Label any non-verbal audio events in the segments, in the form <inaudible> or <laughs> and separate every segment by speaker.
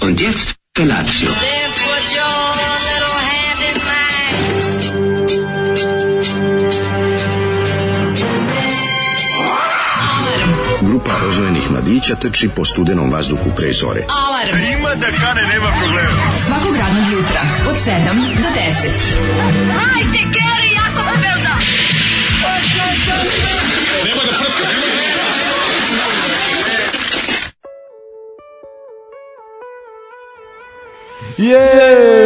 Speaker 1: Und jetzt Felatio.
Speaker 2: Then put your little hand in mine.
Speaker 3: Grupa rozvojenih mladića trči po studenom vazduhu pre zore.
Speaker 4: Alarm. Ima da kane, nema problema. Svakog radnog jutra, od 7 do 10.
Speaker 5: Je!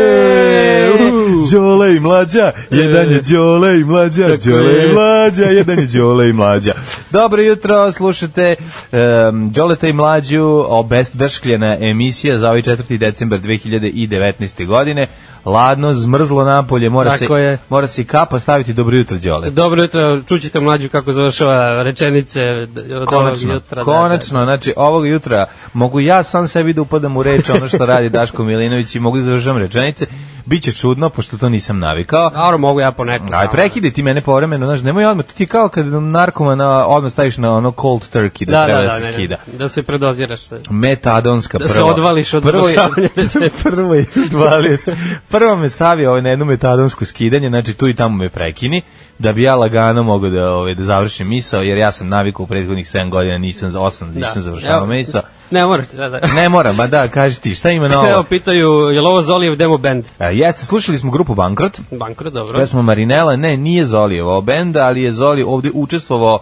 Speaker 5: Đole i mlađa, jedan je Đole i mlađa, Đole i mlađa, jedan je Đole i mlađa. Dobro jutro, slušate um, Đoleta i mlađu, obesdrškljena emisija za ovaj 4. decembar 2019. godine. Ladno, zmrzlo napolje, mora se,
Speaker 6: Tako je.
Speaker 5: mora se i kapa staviti dobro jutro Đole.
Speaker 6: E, Dobro jutro, čućite mlađu kako završava rečenice d- od
Speaker 5: Konačno,
Speaker 6: ovog jutra. da,
Speaker 5: konačno, znači ovog jutra mogu ja sam sebi da upadam u reč ono što radi Daško Milinović i mogu da završavam rečenice. Biće čudno, pošto to nisam navikao.
Speaker 6: Da, da. Dobro, mogu ja ponekad.
Speaker 5: Aj prekide ti mene povremeno, znaš, nemoj odmah, ti kao kad narkomana odmah staviš na ono cold turkey da,
Speaker 6: da,
Speaker 5: treba
Speaker 6: da, da,
Speaker 5: se
Speaker 6: ne,
Speaker 5: skida.
Speaker 6: Da se predoziraš. se.
Speaker 5: Metadonska
Speaker 6: Da
Speaker 5: prvo.
Speaker 6: se odvališ od
Speaker 5: prvo je,
Speaker 6: završavanja
Speaker 5: <laughs>
Speaker 6: rečenica.
Speaker 5: prvo je, odvalio se. Prvo me stavio ovaj na jedno metadonsku skidanje, znači tu i tamo me prekini, da bi ja lagano mogao da, ovaj, da završim misao, jer ja sam navikao u prethodnih 7 godina, nisam, 8, nisam završavao
Speaker 6: Da. Evo,
Speaker 5: misao.
Speaker 6: Ne morate, da, da.
Speaker 5: Ne moram, ba da, kaži ti, šta
Speaker 6: <laughs>
Speaker 5: ima
Speaker 6: Evo,
Speaker 5: novo?
Speaker 6: pitaju, je li ovo Zolijev demo band?
Speaker 5: E, Jeste, slušali smo grupu Bankrot,
Speaker 6: Bankro, dobro.
Speaker 5: Pesma Marinela, ne, nije Zoli ovo benda, ali je Zoli ovde učestvovao,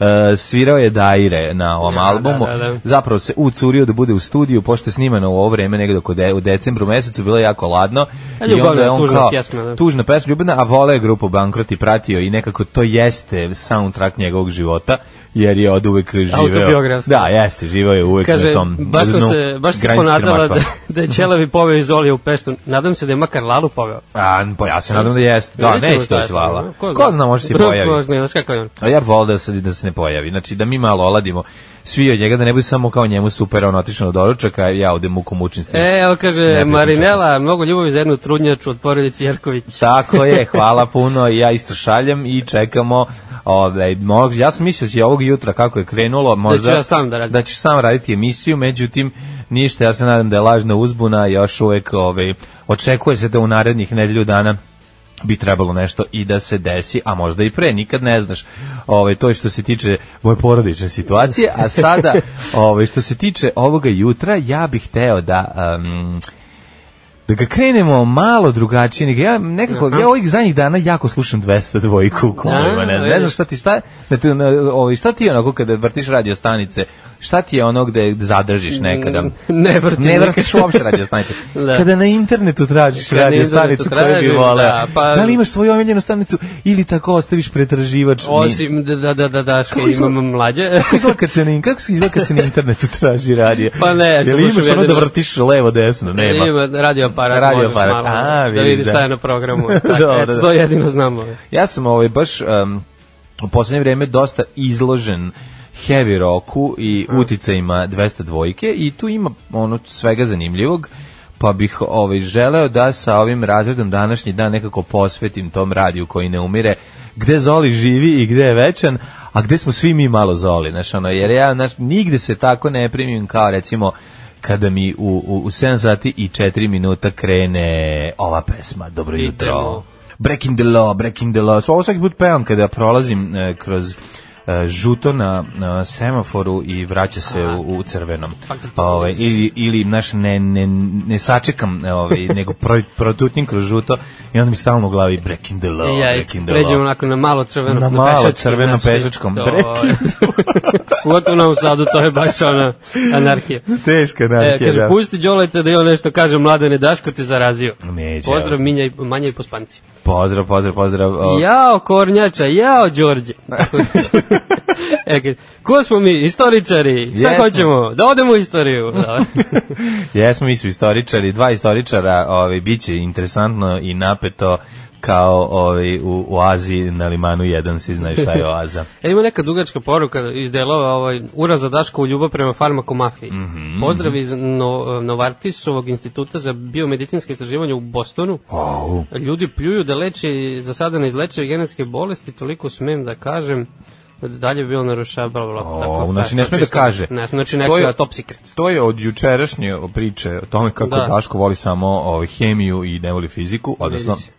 Speaker 5: e, svirao je Daire na ovom
Speaker 6: Da,
Speaker 5: albumu.
Speaker 6: da, da, da.
Speaker 5: Zapravo se ucurio da bude u studiju, pošto je snimano u ovo vreme, negde oko de, u decembru mesecu, bilo je jako ladno.
Speaker 6: A
Speaker 5: I
Speaker 6: ljubavna,
Speaker 5: onda je on
Speaker 6: tužna
Speaker 5: kao-
Speaker 6: pjesma, da.
Speaker 5: Tužna pesma, ljubavna, a vole je grupu Bankrot i pratio i nekako to jeste soundtrack njegovog života jer je od uvek živeo.
Speaker 6: Autobiografski.
Speaker 5: Da, jeste, živeo je uvek
Speaker 6: Kaže,
Speaker 5: na tom
Speaker 6: baš sam
Speaker 5: dnu
Speaker 6: se, baš se
Speaker 5: granice
Speaker 6: ponadala
Speaker 5: siromaštva.
Speaker 6: da, da je Ćelavi poveo iz Zolije u Peštu. Nadam se da je makar Lalu poveo.
Speaker 5: A, pa ja se nadam da jeste. Da,
Speaker 6: Vidjet ćemo
Speaker 5: neće
Speaker 6: šta je
Speaker 5: doći lala.
Speaker 6: to.
Speaker 5: Ko zna, može se i pojaviti.
Speaker 6: Ko zna, znaš kako je on.
Speaker 5: A ja bih volao da se, da se ne pojavi. Znači, da mi malo oladimo svi od njega, da ne bude samo kao njemu super, on otišao na doručak, a ja ovde mukom učim s tim.
Speaker 6: E, evo kaže,
Speaker 5: Ne bi
Speaker 6: Marinela, mnogo ljubavi za jednu trudnjaču od porodici Jerković.
Speaker 5: Tako je, hvala puno, ja isto šaljem i čekamo Ovaj, mo- ja sam mislio da će ovog jutra kako je krenulo možda,
Speaker 6: ću ja sam da radim.
Speaker 5: da ćeš sam raditi emisiju međutim ništa ja se nadam da je lažna uzbuna još uvek ovaj, očekuje se da u narednih nedelju dana bi trebalo nešto i da se desi, a možda i pre, nikad ne znaš. Ovaj to je što se tiče moje porodične situacije, a
Speaker 6: <laughs>
Speaker 5: sada ovaj što se tiče ovoga jutra, ja bih hteo da um, da ga krenemo malo drugačije. nego Ja nekako ja ovih zadnjih dana jako slušam 200 dvojku u kolima,
Speaker 6: Mhm. Da,
Speaker 5: ne, ne
Speaker 6: vidiš.
Speaker 5: znam šta ti šta, ne, ti, ne, ovaj šta ti je onako kada vrtiš radio stanice, šta ti je ono gde zadržiš nekada?
Speaker 6: Mm. Ne vrtim.
Speaker 5: da. Ne vrtiš uopšte radio stanice.
Speaker 6: <laughs> Da.
Speaker 5: Kada na internetu tražiš
Speaker 6: Kad na
Speaker 5: radio
Speaker 6: internetu
Speaker 5: stanicu koju bi
Speaker 6: tražiš,
Speaker 5: voleo. Da,
Speaker 6: da, pa-
Speaker 5: li imaš svoju omiljenu stanicu ili tako ostaviš pretraživač? Ni-
Speaker 6: Osim da, da, da, da, da, što
Speaker 5: Kako izgleda-
Speaker 6: imam mlađe.
Speaker 5: Kako izgleda kad se na, kako se izgleda kad se na internetu traži radio?
Speaker 6: Pa ne,
Speaker 5: Je
Speaker 6: što
Speaker 5: li imaš
Speaker 6: slušam
Speaker 5: ono da
Speaker 6: jedino-
Speaker 5: vrtiš levo desno? Nema.
Speaker 6: <laughs> Ima radio aparat,
Speaker 5: Radio
Speaker 6: radio
Speaker 5: aparat,
Speaker 6: aparat. Malo,
Speaker 5: a,
Speaker 6: da
Speaker 5: vidiš,
Speaker 6: vidiš
Speaker 5: da.
Speaker 6: šta je na
Speaker 5: <laughs>
Speaker 6: programu. Tako,
Speaker 5: Dobro,
Speaker 6: eto,
Speaker 5: da.
Speaker 6: to jedino znamo.
Speaker 5: Ja sam ovaj baš um, u poslednje vreme dosta izložen heavy roku i uticajima 200 dvojke i tu ima ono svega zanimljivog pa bih ovaj želeo da sa ovim razredom današnji dan nekako posvetim tom radiju koji ne umire gde Zoli živi i gde je večan a gde smo svi mi malo Zoli znaš, ono, jer ja znaš, nigde se tako ne primim kao recimo kada mi u, u, u 7 sati i 4 minuta krene ova pesma Dobro jutro
Speaker 6: Idemo.
Speaker 5: Breaking the law, breaking the law. Ovo svaki put pevam kada prolazim e, kroz e, žuto na, na semaforu i vraća se u, u crvenom. Ove, ili, ili naš, ne, ne, ne sačekam, e,
Speaker 6: <laughs>
Speaker 5: ove, nego pro, protutnim kroz žuto i onda mi stalno u glavi breaking the law,
Speaker 6: ja, isto,
Speaker 5: breaking the
Speaker 6: pređemo
Speaker 5: law.
Speaker 6: onako na malo crveno,
Speaker 5: Na malo
Speaker 6: pešački,
Speaker 5: crveno
Speaker 6: znaš,
Speaker 5: pešačkom.
Speaker 6: to-
Speaker 5: Breaking
Speaker 6: <laughs> Pogotovo u Novom Sadu, to je baš ona anarhija.
Speaker 5: Teška
Speaker 6: E,
Speaker 5: anarhija,
Speaker 6: kaže,
Speaker 5: da.
Speaker 6: pusti Đoleta da i on nešto kaže, mladene, Daško te zarazio.
Speaker 5: Neće. da.
Speaker 6: Pozdrav Minja i, Manja i Pospanci.
Speaker 5: Pozdrav, pozdrav, pozdrav. o,
Speaker 6: Jao Kornjača, jao Đorđe. e, kaže, ko smo mi? Istoričari. Šta
Speaker 5: Jesmo.
Speaker 6: hoćemo? Da odemo u istoriju. Da.
Speaker 5: <laughs> Jesmo mi su istoričari, dva istoričara, ovaj biće interesantno i napeto kao ovaj u, u Aziji na limanu 1, svi znaju šta
Speaker 6: <laughs>
Speaker 5: je oaza.
Speaker 6: E, ima neka dugačka poruka iz delova ovaj, uraza Daška u ljubav prema farmakomafiji. Mm
Speaker 5: Mhm.
Speaker 6: -hmm. Pozdrav iz no, Novartisovog instituta za biomedicinske istraživanja u Bostonu.
Speaker 5: Au.
Speaker 6: Ljudi pljuju da leče, za sada ne izleče genetske bolesti, toliko smem da kažem. dalje bi bilo narušava, bla, bla, bla.
Speaker 5: O,
Speaker 6: tako,
Speaker 5: znači,
Speaker 6: da,
Speaker 5: ne sme da
Speaker 6: čisto-
Speaker 5: kaže.
Speaker 6: Ne, znači,
Speaker 5: To
Speaker 6: neka
Speaker 5: je-
Speaker 6: top secret.
Speaker 5: To je od jučerašnje priče o tome kako
Speaker 6: Da.
Speaker 5: Daško voli samo ovaj, hemiju i ne voli fiziku, odnosno
Speaker 6: Vidi se.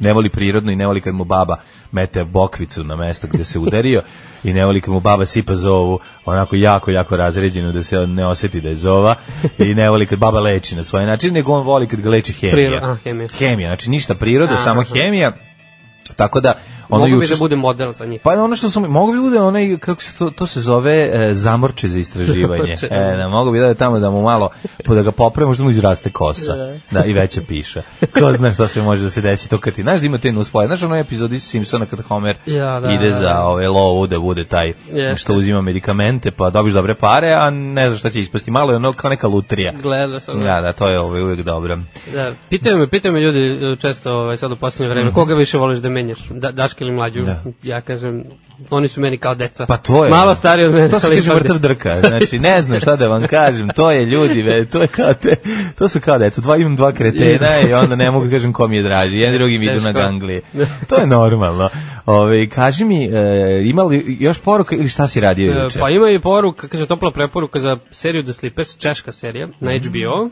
Speaker 5: ne voli prirodno i ne voli kad mu baba mete bokvicu na mesto gde se udario i ne voli kad mu baba sipa zovu onako jako, jako razređenu da se on ne oseti da je zova i ne voli kad baba leči na svoj način, nego on voli kad ga leči hemija.
Speaker 6: Priro- a, hemija.
Speaker 5: Hemija, znači ništa priroda,
Speaker 6: Aha.
Speaker 5: samo hemija. Tako da, ono
Speaker 6: Mogu bi
Speaker 5: juče
Speaker 6: da bude model za njih.
Speaker 5: Pa ono što sam mogu bi bude onaj kako se to, to se zove e, zamorče za istraživanje.
Speaker 6: <laughs> Zamorče.
Speaker 5: e, da, mogu bi da je tamo da mu malo pa da ga popre, možda mu izraste kosa. da, i veća piša. Ko zna šta sve može da se desi to kad ti znaš da ima te nuspoje. Znaš onaj epizod iz Simpsona kad Homer
Speaker 6: Ja, da,
Speaker 5: ide
Speaker 6: da,
Speaker 5: za
Speaker 6: da.
Speaker 5: ove lovu da bude taj
Speaker 6: Jeste.
Speaker 5: što uzima medikamente pa dobiš dobre pare, a ne znaš šta će ispasti. Malo je ono kao neka lutrija.
Speaker 6: Gleda sam.
Speaker 5: Da, da, to je ovaj uvek dobro.
Speaker 6: Da, pitaju me, pitaju me ljudi e, često ovaj, sad u posljednje vreme, koga više voliš da menjaš, da, Daška ili mlađu?
Speaker 5: Mhm. Da.
Speaker 6: Ja kažem, oni su meni kao deca.
Speaker 5: Pa to je.
Speaker 6: Malo stariji od mene.
Speaker 5: To se
Speaker 6: ali
Speaker 5: kaže
Speaker 6: ipak
Speaker 5: vrtav drka. Znači, ne znam šta da vam kažem. To je ljudi, ve, to je kao te, to su kao deca. Dva, imam dva kretena i onda ne mogu da kažem ko mi je draži. Jedan drugi mi idu na
Speaker 6: Teško.
Speaker 5: ganglije. To je normalno. Ove, kaži mi, e, ima li još poruka ili šta si radio
Speaker 6: E,
Speaker 5: juče?
Speaker 6: Pa ima i poruka, kaže topla preporuka za seriju The Slippers, češka serija, na
Speaker 5: Mhm.
Speaker 6: HBO.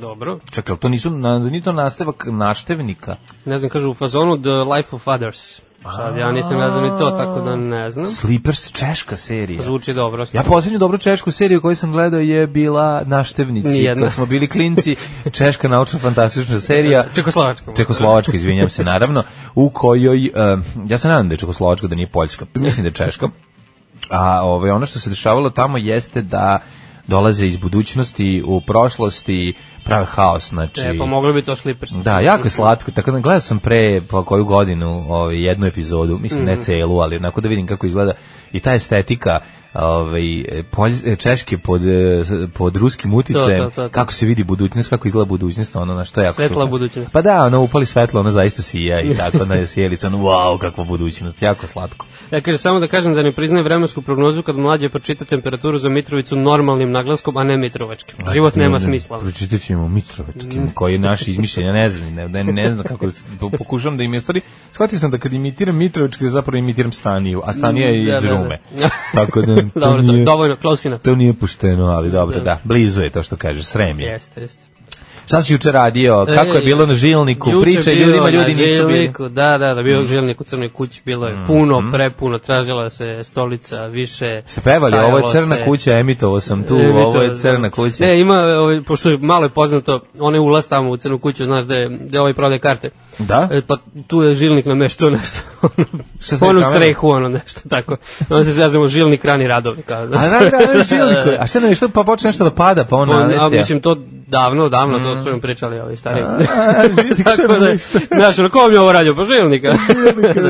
Speaker 6: Dobro.
Speaker 5: Čekaj, ali to nisu, na, nije to nastavak naštevnika?
Speaker 6: Ne znam, kažu u fazonu The Life of Others. Sad ja nisam gledao ni to, tako da ne znam.
Speaker 5: Sleepers, češka serija.
Speaker 6: Zvuči dobro.
Speaker 5: Ja poslednju dobru češku seriju koju sam gledao je bila Naštevnici.
Speaker 6: Nijedna.
Speaker 5: Kad smo bili
Speaker 6: <laughs>
Speaker 5: klinci, češka naučno fantastična serija.
Speaker 6: Čekoslovačka.
Speaker 5: Čekoslovačka, izvinjam se, naravno, u kojoj, uh, ja se nadam da je Čekoslovačka, da nije Poljska, mislim da je Češka, a ovaj, ono što se dešavalo tamo jeste da dolaze iz budućnosti u prošlosti, prave haos, znači...
Speaker 6: E, pa moglo bi to Slippers.
Speaker 5: Da, jako je slatko, tako da gledao sam pre pa koju godinu ovaj, jednu epizodu, mislim
Speaker 6: Mhm.
Speaker 5: ne celu, ali onako da vidim kako izgleda i ta estetika ovaj, e, polj, e, češke pod, e, s- pod ruskim uticajem,
Speaker 6: to, to.
Speaker 5: kako se vidi budućnost, kako izgleda budućnost, ono na što je jako
Speaker 6: Svetla
Speaker 5: super.
Speaker 6: budućnost.
Speaker 5: Pa da, ono upali svetlo, ono zaista sija i
Speaker 6: <laughs>
Speaker 5: tako na sjelica, ono wow, kakva budućnost, jako slatko.
Speaker 6: Ja kažem samo da kažem da ne priznaje vremensku prognozu kad mlađe pročita temperaturu za Mitrovicu normalnim naglaskom, a ne Mitrovačkim. Život nema smisla.
Speaker 5: Pa
Speaker 6: Mm.
Speaker 5: Pročitat ćemo Mitrovetski, koji je naš izmišljenja, ne znam, ne, ne, ne znam kako, da se- po- pokušavam da im je stvari. Shvatio sam da kad imitiram Mitrovetski, da zapravo imitiram Staniju, a Stanija je
Speaker 6: Da,
Speaker 5: iz
Speaker 6: da, da. <laughs>
Speaker 5: Rume. Tako da, to,
Speaker 6: Dobro, to,
Speaker 5: nije,
Speaker 6: je dovoljno, close enough.
Speaker 5: to nije pušteno, ali dobro, da, blizu je to što kažeš, srem je.
Speaker 6: Jeste, jeste.
Speaker 5: Šta si juče radio, kako je
Speaker 6: E,
Speaker 5: bilo na žilniku,
Speaker 6: juče
Speaker 5: pričaj
Speaker 6: bilo
Speaker 5: ljudima,
Speaker 6: na
Speaker 5: ljudi nisu bili.
Speaker 6: žilniku, Da, da, da bio mm. žilnik u crnoj kući, bilo je puno, prepuno, tražila se stolica više.
Speaker 5: Mhm. Ste pevali, ovo je
Speaker 6: stajalo
Speaker 5: crna
Speaker 6: se.
Speaker 5: kuća, emitovo sam tu,
Speaker 6: E, mi to-
Speaker 5: ovo je crna kuća.
Speaker 6: Ne, ima, ovaj, pošto je malo je poznato, onaj ulaz tamo u crnu kuću, znaš da je, da je ovaj prodaje karte.
Speaker 5: Da?
Speaker 6: E, pa tu je žilnik na mesto nešto.
Speaker 5: Šta se
Speaker 6: ono, onu
Speaker 5: kamera?
Speaker 6: strehu, ono nešto tako. Onda se zazemo žilnik rani radovi. Kao, znaš.
Speaker 5: A da, da,
Speaker 6: <laughs>
Speaker 5: da, žilniku. A šta nešto, pa počne nešto da pada, pa on
Speaker 6: On, a
Speaker 5: navesti. Mm.
Speaker 6: mislim to davno, davno, to su im pričali ovi stari. <laughs>
Speaker 5: vidi kako
Speaker 6: Tako da,
Speaker 5: ništa.
Speaker 6: znaš, ono, ko mi je ovo radio?
Speaker 5: <laughs>
Speaker 6: Pa žilnika.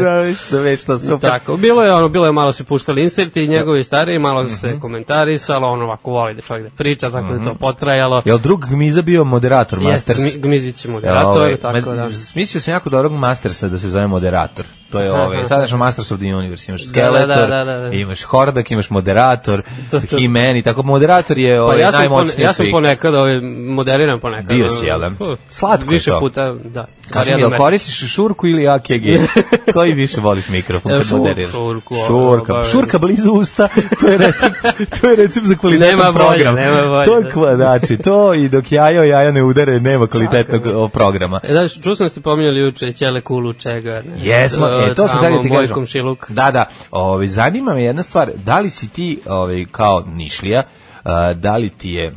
Speaker 5: Da, već, da, već, to super.
Speaker 6: Tako, bilo je ono, bilo je malo se puštali
Speaker 5: Da.
Speaker 6: inserti, njegovi stari, malo
Speaker 5: Mhm.
Speaker 6: se komentarisalo, on ovako voli da čovjek da priča, tako da je to potrajalo.
Speaker 5: Jel drug Gmiza bio moderator
Speaker 6: Jeste,
Speaker 5: Masters?
Speaker 6: Gmi- Gmizić je
Speaker 5: Jel,
Speaker 6: moderator,
Speaker 5: ovaj,
Speaker 6: tako
Speaker 5: med-
Speaker 6: da.
Speaker 5: Smislio sam jako dobrog Mastersa da se zove moderator. To je
Speaker 6: Aha. <laughs>
Speaker 5: ovaj, sadašnji Masters of the Universe. Imaš
Speaker 6: Da,
Speaker 5: Skeletor,
Speaker 6: da, da, da, da.
Speaker 5: imaš Hordak, imaš moderator,
Speaker 6: To, to.
Speaker 5: He-Man i tako. Moderator je
Speaker 6: Pa
Speaker 5: ovaj,
Speaker 6: ja sam, pone,
Speaker 5: najmoćniji
Speaker 6: ja sam
Speaker 5: svih.
Speaker 6: ponekad, ovaj, moderiram ponekad.
Speaker 5: Bio si, jel da?
Speaker 6: Uf,
Speaker 5: Slatko je
Speaker 6: Više
Speaker 5: to.
Speaker 6: puta, da.
Speaker 5: Kaži mi,
Speaker 6: jednom
Speaker 5: jel koristiš šurku ili AKG? <laughs> Koji više voliš mikrofon?
Speaker 6: E,
Speaker 5: kad
Speaker 6: šur-
Speaker 5: moderiraš?
Speaker 6: šurku, ono,
Speaker 5: Šurka.
Speaker 6: obavezno.
Speaker 5: Šurka blizu usta, to je recept, to je recept za kvalitetan
Speaker 6: Nema bolje,
Speaker 5: program.
Speaker 6: nema bolje,
Speaker 5: to je
Speaker 6: da.
Speaker 5: kva, znači, to i dok jajo jajo ne udare, nema kvalitetnog o, programa.
Speaker 6: mesecu. E, da, čuo sam da ste pominjali juče Ćele Kulu, čega. ne,
Speaker 5: Jesmo, e, to smo
Speaker 6: tamo,
Speaker 5: dalje ti
Speaker 6: moj
Speaker 5: kažem.
Speaker 6: komšiluk.
Speaker 5: Da, da. Ovaj zanima me jedna stvar, da li si ti ovaj kao Nišlija, a, da li ti je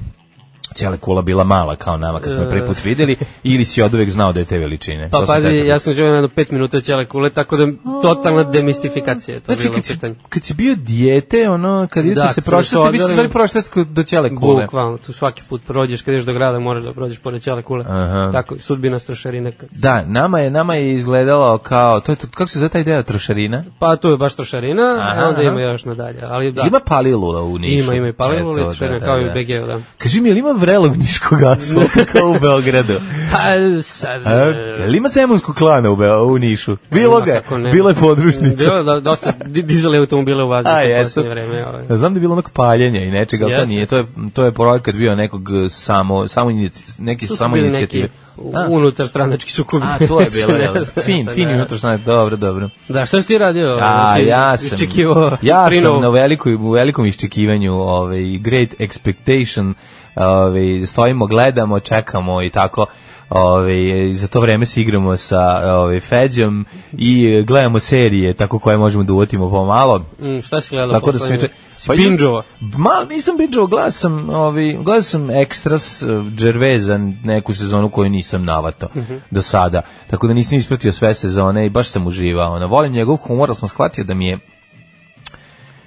Speaker 5: Ćele kula bila mala kao nama kad smo je prvi put videli ili si oduvek znao da je te veličine?
Speaker 6: E. Pa
Speaker 5: To sam da
Speaker 6: pazi,
Speaker 5: te pitao.
Speaker 6: ja sam živio na jedno pet minuta od Ćele Kule, tako da totalna demistifikacija je to
Speaker 5: Znači,
Speaker 6: bilo
Speaker 5: kad si,
Speaker 6: pitanje.
Speaker 5: kad si bio dijete, ono, kad idete
Speaker 6: Da,
Speaker 5: se
Speaker 6: kad smo
Speaker 5: prošetati,
Speaker 6: se
Speaker 5: vi ste
Speaker 6: odveli-
Speaker 5: stvari prošetati kod- do ćele kule.
Speaker 6: Bukvalno, tu svaki put prođeš, kad ideš do grada moraš da prođeš pored Ćele Kule.
Speaker 5: Aha.
Speaker 6: Tako, sudbina strošarina. kad-
Speaker 5: Da, nama je, nama je izgledalo kao, to je, to, kako se zove taj deo trošarina?
Speaker 6: Pa tu je baš trošarina,
Speaker 5: Aha,
Speaker 6: a onda ima
Speaker 5: aha.
Speaker 6: još nadalje. Ali da,
Speaker 5: Ima palilula u Nišu.
Speaker 6: Ima, ima i palilula,
Speaker 5: Eto, <laughs>
Speaker 6: i trošarina, kao i u BG-u, da.
Speaker 5: Kaži mi, jel ima vrelog niškog
Speaker 6: <laughs>
Speaker 5: asuka kao u Beogradu?
Speaker 6: Pa, sad...
Speaker 5: A, jel ima semunskog klana u, Beo, u Nišu? Bilo
Speaker 6: Ima,
Speaker 5: ga, je,
Speaker 6: kako ne.
Speaker 5: bilo je podružnica.
Speaker 6: Bilo je da- dosta di- dizali automobile u vazduhu
Speaker 5: A,
Speaker 6: u
Speaker 5: jesu.
Speaker 6: poslednje vreme. Ovaj.
Speaker 5: Znam da je bilo onog paljenja i nečega, ali to
Speaker 6: Jeste.
Speaker 5: nije. To je, to je projekat bio nekog eh, samo, samo inici- neki
Speaker 6: Tu su
Speaker 5: samo
Speaker 6: bili
Speaker 5: inicijative.
Speaker 6: neki unutar stranački sukobi.
Speaker 5: A, to
Speaker 6: <laughs>
Speaker 5: je bilo,
Speaker 6: Ne
Speaker 5: jel?
Speaker 6: znam,
Speaker 5: Fin,
Speaker 6: pa
Speaker 5: fin
Speaker 6: da.
Speaker 5: da. jutro snad, dobro, dobro.
Speaker 6: Da, šta si ti radio?
Speaker 5: A,
Speaker 6: Jesi
Speaker 5: ja sam,
Speaker 6: Iščekivao
Speaker 5: ja sam
Speaker 6: Trinovu?
Speaker 5: na velikoj, u velikom iščekivanju, ovaj, great expectation, ovaj, stojimo, gledamo, čekamo i tako. Ove, za to vreme se igramo sa ove, Feđom i eh, gledamo serije tako koje možemo da uvotimo pomalo.
Speaker 6: Mm, šta si gledala?
Speaker 5: Tako da sam juče
Speaker 6: Pa
Speaker 5: idem-
Speaker 6: Binđova.
Speaker 5: Ma, nisam binđovao, gledao sam, ovi, gledao sam Extras uh, Gervaisa neku sezonu koju nisam navatao do sada. Tako da nisam ispratio sve sezone i baš sam uživao. Ono, volim njegov humor, ali sam shvatio da mi je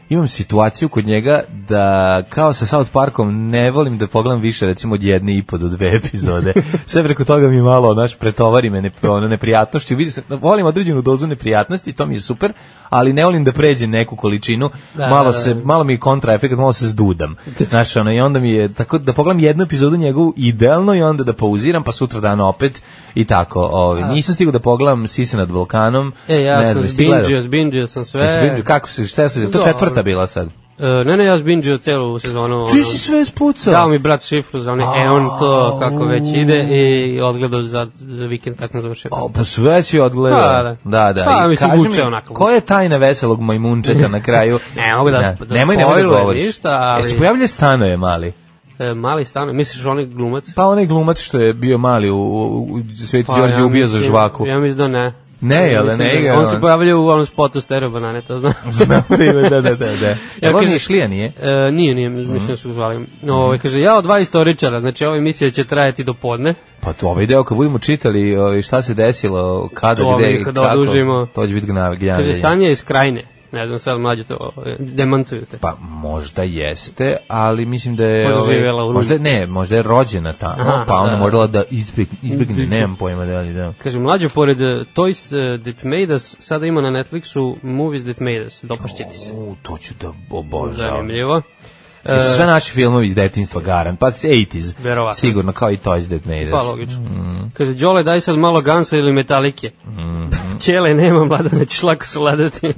Speaker 5: imam situaciju kod njega da kao sa South Parkom ne volim da pogledam više recimo od jedne i po do dve
Speaker 6: <laughs>
Speaker 5: epizode. Sve preko toga mi malo naš pretovari me ne, ono, neprijatnošću. Vidi se, volim određenu dozu neprijatnosti, to mi je super, ali ne volim da pređem neku količinu.
Speaker 6: Da,
Speaker 5: malo
Speaker 6: da, da.
Speaker 5: se malo mi je kontraefekat, malo se zdudam. Znaš, ono, i onda mi je, tako da pogledam jednu epizodu njegovu idealno i onda da pauziram, pa sutra dan opet i tako. Ovaj. Nisam stigao da pogledam Sise nad Balkanom.
Speaker 6: E, ja
Speaker 5: ne
Speaker 6: sam
Speaker 5: znam, jesi ti gledao?
Speaker 6: zbinđio, zbinđio sam sve. Da.
Speaker 5: Jesi vidio Kako se, šta se, to
Speaker 6: Dobro.
Speaker 5: četvrta bila sad.
Speaker 6: E, ne, ne, ja zbinđio celu sezonu.
Speaker 5: Ti
Speaker 6: ono.
Speaker 5: si sve spucao.
Speaker 6: Dao mi brat šifru za one Eon to, kako već ide, i odgledao za, za vikend kad sam završio.
Speaker 5: O, pa sve si odgledao.
Speaker 6: Pa, da.
Speaker 5: Da, da.
Speaker 6: Pa,
Speaker 5: I
Speaker 6: mislim,
Speaker 5: kaži
Speaker 6: vuče
Speaker 5: mi,
Speaker 6: onako.
Speaker 5: Koja je tajna veselog majmunčeta na kraju?
Speaker 6: <laughs> Ne, mogu da- da
Speaker 5: nemoj, nemoj da
Speaker 6: spojlujem
Speaker 5: govoriš.
Speaker 6: ništa, ali-
Speaker 5: E, se pojavlja stanoje mali.
Speaker 6: E, mali stan, misliš onaj glumac?
Speaker 5: Pa onaj glumac što je bio mali u, u, u Sveti
Speaker 6: Pa,
Speaker 5: Đorđe
Speaker 6: ja
Speaker 5: ubija za
Speaker 6: mislim-
Speaker 5: žvaku. <laughs>
Speaker 6: Ja mislim da ne.
Speaker 5: Ne, jel da
Speaker 6: Mislim
Speaker 5: ne igra
Speaker 6: On
Speaker 5: on?
Speaker 6: se pojavlja u onom spotu stereo banane,
Speaker 5: <laughs>
Speaker 6: to znam.
Speaker 5: Znam da ima, da, da, da.
Speaker 6: <laughs>
Speaker 5: da. Jel on
Speaker 6: kažem-
Speaker 5: je šlija, nije? Mhm.
Speaker 6: E, nije, nije, mislim da su ga zvali. Ovo, kaže, ja od dva istoričara, znači ova emisija će trajati do podne.
Speaker 5: Pa to ovaj deo kad budemo čitali o, i šta se desilo, kada,
Speaker 6: To,
Speaker 5: gde,
Speaker 6: mi
Speaker 5: i
Speaker 6: kada
Speaker 5: kako,
Speaker 6: odužimo.
Speaker 5: to će biti gnav,
Speaker 6: Kaže,
Speaker 5: gnjavljenje.
Speaker 6: stanje je iz krajine. Ne znam, sad mlađe to e, demantuju te.
Speaker 5: Pa možda jeste, ali mislim da je...
Speaker 6: Možda
Speaker 5: ovaj,
Speaker 6: živjela u Rumi.
Speaker 5: Možda, ne, možda je rođena tamo,
Speaker 6: Aha,
Speaker 5: pa ona
Speaker 6: da.
Speaker 5: morala da izbegne, izbegne nemam pojma da li da.
Speaker 6: Kaže, mlađo, pored e, Toys e, That Made Us, sada ima na Netflixu Movies That Made Us, dopašće ti se.
Speaker 5: U, to ću da obožavam.
Speaker 6: Zanimljivo. E,
Speaker 5: Jesu sve naši filmovi iz detinstva garan, pa 80s,
Speaker 6: Verovatno.
Speaker 5: sigurno, kao i Toys That Made Us.
Speaker 6: Pa, logično.
Speaker 5: Mhm.
Speaker 6: Kaže, Đole, daj sad malo Gansa ili Metalike. <laughs> Ćele, nema, mladane, ćeš lako suladati.
Speaker 5: <laughs>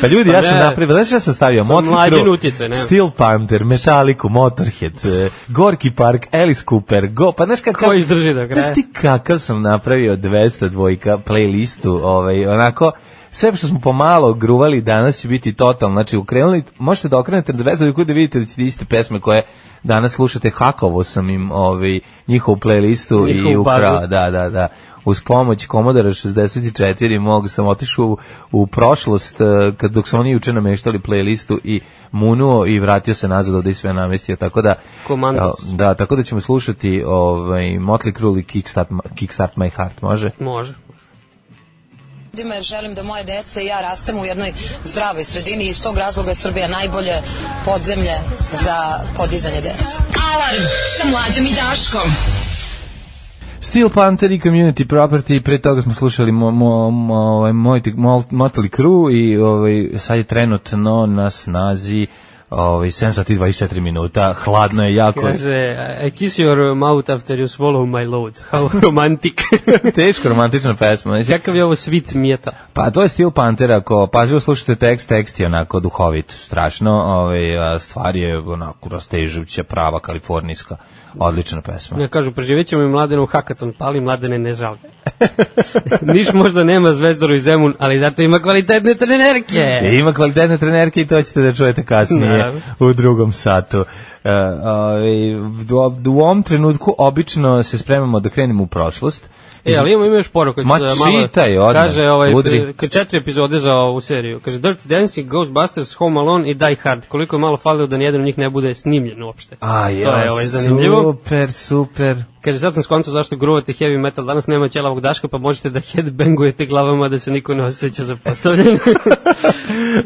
Speaker 5: Pa ljudi, ja
Speaker 6: Pa
Speaker 5: sam
Speaker 6: ne.
Speaker 5: napravio, znaš šta sam stavio? Motley
Speaker 6: mlađin
Speaker 5: Crue,
Speaker 6: utjecaj, ne.
Speaker 5: Steel Panther, Metallica,
Speaker 6: <laughs>
Speaker 5: Motorhead, eh, Gorki Park, Alice Cooper, Go, pa znaš kakav...
Speaker 6: Ko izdrži do kraja?
Speaker 5: Znaš ti kakav sam napravio 200 dvojka playlistu, ovaj, onako, sve što smo pomalo gruvali danas će biti totalno, znači ukrenuli, možete da okrenete na 200 dvojku da vidite da ćete iste pesme koje danas slušate, hakovo sam im ovaj, njihovu playlistu i
Speaker 6: Njihovu
Speaker 5: ukrao,
Speaker 6: bazu.
Speaker 5: da, da, da. Uz pomoć Komodora 64 mogu sam otišao u, u prošlost eh, kad dok su oni juče nameštali playlistu i munuo i vratio se nazad ovde i sve namestio, tako da
Speaker 6: Komandos.
Speaker 5: da, tako da ćemo slušati ovaj, Motley Crue i Kickstart, Kickstart My Heart, može?
Speaker 6: Može.
Speaker 1: ljudima jer želim da moje dece i ja rastemo u jednoj zdravoj sredini i iz tog razloga je Srbija najbolje podzemlje za podizanje dece.
Speaker 4: Alarm sa mlađom i Daškom.
Speaker 5: Steel Panther i Community Property, pre toga smo slušali mo, mo, mo, ovaj, moj, mol, Motley Crue i ovaj, sad je trenutno na snazi ovaj, 7 sati i 24 minuta, hladno je jako.
Speaker 6: <laughs> Kaže, I kiss your mouth after you swallow my load. <laughs> How
Speaker 5: <laughs>
Speaker 6: romantic.
Speaker 5: Teško romantična pesma. Mislim,
Speaker 6: Kakav je ovo svit mjeta?
Speaker 5: Pa to je Steel Panther, ako pažljivo slušate tekst, tekst je onako duhovit, strašno, ovaj, a stvar je onako rastežuća, prava, kalifornijska, odlična pesma.
Speaker 6: Ne, kažu, preživjet ćemo i mladenu u hakaton, pali mladene
Speaker 5: <laughs>
Speaker 6: ne žalbe. Niš možda nema zvezdoru i zemun, ali zato ima kvalitetne trenerke.
Speaker 5: E, ima kvalitetne trenerke i to ćete da čujete kasnije
Speaker 6: Naravno.
Speaker 5: u drugom satu. E, ovaj, u- u ovom trenutku obično se spremamo da krenemo u prošlost.
Speaker 6: E, ali imamo ima još poruku.
Speaker 5: Ma čitaj odmah,
Speaker 6: Kaže, ovaj,
Speaker 5: udri.
Speaker 6: k- četiri epizode za ovu seriju. Kaže, Dirty Dancing, Ghostbusters, Home Alone i Die Hard. Koliko je malo falilo da nijedan od njih ne bude snimljen uopšte.
Speaker 5: A, ja,
Speaker 6: to je ovaj, zanimljivo.
Speaker 5: Super, super.
Speaker 6: Kaže, sad sam skonto zašto gruvate heavy metal, danas nema ćelavog daška, pa možete da headbangujete glavama da se niko ne osjeća
Speaker 5: <laughs>
Speaker 6: zapostavljen.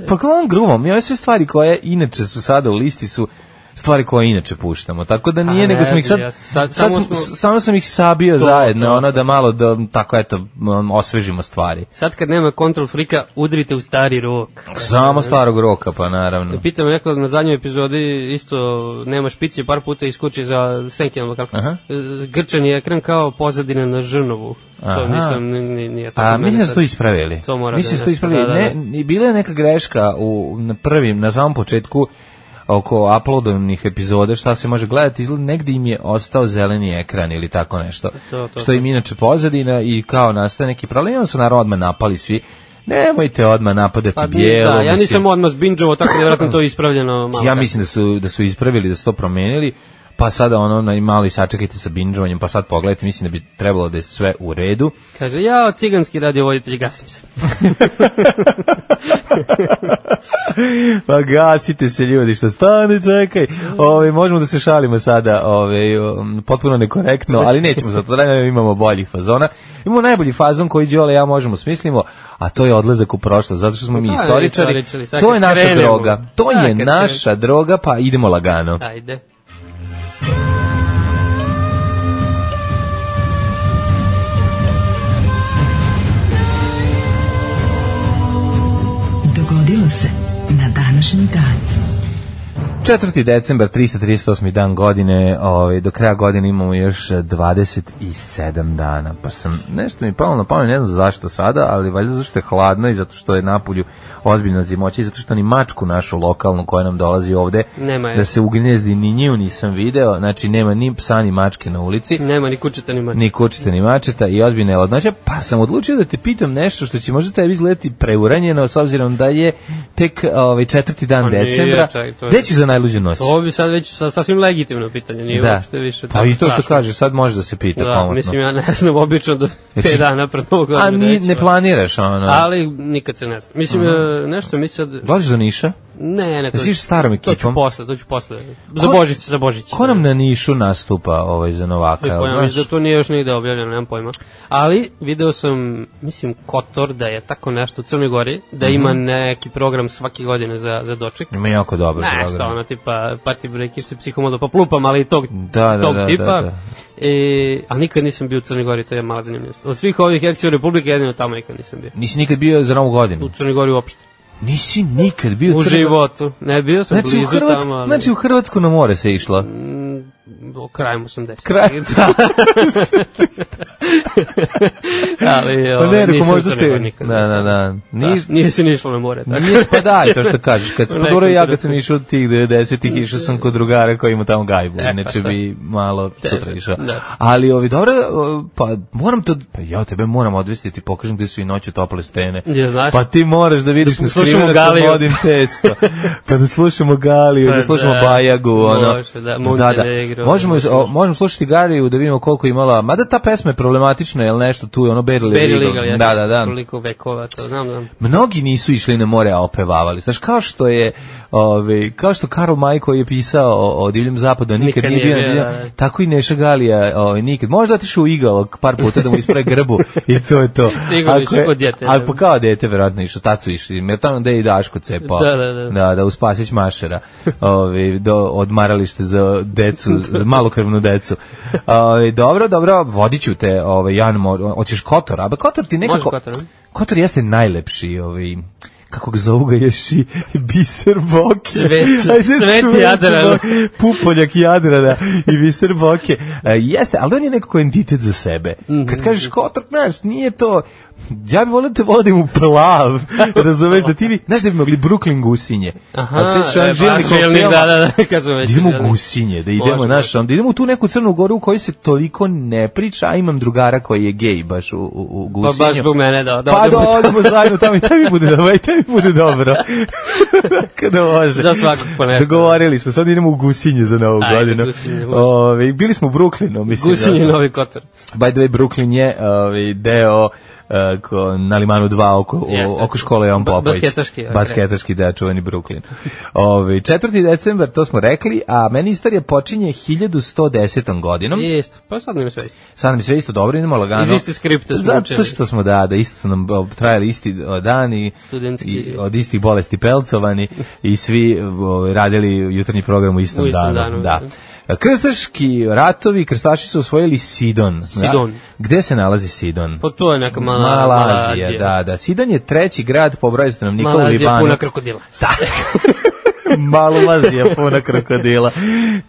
Speaker 5: Pa glavom gruvom, i ove sve stvari koje inače su sada u listi su stvari koje inače puštamo. Tako da nije,
Speaker 6: A,
Speaker 5: nego
Speaker 6: Pa ne
Speaker 5: smo ih sad,
Speaker 6: bi, ja-
Speaker 5: sad,
Speaker 6: sad
Speaker 5: sad
Speaker 6: samo
Speaker 5: smo,
Speaker 6: smo-
Speaker 5: samo sam ih sabio
Speaker 6: To,
Speaker 5: zajedno,
Speaker 6: to,
Speaker 5: ono
Speaker 6: to.
Speaker 5: da malo da tako eto m, osvežimo stvari.
Speaker 6: Sad kad nema kontrol frika, udrite u stari rok.
Speaker 5: Samo starog roka, pa naravno.
Speaker 6: Pitam neko na zadnjoj epizodi, isto nema špice, par puta iskuči za Senkinama kako.
Speaker 5: Aha.
Speaker 6: Grčan je ekran kao pozadina na Žrnovu.
Speaker 5: Aha.
Speaker 6: To nisam, ni, ni, nije tako.
Speaker 5: Pa
Speaker 6: meni
Speaker 5: mislim da su
Speaker 6: sad-
Speaker 5: to ispravili.
Speaker 6: To mora
Speaker 5: mislim da su
Speaker 6: da
Speaker 5: to
Speaker 6: nešto,
Speaker 5: ispravili.
Speaker 6: da, da,
Speaker 5: Ne, i bila je neka greška u na prvim, na samom početku oko uploadovnih epizoda, šta se može gledati, izgleda negde im je ostao zeleni ekran ili tako nešto.
Speaker 6: To, to,
Speaker 5: što im inače pozadina i kao nastaje neki problem, I onda su naravno odmah napali svi. Nemojte odmah napadati
Speaker 6: Pa,
Speaker 5: bijelo.
Speaker 6: da, ja
Speaker 5: mislim.
Speaker 6: nisam odmah zbinđovao, tako da je vjerojatno to ispravljeno malo.
Speaker 5: Ja mislim da su, da su ispravili, da su to promenili, pa sada ono, na- mali sačekajte sa binđovanjem, pa sad pogledajte, mislim da bi trebalo da je sve u redu.
Speaker 6: Kaže, ja ciganski radiovoditelj, gasim se.
Speaker 5: <laughs> pa gasite se ljudi što stani, čekaj. Ove, možemo da se šalimo sada, ove, um, potpuno nekorektno, ali nećemo zato da imamo boljih fazona. Imamo najbolji fazon koji Đole i ja možemo smislimo, a to je odlazak u prošlost, zato što smo mi
Speaker 6: Pa,
Speaker 5: istoričari.
Speaker 6: istoričari, sad
Speaker 5: To
Speaker 6: kad
Speaker 5: je naša
Speaker 6: krenemo.
Speaker 5: droga. To
Speaker 6: Da,
Speaker 5: je
Speaker 6: kad krenemo.
Speaker 5: naša droga, pa idemo lagano.
Speaker 6: Ajde.
Speaker 4: Dogodilo se na današnji dan.
Speaker 5: 4. decembar, 338. dan godine, ovaj, do kraja godine imamo još eh, 27 dana, pa sam, nešto mi je palo na pamet, ne znam zašto sada, ali valjda zašto je hladno i zato što je napolju ozbiljno zimoće i zato što ni mačku našu lokalnu koja nam dolazi ovde,
Speaker 6: Nema je.
Speaker 5: da se ugnjezdi, ni nju nisam video, znači nema ni psa ni mačke na ulici,
Speaker 6: Nema ni kućeta ni mača.
Speaker 5: ni kočite ni mačeta i ozbiljna je ladnoća, pa sam odlučio da te pitam nešto što će možda tebi izgledati preuranjeno s obzirom da je tek ovaj, četvrti dan
Speaker 6: Pa nije,
Speaker 5: decembra.
Speaker 6: čaj, to je-
Speaker 5: Gde ćeš za najluđu noć?
Speaker 6: To bi sad već sa, sasvim legitimno pitanje, nije
Speaker 5: da.
Speaker 6: uopšte više
Speaker 5: Pa i to što
Speaker 6: strašno.
Speaker 5: kažeš, sad može da se pita
Speaker 6: Da,
Speaker 5: komotno.
Speaker 6: mislim, ja ne znam, obično do
Speaker 5: Jesi-
Speaker 6: 5 dana pred novog godina.
Speaker 5: A ni, ne planiraš ono?
Speaker 6: pa- Ali nikad se ne zna. Mislim, e, nešto mi sad...
Speaker 5: Dolaziš do Niša? Da
Speaker 6: Ne, ne, to,
Speaker 5: Jesi išao starom
Speaker 6: to ću
Speaker 5: ekipom?
Speaker 6: posle, to ću posle. Za Božić, za Božić.
Speaker 5: Ko nam na Nišu nastupa ovaj, za Novaka?
Speaker 6: Ne
Speaker 5: jel
Speaker 6: pojma,
Speaker 5: znaš?
Speaker 6: mislim da to nije još nigde objavljeno, nemam pojma. Ali video sam, mislim, Kotor da je tako nešto u Crnoj Gori, da
Speaker 5: Mhm.
Speaker 6: ima neki program svake godine za, za doček.
Speaker 5: Ima jako Pa dobro
Speaker 6: Ne, šta
Speaker 5: program.
Speaker 6: ono, tipa, party break, išli psihomodo, pa plupam, ali i tog,
Speaker 5: Da, da,
Speaker 6: tog
Speaker 5: da,
Speaker 6: tipa.
Speaker 5: da, da.
Speaker 6: E, a nikad nisam bio u Crnoj Gori, to je mala zanimljivost. Od svih ovih eksija Republike, jedino tamo nikad nisam bio.
Speaker 5: Nisi nikad bio za Novu
Speaker 6: U
Speaker 5: godinu?
Speaker 6: Crnoj Gori uopšte.
Speaker 5: Nisi nikad bio
Speaker 6: U
Speaker 5: Crnoj-
Speaker 6: životu. Ne bio sam
Speaker 5: Znači u,
Speaker 6: blizu
Speaker 5: Hrvatsku,
Speaker 6: tamo, ali...
Speaker 5: znači u Hrvatsku na more se išla.
Speaker 6: u krajem 80.
Speaker 5: Kraj-
Speaker 6: <laughs>
Speaker 5: Da.
Speaker 6: ali,
Speaker 5: Pa ne,
Speaker 6: ovaj,
Speaker 5: rekao,
Speaker 6: nisam
Speaker 5: možda
Speaker 6: u Crnoj
Speaker 5: ste...
Speaker 6: Gori nikad.
Speaker 5: Da, da, da. Niš,
Speaker 6: Da, nije se ni išlo na more, tako.
Speaker 5: Nije pa da, to što kažeš, <laughs> kad sam
Speaker 6: Nekom
Speaker 5: poduro ja kad
Speaker 6: trenutku.
Speaker 5: sam išao od tih
Speaker 6: Mm.
Speaker 5: 90-ih, išao sam kod drugara koji ima tamo gajbu,
Speaker 6: E,
Speaker 5: inače bi malo sutra išao.
Speaker 6: pa da.
Speaker 5: Ali ovi, dobro, o, pa moram to, pa ja tebe moram odvesti, ti pokažem gde su i noću tople stene.
Speaker 6: Ja, znaš.
Speaker 5: Pa ti moraš da vidiš da
Speaker 6: Da
Speaker 5: na
Speaker 6: slušamo
Speaker 5: skriveno
Speaker 6: Galiju.
Speaker 5: vodim testo.
Speaker 6: <laughs>
Speaker 5: Pa da slušamo Galiju,
Speaker 6: Pa
Speaker 5: da slušamo
Speaker 6: da,
Speaker 5: Bajagu, ono.
Speaker 6: može, da, Montenegro,
Speaker 5: Možemo,
Speaker 6: da
Speaker 5: o, možemo slušati Galiju da vidimo koliko je imala, mada ta pesma je problematična, jel nešto tu je ono Barely
Speaker 6: Beri
Speaker 5: Legal.
Speaker 6: Legal, ja
Speaker 5: Da, da, da
Speaker 6: koliko vekova, to znam, znam.
Speaker 5: mnogi nisu išli na more, a opevavali. Znaš, kao što je, ove, kao što Karl Maj koji je pisao o, o divljem zapadu, a nikad,
Speaker 6: Nikad
Speaker 5: nije bio
Speaker 6: nije
Speaker 5: na
Speaker 6: bio,
Speaker 5: divljem-
Speaker 6: da, da.
Speaker 5: tako i Neša Galija, ove, nikad. Možda otišao u igalog par puta da mu ispre grbu i to je to.
Speaker 6: <laughs> Sigurno
Speaker 5: Ako
Speaker 6: išao
Speaker 5: je-
Speaker 6: kod djete,
Speaker 5: Ali
Speaker 6: da.
Speaker 5: pa kao dete, verovatno išao, tad su išli, jer tamo da je i Daško cepao.
Speaker 6: Da, da, da.
Speaker 5: Da, da, u Spasić Mašera, ove, do odmaralište za decu, za malokrvnu decu. Ove, dobro, dobro, vodiću te, ove, Jan, Mor- hoćeš Kotor, a ba, Kotor ti nekako...
Speaker 6: Može Kotor, a?
Speaker 5: Kotor jeste najlepši, ovaj, kako ga zovu ga još i biser boke.
Speaker 6: Cvet- cvet Jadrana.
Speaker 5: Boke, Pupoljak Jadrana i biser boke. E, jeste, ali on je nekako entitet za sebe.
Speaker 6: Mhm.
Speaker 5: Kad kažeš Kotor, znaš, nije to... Ja bih volio da te vodim u plav, razumeš, da ti bi, znaš da bi mogli Brooklyn gusinje. Ali sjećaš onaj
Speaker 6: e,
Speaker 5: žilni
Speaker 6: baš žilni,
Speaker 5: koktel,
Speaker 6: da, da, da, kad smo već...
Speaker 5: da idemo
Speaker 6: da,
Speaker 5: u gusinje, da idemo,
Speaker 6: Može,
Speaker 5: znaš, onda idemo u tu neku Crnu Goru u kojoj se toliko ne priča, a imam drugara koji je gej baš u, u, u
Speaker 6: Pa
Speaker 5: gusinje.
Speaker 6: baš zbog mene, da, da
Speaker 5: Pa da
Speaker 6: odemo tamo.
Speaker 5: odemo zajedno tamo i tebi bude dobro, i tebi bude
Speaker 6: <laughs>
Speaker 5: dobro. Kada može.
Speaker 6: Za svakog po nešto.
Speaker 5: Dogovorili smo, sad idemo u Gusinje za novu
Speaker 6: Ajde,
Speaker 5: godinu.
Speaker 6: Gusinje, može.
Speaker 5: Ove, bili smo u Brooklynu, mislim.
Speaker 6: Gusin je
Speaker 5: da.
Speaker 6: novi Kotor.
Speaker 5: By the way, Brooklyn je ove, deo uh, ko- na Limanu 2 oko,
Speaker 6: Jeste.
Speaker 5: o, oko škole Jovan
Speaker 6: Ba-
Speaker 5: Popović.
Speaker 6: basketaški, ok.
Speaker 5: Basketaški, da, čuveni Brooklyn. Ove, 4. decembar, to smo rekli, a meni istorija počinje 1110. godinom.
Speaker 6: Isto, pa sad nam sve isto.
Speaker 5: Sad nam je sve isto dobro, idemo lagano.
Speaker 6: Iz iste skripte smo
Speaker 5: Da, Zato
Speaker 6: učili.
Speaker 5: što smo, da, da, isto su nam o, trajali isti o, dani,
Speaker 6: Studentski.
Speaker 5: i od istih bolesti pelcovani i svi o, radili jutarnji program u istom,
Speaker 6: U istom danu,
Speaker 5: Da. Krstaški ratovi, krstaši su osvojili Sidon.
Speaker 6: Sidon.
Speaker 5: Da? Gde se nalazi Sidon?
Speaker 6: Pa to je neka mala,
Speaker 5: Mala Azija, da, da. Sidon je treći grad po broju stanovnika
Speaker 6: Mala
Speaker 5: u
Speaker 6: Azija
Speaker 5: Libanu.
Speaker 6: puna
Speaker 5: <laughs>
Speaker 6: krokodila.
Speaker 5: Malvazija puna krokodila.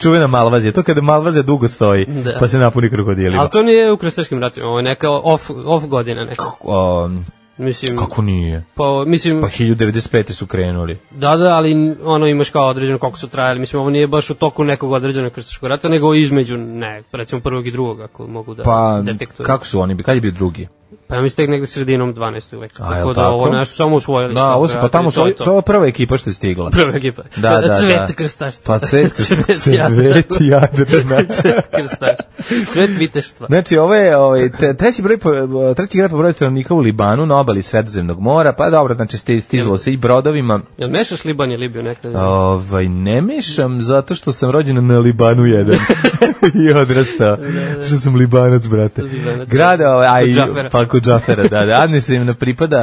Speaker 5: Čuvena Malvazija. To kada Malvazija dugo stoji,
Speaker 6: Da.
Speaker 5: pa se napuni krokodilima.
Speaker 6: Ali to nije u krstaškim ratima, ovo je neka off, off godina neka.
Speaker 5: O,
Speaker 6: Mislim,
Speaker 5: kako nije?
Speaker 6: pa, mislim,
Speaker 5: Pa 1095. su krenuli.
Speaker 6: da, da, ali ono imaš kao određeno koliko su trajali. Mislim, ovo nije baš u toku nekog određenog krstaškog rata, nego između, ne, recimo prvog i drugog, ako mogu da
Speaker 5: Pa,
Speaker 6: detektujem.
Speaker 5: kako su oni, bi- kad je bio drugi?
Speaker 6: Pa ja mislim tek negde sredinom 12. veka.
Speaker 5: A, jel
Speaker 6: Tako da
Speaker 5: tako?
Speaker 6: ovo nešto samo usvojili.
Speaker 5: Da, ovo su, pa tamo su,
Speaker 6: To je
Speaker 5: to je prva ekipa što je stigla.
Speaker 6: <laughs> Prva ekipa.
Speaker 5: Da, da, da.
Speaker 6: Cvet krstaštva.
Speaker 5: Pa
Speaker 6: <laughs>
Speaker 5: cvet, cvet,
Speaker 6: jadra.
Speaker 5: cvet jadrana.
Speaker 6: <laughs> Cvet krstaštva. Cvet viteštva.
Speaker 5: Znači, ovo je ovaj, te- treći, broj, po- treći grad po broju stanovnika u Libanu, na obali Sredozemnog mora, pa dobro, znači sti- stizalo se i brodovima.
Speaker 6: Jel mešaš Liban i Libiju nekada?
Speaker 5: Ovaj, ne mešam zato što sam rođen na Libanu 1 <laughs> i odrastao.
Speaker 6: Da,
Speaker 5: Što sam Libanac, brate.
Speaker 6: Libanac. da.
Speaker 5: Grad, ovaj, a i,
Speaker 6: Kod Džafera.
Speaker 5: pa kod Džafera, da, da. Administrativno pripada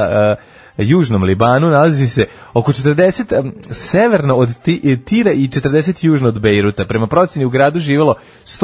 Speaker 5: uh, južnom Libanu, nalazi se oko 40 um, severno od Ti- eh, Tira i 40 južno od Bejruta. Prema proceni u gradu živelo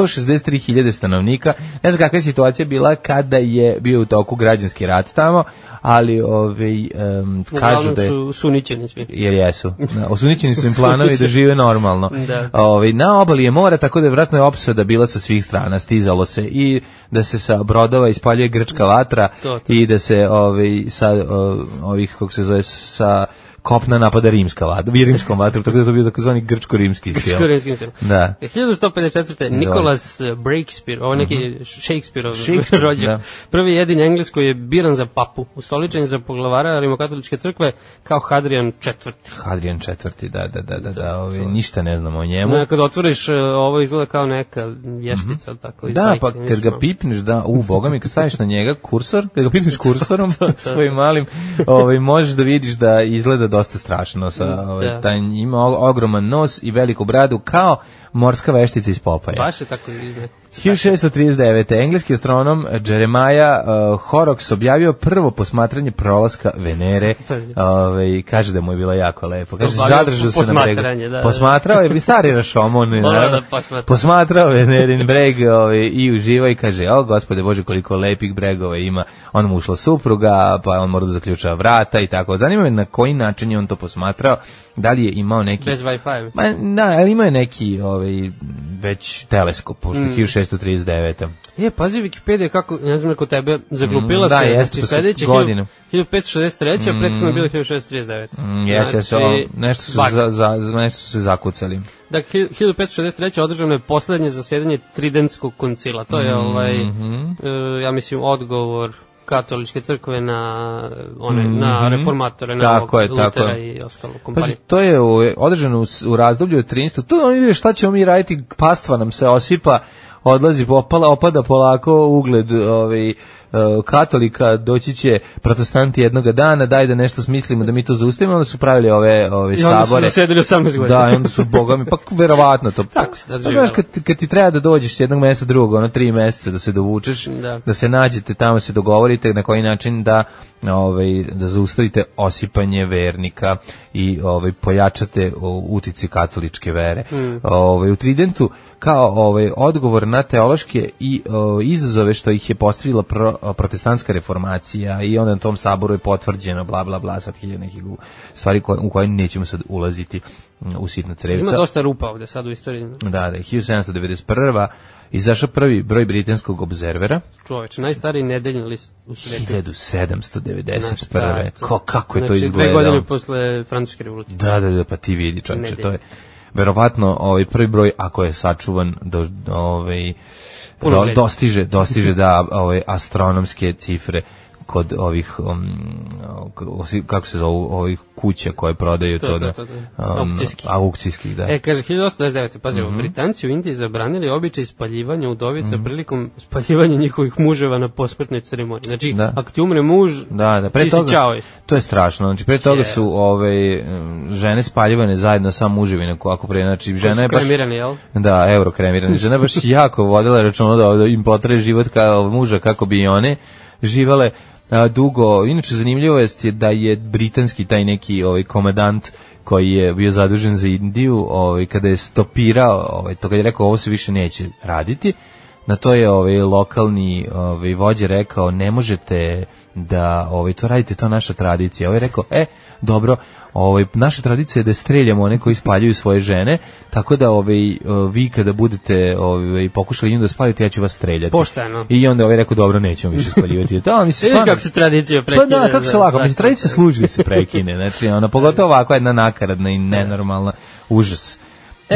Speaker 5: 163.000 stanovnika. Ne znam kakva je situacija bila kada je bio u toku građanski rat tamo, ali ovaj, um, kažu
Speaker 6: Uglavnom
Speaker 5: da je
Speaker 6: su sunićeni svi.
Speaker 5: jer jesu. Da, Osunićeni su im planovi da žive normalno.
Speaker 6: Da.
Speaker 5: Ovaj, na obali je more, tako da je vratno je opsada bila sa svih strana, stizalo se i da se sa brodova ispaljuje grčka latra
Speaker 6: To, to.
Speaker 5: i da se ovaj, sa o, ovih, kako se zove, sa kopna napada rimska vatra, i rimskom vatrom, tako da je to bio takozvani grčko-rimski stil.
Speaker 6: Grčko-rimskim stilom.
Speaker 5: Da.
Speaker 6: 1154. Nikolas Breakspear, eh, ovo je neki Shakespeareov
Speaker 5: Mhm. Shakespeare,
Speaker 6: <laughs> rođak,
Speaker 5: da.
Speaker 6: prvi jedini Engles koji je biran za papu, ustoličen je za poglavara Rimokatoličke crkve kao Hadrian IV.
Speaker 5: Hadrian IV, da, da, da, da, da ovaj, ništa ne znamo o njemu.
Speaker 6: Ne, kad otvoriš, e, ovo izgleda kao neka vještica. Mm -hmm. tako, iz
Speaker 5: Da,
Speaker 6: bajke,
Speaker 5: pa
Speaker 6: vidiš
Speaker 5: kad ga
Speaker 6: malo.
Speaker 5: pipneš, da, u, boga mi, kad staviš na njega kursor, kad ga pipneš kursorom svojim malim, ovaj, možeš da vidiš da izgleda dosta strašno. Sa, ovaj,
Speaker 6: Da.
Speaker 5: taj, ima o- ogroman nos i veliku bradu, kao morska veštica iz Popaja.
Speaker 6: Baš je tako iz nekog.
Speaker 5: 1639. Engleski astronom Jeremiah uh, Horrocks objavio prvo posmatranje prolaska Venere.
Speaker 6: To je-
Speaker 5: Ovaj kaže da mu je bilo jako lepo. Kaže
Speaker 6: Obavio
Speaker 5: zadržao se na bregu.
Speaker 6: posmatranje, da, da.
Speaker 5: Posmatrao je stari
Speaker 6: <laughs>
Speaker 5: rašomon,
Speaker 6: Morao
Speaker 5: naravno.
Speaker 6: da posmatra.
Speaker 5: Posmatrao Venerin breg ovaj, i uživao i kaže: "O, gospode Bože, koliko lepih bregova ima." On mu ušla supruga, pa on mora da zaključa vrata i tako. Zanima me na koji način je on to posmatrao. Da li je imao neki
Speaker 6: Bez Wi-Fi.
Speaker 5: Ma, da, ali imao je neki ovaj, već teleskop, pošto
Speaker 6: Mm.
Speaker 5: je 1639.
Speaker 6: E, pazi Wikipedia kako, ne znam neko tebe, zaglupila
Speaker 5: Mm, da,
Speaker 6: se,
Speaker 5: jeste, to
Speaker 6: znači
Speaker 5: su
Speaker 6: sledeće
Speaker 5: godine.
Speaker 6: 1563, a prethodno je bilo 1639.
Speaker 5: Mm, Jeste, znači,
Speaker 6: Znači,
Speaker 5: nešto, su
Speaker 6: bak.
Speaker 5: za, za, za- nešto su se zakucali.
Speaker 6: Dakle, 1563. održano je poslednje zasedanje Tridentskog koncila. To je ovaj,
Speaker 5: Mhm.
Speaker 6: e, ja mislim, odgovor katoličke crkve na one na reformatore, na
Speaker 5: Mhm. Tako
Speaker 6: ovog
Speaker 5: je, tako
Speaker 6: Lutera
Speaker 5: je.
Speaker 6: i ostalo
Speaker 5: Pazi,
Speaker 6: kompanije.
Speaker 5: to je u, održano u, s- u razdoblju od 13. Tu oni vide šta ćemo mi raditi, pastva nam se osipa, odlazi, opala, opada polako ugled ovaj, e, katolika, doći će protestanti jednoga dana, daj da nešto smislimo da mi to zaustavimo, onda su pravili ove, ove
Speaker 6: I onda su
Speaker 5: sabore.
Speaker 6: zasedili 18 godina.
Speaker 5: Da, i onda su bogami, pa verovatno to.
Speaker 6: Tako se da
Speaker 5: Pa
Speaker 6: živelo.
Speaker 5: Znaš, kad, kad ti treba da dođeš s jednog mesta drugog, ono tri meseca da se dovučeš,
Speaker 6: Da.
Speaker 5: da se nađete tamo, se dogovorite na koji način da ovaj, da zaustavite osipanje vernika i ovaj, pojačate o, utici katoličke vere.
Speaker 6: Mm.
Speaker 5: Ovaj, u Tridentu kao ovaj odgovor na teološke i o, izazove što ih je postavila pro, o, protestantska reformacija i onda na tom saboru je potvrđeno bla bla bla sad hiljad nekih u- stvari koje, u koje nećemo sad ulaziti mm, u sitna
Speaker 6: Ima
Speaker 5: crevca.
Speaker 6: dosta rupa ovde sad u istoriji.
Speaker 5: Da, da, 1791. izašao prvi broj britanskog obzervera,
Speaker 6: Čoveče, najstariji nedeljni list u svijetu.
Speaker 5: 1791.
Speaker 6: Znaš, da,
Speaker 5: Znači, Ko, kako je to
Speaker 6: znači, Dve
Speaker 5: izgledalo?
Speaker 6: godine posle Francuske revolucije.
Speaker 5: Da, da, da, pa ti vidi čovječe,
Speaker 6: Nedelje.
Speaker 5: to je verovatno ovaj prvi broj ako je sačuvan do ovaj
Speaker 6: Puno
Speaker 5: do,
Speaker 6: vredi. <laughs>
Speaker 5: dostiže dostiže da ovaj astronomske cifre kod ovih um, k- kako se zovu ovih kuća koje prodaju to,
Speaker 6: To,
Speaker 5: da
Speaker 6: to, to, to.
Speaker 5: um,
Speaker 6: Aukcijskih.
Speaker 5: aukcijskih, da. Mhm.
Speaker 6: E, kaže, 1829. Pazi, mm Britanci u Indiji zabranili običaj spaljivanja udovica prilikom spaljivanja njihovih muževa na posmrtnoj ceremoniji. Znači,
Speaker 5: Da.
Speaker 6: ako ti umre muž,
Speaker 5: Da, da, pre
Speaker 6: ti si
Speaker 5: toga,
Speaker 6: čao.
Speaker 5: to je strašno, znači pre toga
Speaker 6: Je.
Speaker 5: su ove, mm, žene spaljivane zajedno sa muževinom, ako pre, znači žena je baš,
Speaker 6: Kremirani, jel?
Speaker 5: da, euro kremirane, žena je baš jako vodila računa da ovde im potraje život kao muža kako bi i one živale a, dugo, inače zanimljivo je da je britanski taj neki ovaj komadant koji je bio zadužen za Indiju, ovaj, kada je stopirao, ovaj, to kad je rekao ovo se više neće raditi, Na to je ovaj lokalni ovaj vođa rekao ne možete da ovaj to radite, to je naša tradicija. Ovaj je rekao e dobro, ovaj naša tradicija je da streljamo one koji spaljuju svoje žene, tako da ovaj eh, vi kada budete ovaj pokušali nju da spalite, ja ću vas streljati.
Speaker 6: Pošteno.
Speaker 5: I onda ovaj rekao dobro, nećemo više spaljivati. Da, mi se
Speaker 6: Vidiš kako se tradicija
Speaker 5: Pa
Speaker 6: prekida.
Speaker 5: da, kako se lako, mislim,
Speaker 6: zašto?
Speaker 5: tradicija služi da se prekine, znači, ona, pogotovo ovako jedna nakaradna i nenormalna, užas. da.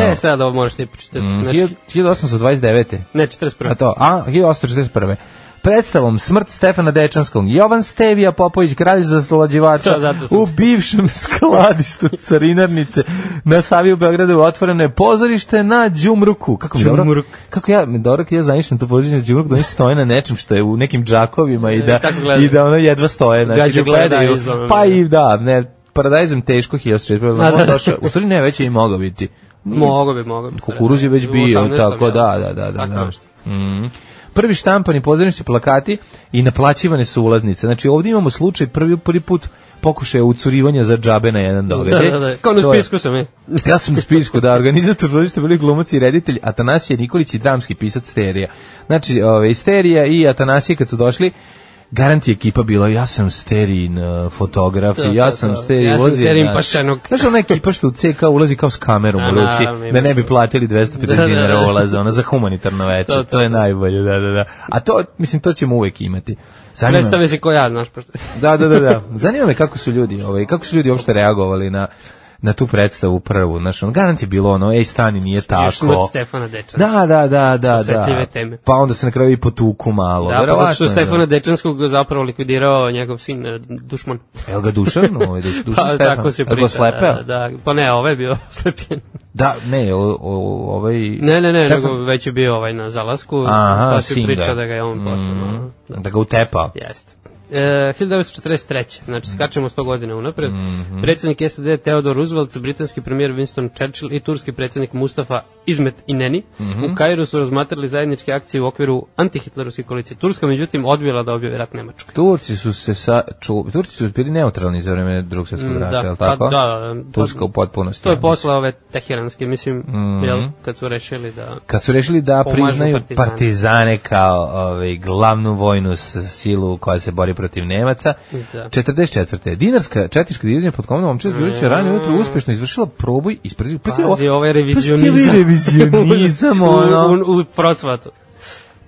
Speaker 6: E, sad ovo možeš ti počitati.
Speaker 5: Mm,
Speaker 6: Znači,
Speaker 5: 1829.
Speaker 6: ne, 41.
Speaker 5: A to, a 1841. Predstavom Smrt Stefana Dečanskog, Jovan Stevija Popović, kralj zaslađivača,
Speaker 6: To, zato sam
Speaker 5: u bivšem <laughs> skladištu carinarnice na Savi u Beogradu otvoreno je pozorište na Đumruku. Kako mi dobro?
Speaker 6: Đumruk.
Speaker 5: Kako ja, dobro, kad ja zamišljam to pozorište na Đumruku, da oni stoje na nečem što je u nekim džakovima i
Speaker 6: E,
Speaker 5: da,
Speaker 6: tako gledaju.
Speaker 5: i da ono jedva stoje, znači da
Speaker 6: Gađaju
Speaker 5: gledaju.
Speaker 6: paradajzom,
Speaker 5: Pa
Speaker 6: ono.
Speaker 5: i da, ne, paradajzom teško 1004.
Speaker 6: A, da.
Speaker 5: Da. U stvari ne, već je i mogao biti.
Speaker 6: Mogo bi, mogo bi.
Speaker 5: Kukuruz je već
Speaker 6: U
Speaker 5: bio,
Speaker 6: 18.,
Speaker 5: tako
Speaker 6: jel?
Speaker 5: da, da, da. da,
Speaker 6: Tako
Speaker 5: da.
Speaker 6: nešto.
Speaker 5: Mhm. Prvi štampani pozornični plakati i naplaćivane su ulaznice. Znači ovdje imamo slučaj prvi, prvi put pokušaja ucurivanja za džabe na jedan događaj.
Speaker 6: Da, da, da. Kao na
Speaker 5: e, To je-
Speaker 6: spisku sam, je.
Speaker 5: ja sam u spisku, da, organizator pozorišta bili glumac i reditelj Atanasije Nikolić i dramski pisac Sterija. Znači, ove, Sterija i Atanasije kad su došli, Garant je ekipa bila, ja sam Sterin eh, fotograf,
Speaker 6: Da,
Speaker 5: i ja
Speaker 6: da,
Speaker 5: sam
Speaker 6: da.
Speaker 5: Sterin,
Speaker 6: Ja sam
Speaker 5: ulazi,
Speaker 6: Sterin
Speaker 5: da.
Speaker 6: pašenuk.
Speaker 5: Znaš ona ekipa što u CK ulazi kao s kamerom
Speaker 6: A,
Speaker 5: u
Speaker 6: naravno,
Speaker 5: ruci,
Speaker 6: ima
Speaker 5: da ne bi
Speaker 6: to.
Speaker 5: platili 250
Speaker 6: Da, da, da.
Speaker 5: dinara ulaza, ona za humanitarno večer, to,
Speaker 6: To, to,
Speaker 5: je
Speaker 6: to.
Speaker 5: najbolje, da, da, da. A to, mislim, to ćemo uvek imati. Zanima me-
Speaker 6: Predstavlja se ko ja, znaš, pošto...
Speaker 5: da, da, da, da. Zanima me kako su ljudi, ovaj, kako su ljudi uopšte reagovali na na tu predstavu prvu, znaš, on garant je bilo ono, ej, stani, nije
Speaker 6: Još smrt
Speaker 5: tako.
Speaker 6: Stefana Dečanskog.
Speaker 5: Da, da, da, da, da.
Speaker 6: Osetljive teme.
Speaker 5: Pa onda se na kraju i potuku malo.
Speaker 6: Da, pa zato
Speaker 5: verovatno
Speaker 6: što
Speaker 5: je, da.
Speaker 6: Stefana Dečanskog zapravo likvidirao njegov sin e, Dušman.
Speaker 5: Jel ga Dušan?
Speaker 6: <laughs>
Speaker 5: Ovaj, Duš, Dušan
Speaker 6: Pa
Speaker 5: Stefan.
Speaker 6: tako se
Speaker 5: Jel ga
Speaker 6: priča.
Speaker 5: oslepeo?
Speaker 6: Da, da, pa ne, ovaj je bio <laughs> slepljen.
Speaker 5: Da, ne, o, o, ovaj...
Speaker 6: Ne, ne, ne,
Speaker 5: Stefan-
Speaker 6: nego već je bio ovaj na zalasku.
Speaker 5: Aha,
Speaker 6: pa se
Speaker 5: sin
Speaker 6: priča da ga je on posle.
Speaker 5: Mm,
Speaker 6: Mm.
Speaker 5: da ga utepa.
Speaker 6: Jeste. E, 1943. Znači,
Speaker 5: Mhm.
Speaker 6: skačemo 100 godina unapred. Predsednik SAD Theodore Roosevelt, britanski premijer Winston Churchill i turski predsednik Mustafa Izmet Ineni
Speaker 5: Mhm.
Speaker 6: u Kairu su razmatrali zajedničke akcije u okviru antihitlerovske koalicije. Turska, međutim, odbila da objavi rat Nemačkoj.
Speaker 5: Turci su se sa, ču, Turci su bili neutralni za vreme drugog svjetskog
Speaker 6: Mm,
Speaker 5: rata,
Speaker 6: da,
Speaker 5: jel
Speaker 6: pa
Speaker 5: tako?
Speaker 6: da, pa-
Speaker 5: Turska u potpunosti.
Speaker 6: To
Speaker 5: ja
Speaker 6: je
Speaker 5: mislim.
Speaker 6: posla ove teheranske, mislim,
Speaker 5: Mhm.
Speaker 6: jel, kad su rešili da...
Speaker 5: kad su rešili da
Speaker 6: Pomažu
Speaker 5: priznaju partizane,
Speaker 6: partizane.
Speaker 5: kao ovaj, glavnu vojnu s- silu koja se bori protiv Nemaca.
Speaker 6: Da. Mm.
Speaker 5: 44. Dinarska četnička divizija pod komandom Omčina Đurića ranije ujutro uspešno izvršila proboj ispred... Pazi,
Speaker 6: Pazi,
Speaker 5: ovo-
Speaker 6: ovo je
Speaker 5: Pazi,
Speaker 6: revizionizam.
Speaker 5: ovaj revizionizam,
Speaker 6: <laughs> U-
Speaker 5: ono.
Speaker 6: U, u, u procvatu.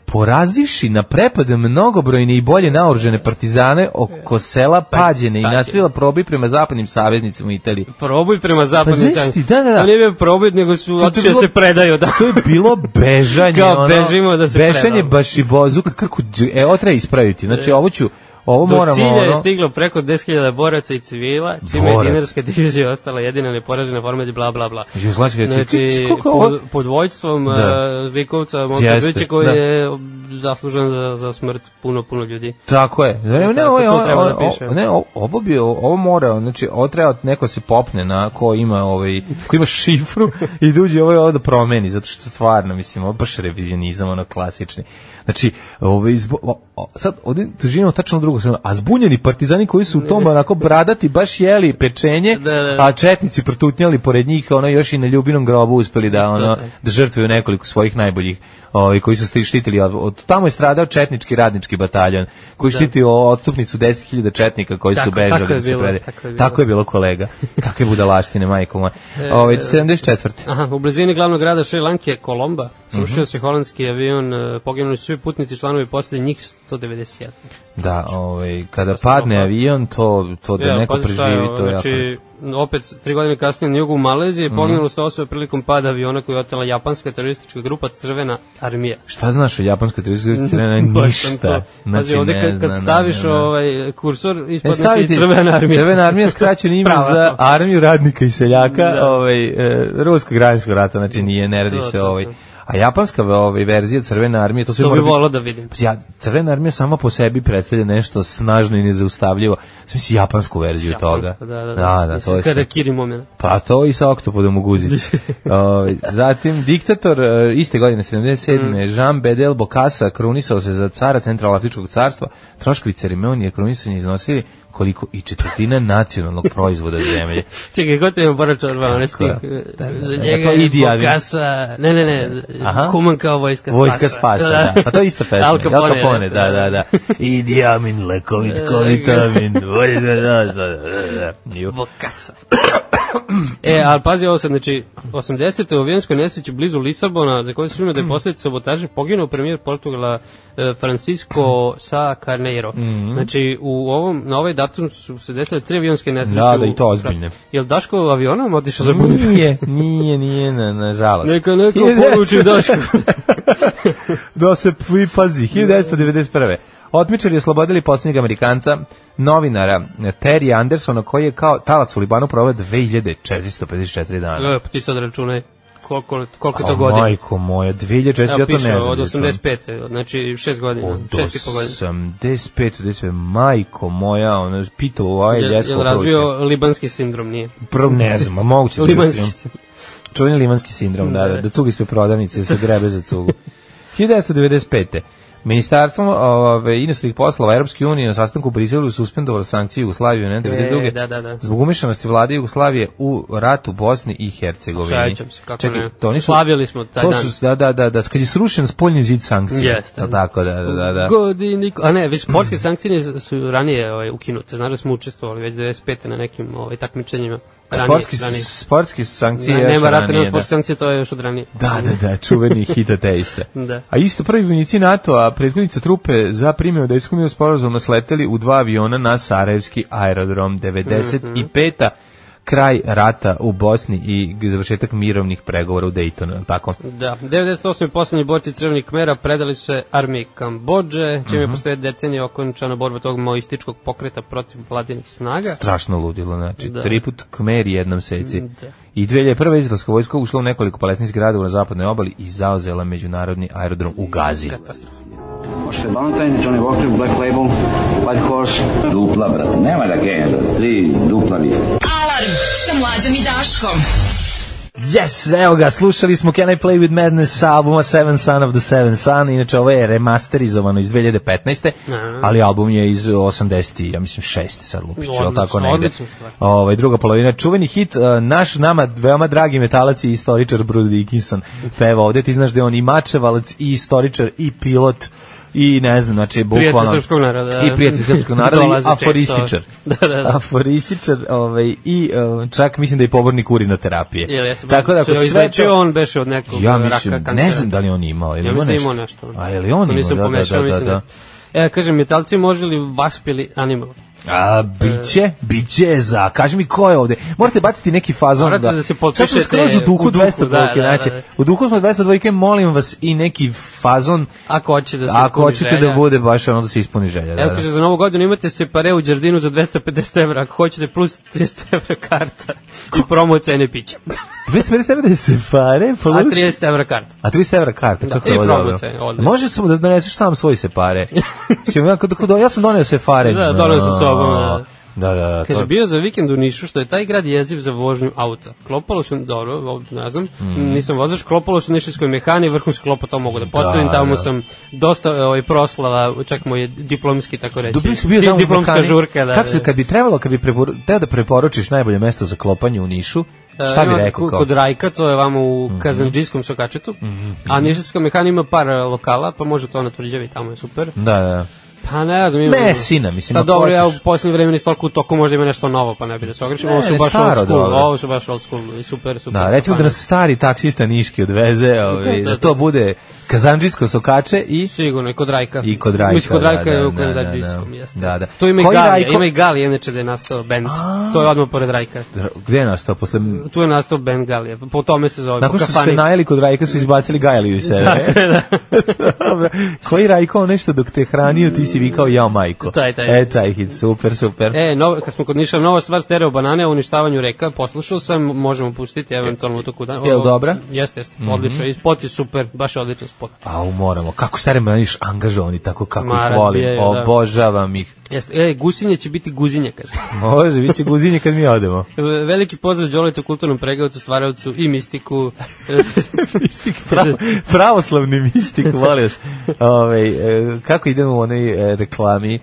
Speaker 5: Porazivši na prepade mnogobrojne i bolje naoružene partizane oko sela Pađene i
Speaker 6: Pa, Pađene.
Speaker 5: nastavila proboj prema zapadnim saveznicima u Italiji.
Speaker 6: Probuj prema zapadnim
Speaker 5: Pa znaš ti,
Speaker 6: strankama.
Speaker 5: da, da, da.
Speaker 6: To nije bio probuj, nego su
Speaker 5: je
Speaker 6: otišli da
Speaker 5: bilo-
Speaker 6: se predaju. Da.
Speaker 5: To je bilo bežanje.
Speaker 6: Kao
Speaker 5: ono,
Speaker 6: bežimo da se
Speaker 5: Bežanje
Speaker 6: predamo. E.
Speaker 5: baš i bozuka. Kako, dž- e, ovo treba ispraviti. Znači, ovo ću, ovo <laughs>
Speaker 6: Do
Speaker 5: moramo,
Speaker 6: cilja je
Speaker 5: ono,
Speaker 6: stiglo preko 10.000 boraca i civila, čime je
Speaker 5: Borac.
Speaker 6: dinarska divizija ostala jedina neporažena formać, bla, bla, bla.
Speaker 5: Jugoslavska
Speaker 6: Znači,
Speaker 5: skoliko je ovo?
Speaker 6: pod, pod vojstvom
Speaker 5: Da.
Speaker 6: da. zlikovca Monca
Speaker 5: Jeste,
Speaker 6: Biće koji
Speaker 5: da.
Speaker 6: je zaslužen za, za smrt puno, puno ljudi.
Speaker 5: Tako je. Ne, ne,
Speaker 6: Tako,
Speaker 5: ovo, je-
Speaker 6: to
Speaker 5: ovo-
Speaker 6: treba da
Speaker 5: ovo-
Speaker 6: piše.
Speaker 5: ne, ovo- ovo bi, ovo mora, znači, ovo treba neko se popne na ko ima, ovaj, ko ima šifru i da uđe ovaj ovo da promeni, zato što stvarno, mislim, ovo je baš revizionizam, ono, klasični. Znači, ovaj, izbo, o, o, sad, ovdje doživimo tačno drugo, stranu, a zbunjeni partizani koji su u tom, onako, bradati, baš jeli pečenje,
Speaker 6: Da, da.
Speaker 5: a četnici protutnjali pored njih, ono, još i na ljubinom grobu uspeli da, ono, da žrtvuju nekoliko svojih najboljih ovaj, koji su sti- štitili. Od, od, tamo je stradao četnički radnički bataljon koji je štitio otstupnicu 10.000 četnika koji su
Speaker 6: Da. Tako-
Speaker 5: bežali.
Speaker 6: tako je
Speaker 5: da se
Speaker 6: bilo,
Speaker 5: predaju.
Speaker 6: tako je bilo. E,
Speaker 5: Tako je bilo kolega. Kakve budalaštine, majko moja. Ovaj, 74.
Speaker 6: Aha, u blizini glavnog grada Šri Lanke je Kolomba, Srušio
Speaker 5: Mhm.
Speaker 6: se holandski avion, e, poginuli su svi putnici članovi posade njih 191.
Speaker 5: Da, ovaj,
Speaker 6: Pa
Speaker 5: kada padne avion, to, to da
Speaker 6: Evo,
Speaker 5: neko
Speaker 6: pazi pa šta je
Speaker 5: preživi,
Speaker 6: ovo,
Speaker 5: to je jako... Mhm.
Speaker 6: znači, opet tri godine kasnije na jugu Malezije mm. poginulo sto osoba prilikom pada aviona koju je otela japanska teroristička grupa Crvena armija.
Speaker 5: Šta znaš o
Speaker 6: <laughs>
Speaker 5: japanskoj turističkoj sceni?
Speaker 6: Baš sam to.
Speaker 5: Ništa. Znači,
Speaker 6: Pazi, ovde kad, kad staviš ovaj kursor
Speaker 5: E,
Speaker 6: ispadne ti
Speaker 5: stavite
Speaker 6: Crvena
Speaker 5: <laughs>
Speaker 6: armija.
Speaker 5: Crvena armija skraćeno ime
Speaker 6: <laughs> Prava.
Speaker 5: za armiju radnika i seljaka
Speaker 6: Da.
Speaker 5: ovaj, e, ruskog građanskog rata, znači nije, ne radi
Speaker 6: To,
Speaker 5: se
Speaker 6: to,
Speaker 5: ovaj.
Speaker 6: to.
Speaker 5: A japanska ovaj, verzija Crvene armije, to sve
Speaker 6: To bi
Speaker 5: mora biti
Speaker 6: volao da vidim.
Speaker 5: Pa Ja, crvena armija sama po sebi predstavlja nešto snažno i nezaustavljivo. Sam si japansku verziju toga.
Speaker 6: Da, da, da.
Speaker 5: da, da to je sve.
Speaker 6: Karakiri moment.
Speaker 5: Pa to i sa oktopodom u <laughs> guzici. Ovaj, zatim, diktator e, iste godine, 77. Jean Bedel Bokassa krunisao se za cara Centralafričkog carstva. Troškovi ceremonije krunisanja iznosili koliko i četvrtina nacionalnog proizvoda zemlje.
Speaker 6: Čekaj, ko te ima Bora Čorba, onaj stih?
Speaker 5: Tako je. Da, da, da.
Speaker 6: eh, Za
Speaker 5: Da,
Speaker 6: njega
Speaker 5: to
Speaker 6: je
Speaker 5: Idi Amin.
Speaker 6: Bokasa... Ne, ne, ne,
Speaker 5: Aha.
Speaker 6: Kuman kao vojska spasa.
Speaker 5: <laughs> Vojska spasa, da. Pa to je ista pesma.
Speaker 6: Al Capone.
Speaker 5: Al Capone,
Speaker 6: nešto,
Speaker 5: da, da, da. Idi amin, lekovit, kovitamin, bolje <laughs> da, da, da, da, da. Ju.
Speaker 6: Bokasa. <coughs> e, ali pazi ovo sad, znači, 80. u avijanskoj nesreći blizu Lisabona, za koju se sumnja da je posledica sabotaže, poginuo premijer Portugala e, Francisco Sa Carneiro.
Speaker 5: Mhm.
Speaker 6: Znači, u ovom, na ovaj datum su se desile tri avijanske nesreće.
Speaker 5: Da, da,
Speaker 6: u-
Speaker 5: i to ozbiljne. Mhm.
Speaker 6: Jel Daško avionom otišao za Budimpeštu?
Speaker 5: Nije,
Speaker 6: <laughs>
Speaker 5: nije, nije, na, nažalost.
Speaker 6: Neka neko
Speaker 5: 1900.
Speaker 6: poruči Daško.
Speaker 5: <laughs> da se vi pazi, 1991. Otmičari oslobodili posljednjeg Amerikanca, novinara eh, Terry Andersona, koji je kao talac u Libanu proveo 2454 dana.
Speaker 6: E, pa ti sad računaj koliko, koliko je
Speaker 5: A,
Speaker 6: to godina.
Speaker 5: Majko moja, 2400, ja
Speaker 6: Evo
Speaker 5: to ne
Speaker 6: piše
Speaker 5: znam.
Speaker 6: od
Speaker 5: da ću vam-
Speaker 6: 85. Znači 6 godina,
Speaker 5: Od
Speaker 6: 6 i po godina.
Speaker 5: 85, 95, majko moja, ono, pitao ovaj
Speaker 6: Je,
Speaker 5: ljesko
Speaker 6: je razvio libanski sindrom, nije.
Speaker 5: Prvo ne znam, a moguće da
Speaker 6: Libanski
Speaker 5: je Čuveni limanski sindrom, da, da, da cuga ispred prodavnice se grebe za cugu. 1995. Ministarstvo ove, inostranih poslova Europske unije na sastanku u Briselu suspendovalo sankcije Jugoslavije ne, 92.
Speaker 6: E, da, da, da.
Speaker 5: zbog umešanosti vlade Jugoslavije u ratu u Bosni i Hercegovini.
Speaker 6: Sjećam se, kako ne.
Speaker 5: to nisu,
Speaker 6: Slavili smo taj
Speaker 5: to
Speaker 6: dan.
Speaker 5: Su, da, da, da, da, kad je srušen spoljni zid sankcija.
Speaker 6: Jeste.
Speaker 5: Jel Tako, da, da, da. da.
Speaker 6: Godini, a ne, već sportske sankcije su ranije ovaj, ukinute. Znaš da smo učestvovali već 95. na nekim ovaj, takmičenjima. Ranije,
Speaker 5: sportski,
Speaker 6: ranije.
Speaker 5: sportski sankcije
Speaker 6: Ne,
Speaker 5: još
Speaker 6: nema rata, nema
Speaker 5: ranije, da.
Speaker 6: sportske sankcije, to je još od ranije.
Speaker 5: Da, da, da, čuveni hit ateista.
Speaker 6: Da.
Speaker 5: A isto prvi vojnici NATO-a, prethodnica trupe za primjenu da iskumio sporazum nasleteli u dva aviona na Sarajevski aerodrom 95. kraj rata u Bosni i završetak mirovnih pregovora u Daytonu, jel tako?
Speaker 6: Da, 98. poslednji borci Crvenih Kmera predali su se armiji Kambodže,
Speaker 5: Mhm.
Speaker 6: čime je postoje decenije okončana borba tog maoističkog pokreta protiv vladinih snaga.
Speaker 5: Strašno ludilo, znači,
Speaker 6: Da.
Speaker 5: triput kmeri jednom seci.
Speaker 6: Da.
Speaker 5: I 2001. izraelska vojska ušla u nekoliko palestinskih gradova na zapadnoj obali i zauzela međunarodni aerodrom u Gazi.
Speaker 6: Katastrofa.
Speaker 7: Ošli Valentine, Johnny Walker, Black Label, White Horse.
Speaker 8: Dupla, brate, nema da genja, brate, tri dupla više.
Speaker 4: Alarm sa mlađom i Daškom.
Speaker 5: Yes, evo ga, slušali smo Can I Play With Madness sa albuma Seven Son of the Seven Son, inače ovo je remasterizovano iz 2015.
Speaker 6: Aha.
Speaker 5: Ali album je iz 80. ja mislim 6. sad lupiću, ali
Speaker 6: Odlično,
Speaker 5: tako negde.
Speaker 6: odlična stvar.
Speaker 5: Ovaj, druga polovina, čuveni hit, eh, naš nama veoma dragi metalac i istoričar Bruce Dickinson peva ovde, ti znaš da je on i mačevalac i istoričar i pilot i ne znam, znači bukvalno
Speaker 6: srpskog naroda.
Speaker 5: i prijatelj srpskog naroda i
Speaker 6: Dolazi često.
Speaker 5: aforističar
Speaker 6: Da, da, da.
Speaker 5: aforističar ovaj, i eh, čak mislim da je pobornik urina terapije
Speaker 6: Jel, ja sam
Speaker 5: tako da ako sve to...
Speaker 6: on beše od nekog
Speaker 5: Ja
Speaker 6: raka
Speaker 5: mislim,
Speaker 6: kancera.
Speaker 5: ne znam da li on imao. Ili ima
Speaker 6: Ja mislim da
Speaker 5: nešto?
Speaker 6: imao nešto.
Speaker 5: A je li on
Speaker 6: To
Speaker 5: imao?
Speaker 6: Nisam
Speaker 5: Da, da,
Speaker 6: pomešao,
Speaker 5: da, da,
Speaker 6: mislim
Speaker 5: da.
Speaker 6: da. E, kažem, metalci moželi vaspili animal.
Speaker 5: A, biće, biće za, kaži mi ko je ovde. Morate baciti neki fazon.
Speaker 6: Morate da se potpišete
Speaker 5: Sad smo skroz u
Speaker 6: u
Speaker 5: duhu
Speaker 6: duhu,
Speaker 5: 200
Speaker 6: da,
Speaker 5: dvojke,
Speaker 6: da, da,
Speaker 5: znači,
Speaker 6: da.
Speaker 5: u duhu smo 200 dvojke, molim vas i neki fazon,
Speaker 6: Ako hoće da se
Speaker 5: ako
Speaker 6: ispuni
Speaker 5: hoćete
Speaker 6: želja.
Speaker 5: da bude baš ono da se ispuni želja. Da,
Speaker 6: Evo
Speaker 5: da.
Speaker 6: kaže, za novu godinu imate se pare u Đardinu za 250 evra, ako hoćete plus 30 evra karta i promo cene pića.
Speaker 5: 250 evra da se pare,
Speaker 6: A
Speaker 5: plus...
Speaker 6: 30 evra karta.
Speaker 5: A 30 evra karta, kako
Speaker 6: Da. I
Speaker 5: je ovo dobro.
Speaker 6: promocija, odlično.
Speaker 5: Može samo da doneseš sam svoj
Speaker 6: <laughs>
Speaker 5: separe. Mislim, ja, kod, kod, ja sam donio separe.
Speaker 6: Da, doneo sa sobom, da.
Speaker 5: Da, da, da.
Speaker 6: Kaže,
Speaker 5: to-
Speaker 6: bio za vikend u Nišu, što je taj grad jeziv za vožnju auta. Klopalo su, dobro, o, ne znam, nisam vozač, klopalo su u nišinskoj mehani, vrhunski klopo, to mogu da postavim,
Speaker 5: Mm. Da,
Speaker 6: tamo
Speaker 5: da.
Speaker 6: sam dosta ovaj, proslava, čak moj je diplomski, tako reći.
Speaker 5: Dubli su bio
Speaker 6: Di-
Speaker 5: tamo
Speaker 6: Diplomska
Speaker 5: Balkani.
Speaker 6: žurka, da.
Speaker 5: Kako se
Speaker 6: da.
Speaker 5: kad bi trebalo, kad bi preporu, teo da preporučiš najbolje mesto za klopanje u Nišu,
Speaker 6: E,
Speaker 5: šta bi
Speaker 6: ima
Speaker 5: rekao?
Speaker 6: ku-
Speaker 5: Kao? Mhm.
Speaker 6: Kod Rajka, to je vamo u Kazanđijskom eh, sokačetu, a Nišinska mehana ima par e, lokala, pa može to na tvrđavi, tamo je super.
Speaker 5: Da, da.
Speaker 6: Pa ne znam, ima...
Speaker 5: Mesina, mislim,
Speaker 6: Sad
Speaker 5: ako
Speaker 6: dobro, ja u
Speaker 5: hoćeš.
Speaker 6: posljednje vreme ni toliko u toku, možda ima nešto novo, pa ne bi da se ogrešim.
Speaker 5: Ne,
Speaker 6: Ovo su
Speaker 5: ne,
Speaker 6: baš old
Speaker 5: staro
Speaker 6: school,
Speaker 5: dobro.
Speaker 6: ovo su baš old school, i super, super.
Speaker 5: Da, recimo da
Speaker 6: Pa ne.
Speaker 5: nas stari taksista Niški odveze, ovaj,
Speaker 6: <laughs> da,
Speaker 5: da
Speaker 6: da.
Speaker 5: to bude kazanđisko sokače i
Speaker 6: Sigurno, i kod Rajka.
Speaker 5: I kod Rajka,
Speaker 6: Mislim, kod
Speaker 5: da,
Speaker 6: Rajka
Speaker 5: da,
Speaker 6: je u
Speaker 5: da,
Speaker 6: kod
Speaker 5: da,
Speaker 6: Rajka
Speaker 5: da.
Speaker 6: iskom, jeste.
Speaker 5: Da, da.
Speaker 6: To ima i
Speaker 5: Koji
Speaker 6: Galija,
Speaker 5: Rajko?
Speaker 6: ima i Galija, inače da je nastao band. To je odmah pored Rajka.
Speaker 5: gde je nastao posle
Speaker 6: Tu je nastao band Galija, po tome se zove.
Speaker 5: Nakon
Speaker 6: po
Speaker 5: što su se
Speaker 6: kafani.
Speaker 5: najeli kod Rajka su izbacili Gajliju iz sebe.
Speaker 6: <laughs>
Speaker 5: Tako je, da. Dobro. <laughs> Koji Rajko nešto dok te hranio, ti si vikao jao majko.
Speaker 6: Taj, taj.
Speaker 5: E, taj hit, super, super.
Speaker 6: E, novo, kad smo kod Niša, nova stvar stereo banane o uništavanju reka, poslušao sam, možemo pustiti eventualno u toku dana.
Speaker 5: Jel dobra? Mhm.
Speaker 6: Jeste, jeste, odlično. I spot je super, baš je odličan spot.
Speaker 5: A moramo, kako stare mladiš angažovani, tako kako
Speaker 6: Ma,
Speaker 5: ih volim,
Speaker 6: razbijaju, da.
Speaker 5: obožavam ih.
Speaker 6: Jeste, e, gusinje će biti guzinje, kaže.
Speaker 5: Može, bit će guzinje kad mi
Speaker 6: <laughs>
Speaker 5: odemo.
Speaker 6: Veliki pozdrav Đolitu, kulturnom pregavcu, stvaravcu
Speaker 5: <laughs>
Speaker 6: i mistiku.
Speaker 5: mistik, pravo, pravoslavni mistik, volim vas. Ove, e, kako idemo u onoj e, reklami e,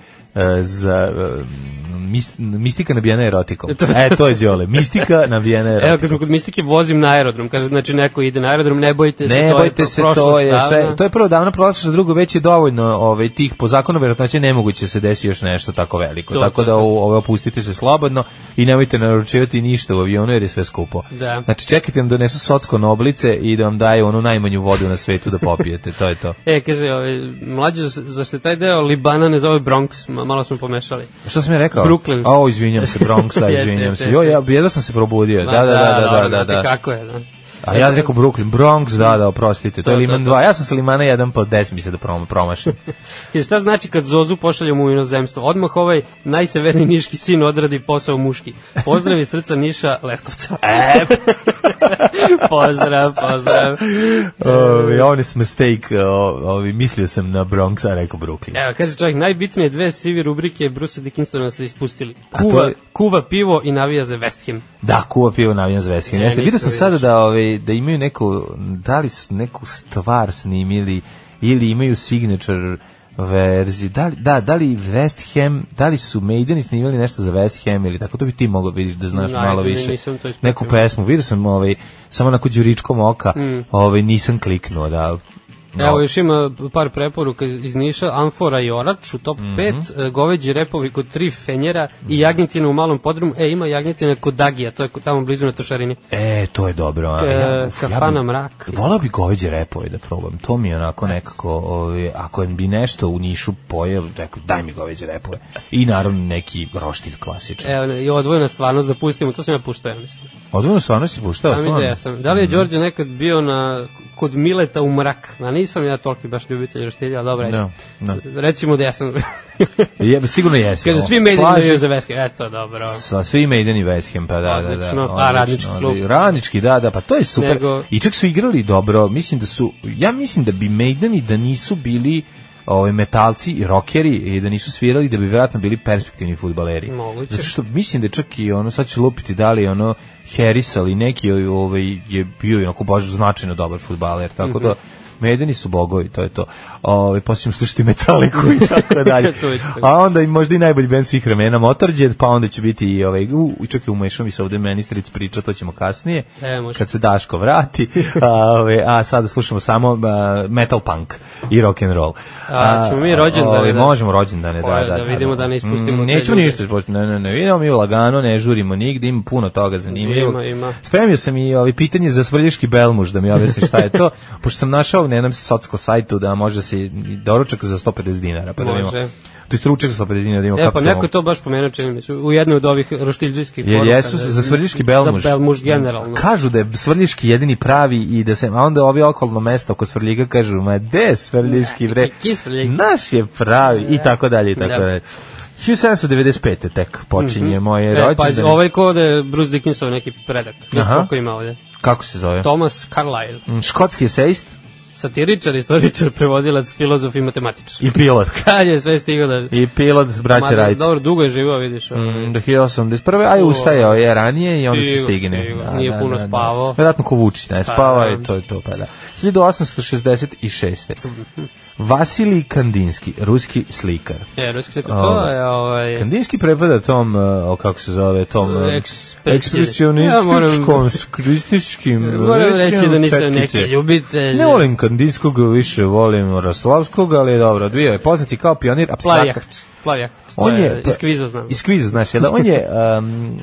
Speaker 5: za... e, mis- mistika nabijena erotikom. E, to je Đole. Mistika nabijena erotikom.
Speaker 6: Evo, kad smo kod mistike, vozim na aerodrom. Kaže, znači, neko ide na aerodrom, ne bojte se,
Speaker 5: Ne
Speaker 6: to
Speaker 5: bojte
Speaker 6: je
Speaker 5: se,
Speaker 6: prošlo
Speaker 5: to je
Speaker 6: stavno.
Speaker 5: sve. To je prvo davno prolaziš, a drugo već je dovoljno ovaj, tih po zakonu verovatnoće nemoguće se desi još nešto tako veliko.
Speaker 6: To,
Speaker 5: tako
Speaker 6: to,
Speaker 5: da
Speaker 6: to.
Speaker 5: u, ovaj, opustite se slobodno i nemojte naručivati ništa u avionu jer je sve skupo.
Speaker 6: Da.
Speaker 5: Znači čekajte da vam donesu socko na oblice i da vam daje onu najmanju vodu na svetu da popijete. to je <laughs> to.
Speaker 6: E, kaže, ovaj, mlađo, zašto je taj deo Libana ne zove Bronx? Ma, malo smo pomešali.
Speaker 5: Šta sam ja rekao?
Speaker 6: Brooklyn.
Speaker 5: A, o, izvinjam se, <laughs> Bronx, da,
Speaker 6: Jeste,
Speaker 5: izvinjam
Speaker 6: jeste,
Speaker 5: se. Jo, ja, jedva sam se probudio. Da, da, da, da, da,
Speaker 6: dobro, znate
Speaker 5: da.
Speaker 6: Kako je, da.
Speaker 5: A ja rekao Brooklyn, Bronx, da, da, oprostite, to je
Speaker 6: To, to,
Speaker 5: Liman
Speaker 6: to.
Speaker 5: 2. Ja sam sa Limana 1 pa 10 mi se da prom- <laughs> promašim.
Speaker 6: Jer šta znači kad Zozu pošaljemo u inozemstvo? Odmah ovaj najseverniji niški sin odradi posao muški. Pozdrav iz srca Niša
Speaker 5: <laughs>
Speaker 6: Leskovca.
Speaker 5: E,
Speaker 6: pozdrav, pozdrav.
Speaker 5: Ovi, honest mistake, o- ovi, mislio sam na Bronx, a rekao Brooklyn.
Speaker 6: Evo, kaže čovjek, najbitnije dve CV rubrike Bruce Dickinsona ste ispustili.
Speaker 5: A to
Speaker 6: Kuva,
Speaker 5: je-
Speaker 6: kuva pivo i navija za West Ham.
Speaker 5: Da, kuva pivo navijan za Veskin.
Speaker 6: Ne,
Speaker 5: Jeste, vidio
Speaker 6: nisam
Speaker 5: sam
Speaker 6: vidio.
Speaker 5: sada da, ovi, da imaju neku, da li su neku stvar snimili ili imaju signature verzi, da li, da, da li West Ham, da li su Maideni snimili nešto za West Ham ili tako, to bi ti mogao vidiš da znaš
Speaker 6: Ne,
Speaker 5: malo
Speaker 6: ne,
Speaker 5: više.
Speaker 6: nisam to ispratio.
Speaker 5: Neku pesmu, vidio sam ovaj, samo onako đuričkom oka, ovaj, nisam kliknuo, da. No.
Speaker 6: Mm. Evo, još ima par preporuka iz iz Niša, Amfora i Orač u top
Speaker 5: Mhm.
Speaker 6: 5, mm -hmm. goveđi repovi kod tri fenjera i jagnjetina u malom podrumu. E, ima jagnjetina kod Dagija, to je kod- tamo blizu na Tošarini.
Speaker 5: E, to je dobro. a,
Speaker 6: E,
Speaker 5: uf,
Speaker 6: kafana
Speaker 5: bi-
Speaker 6: mrak.
Speaker 5: Volao bi goveđe repove da probam. To mi je onako nekako, ovaj, ako bi nešto u Nišu pojel, rekao daj mi goveđe repove. I naravno neki roštilj klasičan.
Speaker 6: Evo, i E, odvojena stvarnost da pustimo, to sam ja puštao, ja mislim.
Speaker 5: Odvojno stvarno si puštao?
Speaker 6: Da, mislim da
Speaker 5: stvarno? Mhm.
Speaker 6: ja sam. Da li je Đorđe nekad bio na, kod Mileta u mrak? A nisam ja toliki baš ljubitelj roštilja, ali dobro, ajde.
Speaker 5: Da, da.
Speaker 6: Recimo da ja sam. <laughs>
Speaker 5: Je, sigurno jesi.
Speaker 6: Kaže, svi mediji imaju za veske. Eto, dobro.
Speaker 5: Sa svi Maiden i West Ham, pa da, da, da.
Speaker 6: Odlično, pa radnički klub.
Speaker 5: odli- Radnički, da, da, pa to je super.
Speaker 6: Nego-
Speaker 5: I čak su igrali dobro, mislim da su, ja mislim da bi Maideni da nisu bili ovaj metalci i rokeri i da nisu svirali da bi vjerojatno bili perspektivni fudbaleri.
Speaker 6: Moguće.
Speaker 5: Zato što mislim da je čak i ono sad će lupiti da li je ono Harris ali neki ovaj je bio onako baš značajno dobar fudbaler tako
Speaker 6: Mhm.
Speaker 5: da Medeni su bogovi, to je to. Ovaj posle ćemo slušati Metaliku i
Speaker 6: <laughs>
Speaker 5: tako dalje.
Speaker 6: To je to.
Speaker 5: A onda i možda i najbolji bend svih vremena Motorhead, pa onda će biti i ovaj u, u čekaj umešao mi se ovde ministric priča, to ćemo kasnije.
Speaker 6: E, može.
Speaker 5: kad se Daško
Speaker 6: <laughs>
Speaker 5: vrati. a, ovaj, a sada slušamo samo a, metal punk i rock and roll.
Speaker 6: A, ćemo mi rođendane
Speaker 5: ovaj,
Speaker 6: da-
Speaker 5: možemo rođendane, da,
Speaker 6: Ovaj,
Speaker 5: da,
Speaker 6: da vidimo da ne ispustimo
Speaker 5: Mm,
Speaker 6: te
Speaker 5: Nećemo
Speaker 6: ljude.
Speaker 5: ništa ispustiti. Ne, ne, ne, vidimo mi lagano, ne žurimo nigde, ima puno toga zanimljivog.
Speaker 6: Ima, ima.
Speaker 5: Spremio sam i ovaj pitanje za svrljiški belmuž da mi objasni šta je
Speaker 6: <laughs>
Speaker 5: to, pošto sam našao na jednom socsko sajtu da može se i doručak za 150 dinara, pa da vidimo.
Speaker 6: Može.
Speaker 5: To je stručak za 150 dinara da imamo
Speaker 6: E, pa neko je to baš pomenuo, čini mi se, u jednoj od ovih roštiljđijskih
Speaker 5: Jer
Speaker 6: poruka.
Speaker 5: jesu za svrljiški belmuž.
Speaker 6: Za belmuž generalno.
Speaker 5: Kažu da je svrljiški jedini pravi i da se, a onda ovi okolno mesto oko svrljiga kažu, ma de svrljiški bre,
Speaker 6: ki- ki Svrljig?"
Speaker 5: naš je pravi i tako dalje i tako
Speaker 6: Da.
Speaker 5: dalje. 1795. tek počinje moje
Speaker 6: E, pa
Speaker 5: rođendan.
Speaker 6: ovaj kod je Bruce Dickinsov neki predak. Znaš
Speaker 5: Aha.
Speaker 6: koliko ima ovdje?
Speaker 5: Kako se zove?
Speaker 6: Thomas Carlyle.
Speaker 5: Mm, Škotski esejist
Speaker 6: Satiričar, istoričar, prevodilac, filozof i matematičar.
Speaker 5: i pilot.
Speaker 6: Kad je sve stigao da...
Speaker 5: I pilot braće
Speaker 6: Mada,
Speaker 5: Wright.
Speaker 6: da, Dobro, dugo je živao, vidiš. ono.
Speaker 5: Mm, do 1081. A je ustajao je ranije i onda se
Speaker 6: Stigo,
Speaker 5: stigne.
Speaker 6: stigo. Nije puno
Speaker 5: da,
Speaker 6: spavao. Pa,
Speaker 5: pa Verovatno ko vuči, ne, spava
Speaker 6: da.
Speaker 5: i to je to, pa da. 1866. Vasilij Kandinski, ruski slikar.
Speaker 6: E, ruski slikar, to je ovaj...
Speaker 5: Kandinski prepada tom, e, o, kako se zove, tom e,
Speaker 6: Ekspresionističkom. Ja
Speaker 5: ekspresionističkom,
Speaker 6: moram-
Speaker 5: skrističkim,
Speaker 6: Moram reći da nisam neki
Speaker 5: četkice.
Speaker 6: ljubitelj.
Speaker 5: Ne volim Kandinskog, više volim Roslavskog, ali je dobro, bio je poznati kao pionir
Speaker 6: Plavi
Speaker 5: abstrakta.
Speaker 6: jahč. Plavi jahč.
Speaker 5: On je, pa
Speaker 6: Iz kviza znam.
Speaker 5: Iz kviza, znaš, jel da? on je um,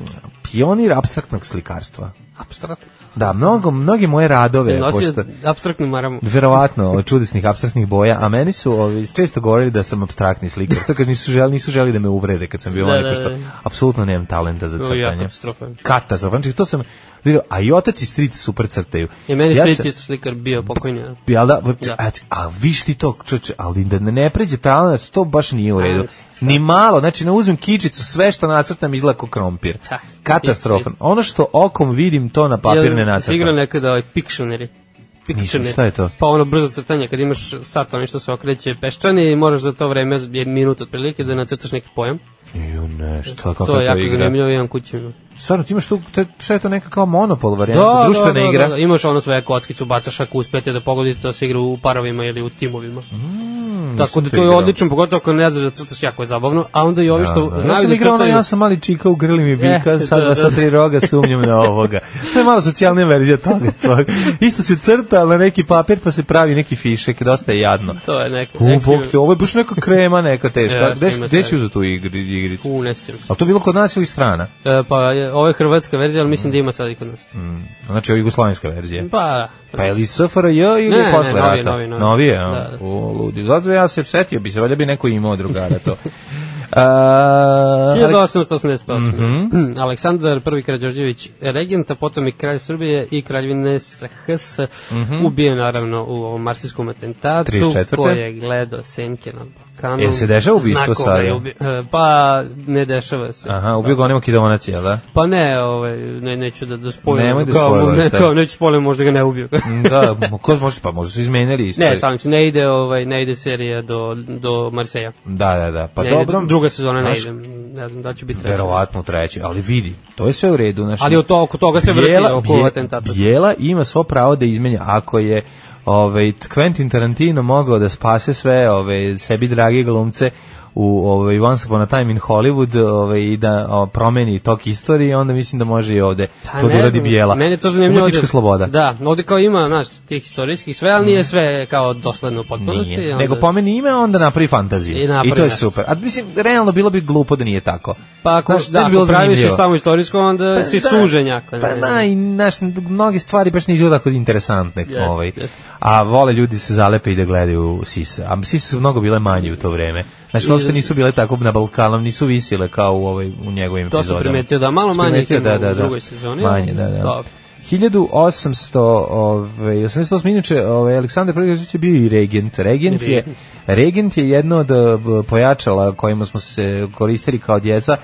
Speaker 5: pionir abstraktnog slikarstva.
Speaker 6: Apstraktno.
Speaker 5: Da, mnogo, mnogi moje radove,
Speaker 6: Nosio
Speaker 5: pošto,
Speaker 6: apstraktnu maramu.
Speaker 5: verovatno, od čudesnih abstraktnih boja, a meni su ovi, često govorili da sam abstraktni slikar, to kad nisu želi, nisu želi da me uvrede kad sam bio
Speaker 6: Da,
Speaker 5: onaj ko
Speaker 6: da,
Speaker 5: što
Speaker 6: da.
Speaker 5: apsolutno nemam talenta za
Speaker 6: To je jako
Speaker 5: crtanje.
Speaker 6: katastrofa.
Speaker 5: Katastrofa, znači to sam vidio, a i otac i stric super crtaju.
Speaker 6: I meni
Speaker 5: Ja
Speaker 6: stric
Speaker 5: sam-
Speaker 6: isto slikar bio pokojni. da.
Speaker 5: Jel da?
Speaker 6: Da.
Speaker 5: A, a viš ti to, čoče, ali da ne pređe talent, to baš nije u redu.
Speaker 6: Ajde, sad.
Speaker 5: Ni malo, znači ne uzmem kičicu, sve što nacrtam izlako krompir.
Speaker 6: Ha,
Speaker 5: Katastrofan.
Speaker 6: isti,
Speaker 5: Ono što okom vidim, to na papir ne
Speaker 6: Da, Jel si igrao
Speaker 5: nacrtam.
Speaker 6: nekada ovaj Pictionary? Pictionary.
Speaker 5: šta je to?
Speaker 6: Pa ono brzo crtanje, kad imaš sat, ono što se okreće peščani i moraš za to vreme, je minut otprilike, da nacrtaš neki pojam.
Speaker 5: Ju ne, šta, Pa kako
Speaker 6: to
Speaker 5: to
Speaker 6: je jako
Speaker 5: igra? E,
Speaker 6: zanimljivo, imam kuću.
Speaker 5: Stvarno, ti imaš tu, te, šta je to neka kao monopol varijanta, da, društvena igra?
Speaker 6: Da, da, imaš ono svoje kockicu, bacaš ako uspete da pogodite, to se igra u parovima ili u timovima.
Speaker 5: Mm,
Speaker 6: Tako da to je
Speaker 5: igrao.
Speaker 6: odlično, pogotovo ako ne znaš da crtaš, jako je zabavno. A onda i ovi što
Speaker 5: Da, da. Ja
Speaker 6: znaju
Speaker 5: sam
Speaker 6: da
Speaker 5: igrao ono,
Speaker 6: crtaju...
Speaker 5: ja sam mali čika, ugrli mi bika,
Speaker 6: Eh,
Speaker 5: sad
Speaker 6: da,
Speaker 5: da, sa
Speaker 6: da.
Speaker 5: tri roga sumnjam na ovoga. To je malo socijalna verzija
Speaker 6: <laughs>
Speaker 5: toga. tvog. Isto se crta na neki papir pa se pravi neki fišek, dosta je jadno.
Speaker 6: To je neko...
Speaker 5: U,
Speaker 6: ekstra-
Speaker 5: bog te, ovo je baš neka krema neka
Speaker 6: <laughs>
Speaker 5: teška.
Speaker 6: Ja,
Speaker 5: Gde
Speaker 6: ima
Speaker 5: gde si
Speaker 6: svega.
Speaker 5: uzeo tu igri, igricu?
Speaker 6: U, ne sjećam se.
Speaker 5: Ali to bilo kod nas ili strana?
Speaker 6: E, pa je, ovo je hrvatska verzija, ali mislim da ima sad i kod nas.
Speaker 5: Znači, ovo je jugoslovenska verzija.
Speaker 6: Pa,
Speaker 5: Pa je li SFRJ ili
Speaker 6: Ne, ne,
Speaker 5: posle
Speaker 6: novi,
Speaker 5: rata?
Speaker 6: novi, novi.
Speaker 5: Novije, a?
Speaker 6: Da, da.
Speaker 5: O, ludi. Zato ja se setio bi se, valjda bi neko imao drugara
Speaker 6: <laughs>
Speaker 5: to. A,
Speaker 6: 1888.
Speaker 5: Mhm.
Speaker 6: <clears throat> Aleksandar I Krađorđević regent, a potom i kralj Srbije i kraljevine SHS
Speaker 5: Mhm.
Speaker 6: ubio je, naravno u ovom marsijskom atentatu
Speaker 5: 34..
Speaker 6: koji je gledao senke na Balkanu.
Speaker 5: Jel se dešava ubistvo
Speaker 6: Znakovno je
Speaker 5: sada?
Speaker 6: ubi- e, Pa ne dešava se.
Speaker 5: Aha, ubio ga onima kidonac, jel da?
Speaker 6: Pa ne, ovaj, ne, neću da, da spojim.
Speaker 5: Nemoj da
Speaker 6: kao,
Speaker 5: spojlaš,
Speaker 6: ne,
Speaker 5: da.
Speaker 6: kao, neću spojim, možda ga ne ubio. <laughs>
Speaker 5: da, mo- ko može, pa možda su izmenili isto.
Speaker 6: ne, šalim se, ne ide, ovaj, ne ide serija do, do Marseja.
Speaker 5: Da, da, da. Pa
Speaker 6: ne, ide-
Speaker 5: dobro,
Speaker 6: Druga sezona ne
Speaker 5: znaš,
Speaker 6: ide, ne znam da li će biti treća.
Speaker 5: Verovatno treći, ali vidi, to je sve u redu. Znaš,
Speaker 6: Ali od to, oko toga se vrti oko
Speaker 5: Bje-
Speaker 6: atentata.
Speaker 5: Bijela ima svo pravo da izmenja ako je ovaj Quentin Tarantino mogao da spase sve ovaj sebi drage glumce u ovaj Once Upon a Time in Hollywood ovaj i da o, promeni tok istorije onda mislim da može i ovde
Speaker 6: Pa
Speaker 5: to da
Speaker 6: ne
Speaker 5: uradi
Speaker 6: znam,
Speaker 5: Bijela.
Speaker 6: Meni je to zanimljivo.
Speaker 5: Umetnička
Speaker 6: ovde-
Speaker 5: sloboda. Mm.
Speaker 6: Da, ovde kao ima, znaš, tih istorijskih sve, ali nije sve kao dosledno u potpunosti.
Speaker 5: Nije.
Speaker 6: onda-
Speaker 5: Nego pomeni ime, onda napravi fantaziju.
Speaker 6: I
Speaker 5: I,
Speaker 6: napravi
Speaker 5: to je
Speaker 6: nešto.
Speaker 5: super. A mislim, realno bilo bi glupo da nije tako.
Speaker 6: Pa ako,
Speaker 5: Znaš,
Speaker 6: da,
Speaker 5: to bi
Speaker 6: ako
Speaker 5: bilo
Speaker 6: praviš je
Speaker 5: zanimljivo.
Speaker 6: samo istorijsko, onda
Speaker 5: Pa
Speaker 6: si
Speaker 5: da.
Speaker 6: sužen jako. ne,
Speaker 5: Pa
Speaker 6: ne,
Speaker 5: da,
Speaker 6: ne.
Speaker 5: i naš, mnoge stvari baš ne izgleda tako interesantne.
Speaker 6: Jeste,
Speaker 5: ovaj.
Speaker 6: jeste.
Speaker 5: A vole ljudi se zalepe i da gledaju sise. A sise su mnogo bile manje u to vreme. Znači, uopšte nisu bile tako na Balkanom, nisu visile kao u, ovaj, u njegovim
Speaker 6: To sam
Speaker 5: epizodama.
Speaker 6: primetio, da, malo
Speaker 5: Si
Speaker 6: manje ih
Speaker 5: primetio,
Speaker 6: ima u drugoj sezoni, ali
Speaker 5: Manje, da, da.
Speaker 6: dobro.
Speaker 5: 1800, ovaj 88 inače, ovaj Aleksandar Prgović je bio i regent. Regent je regent je jedno od eh, pojačala kojima smo se koristili kao djeca.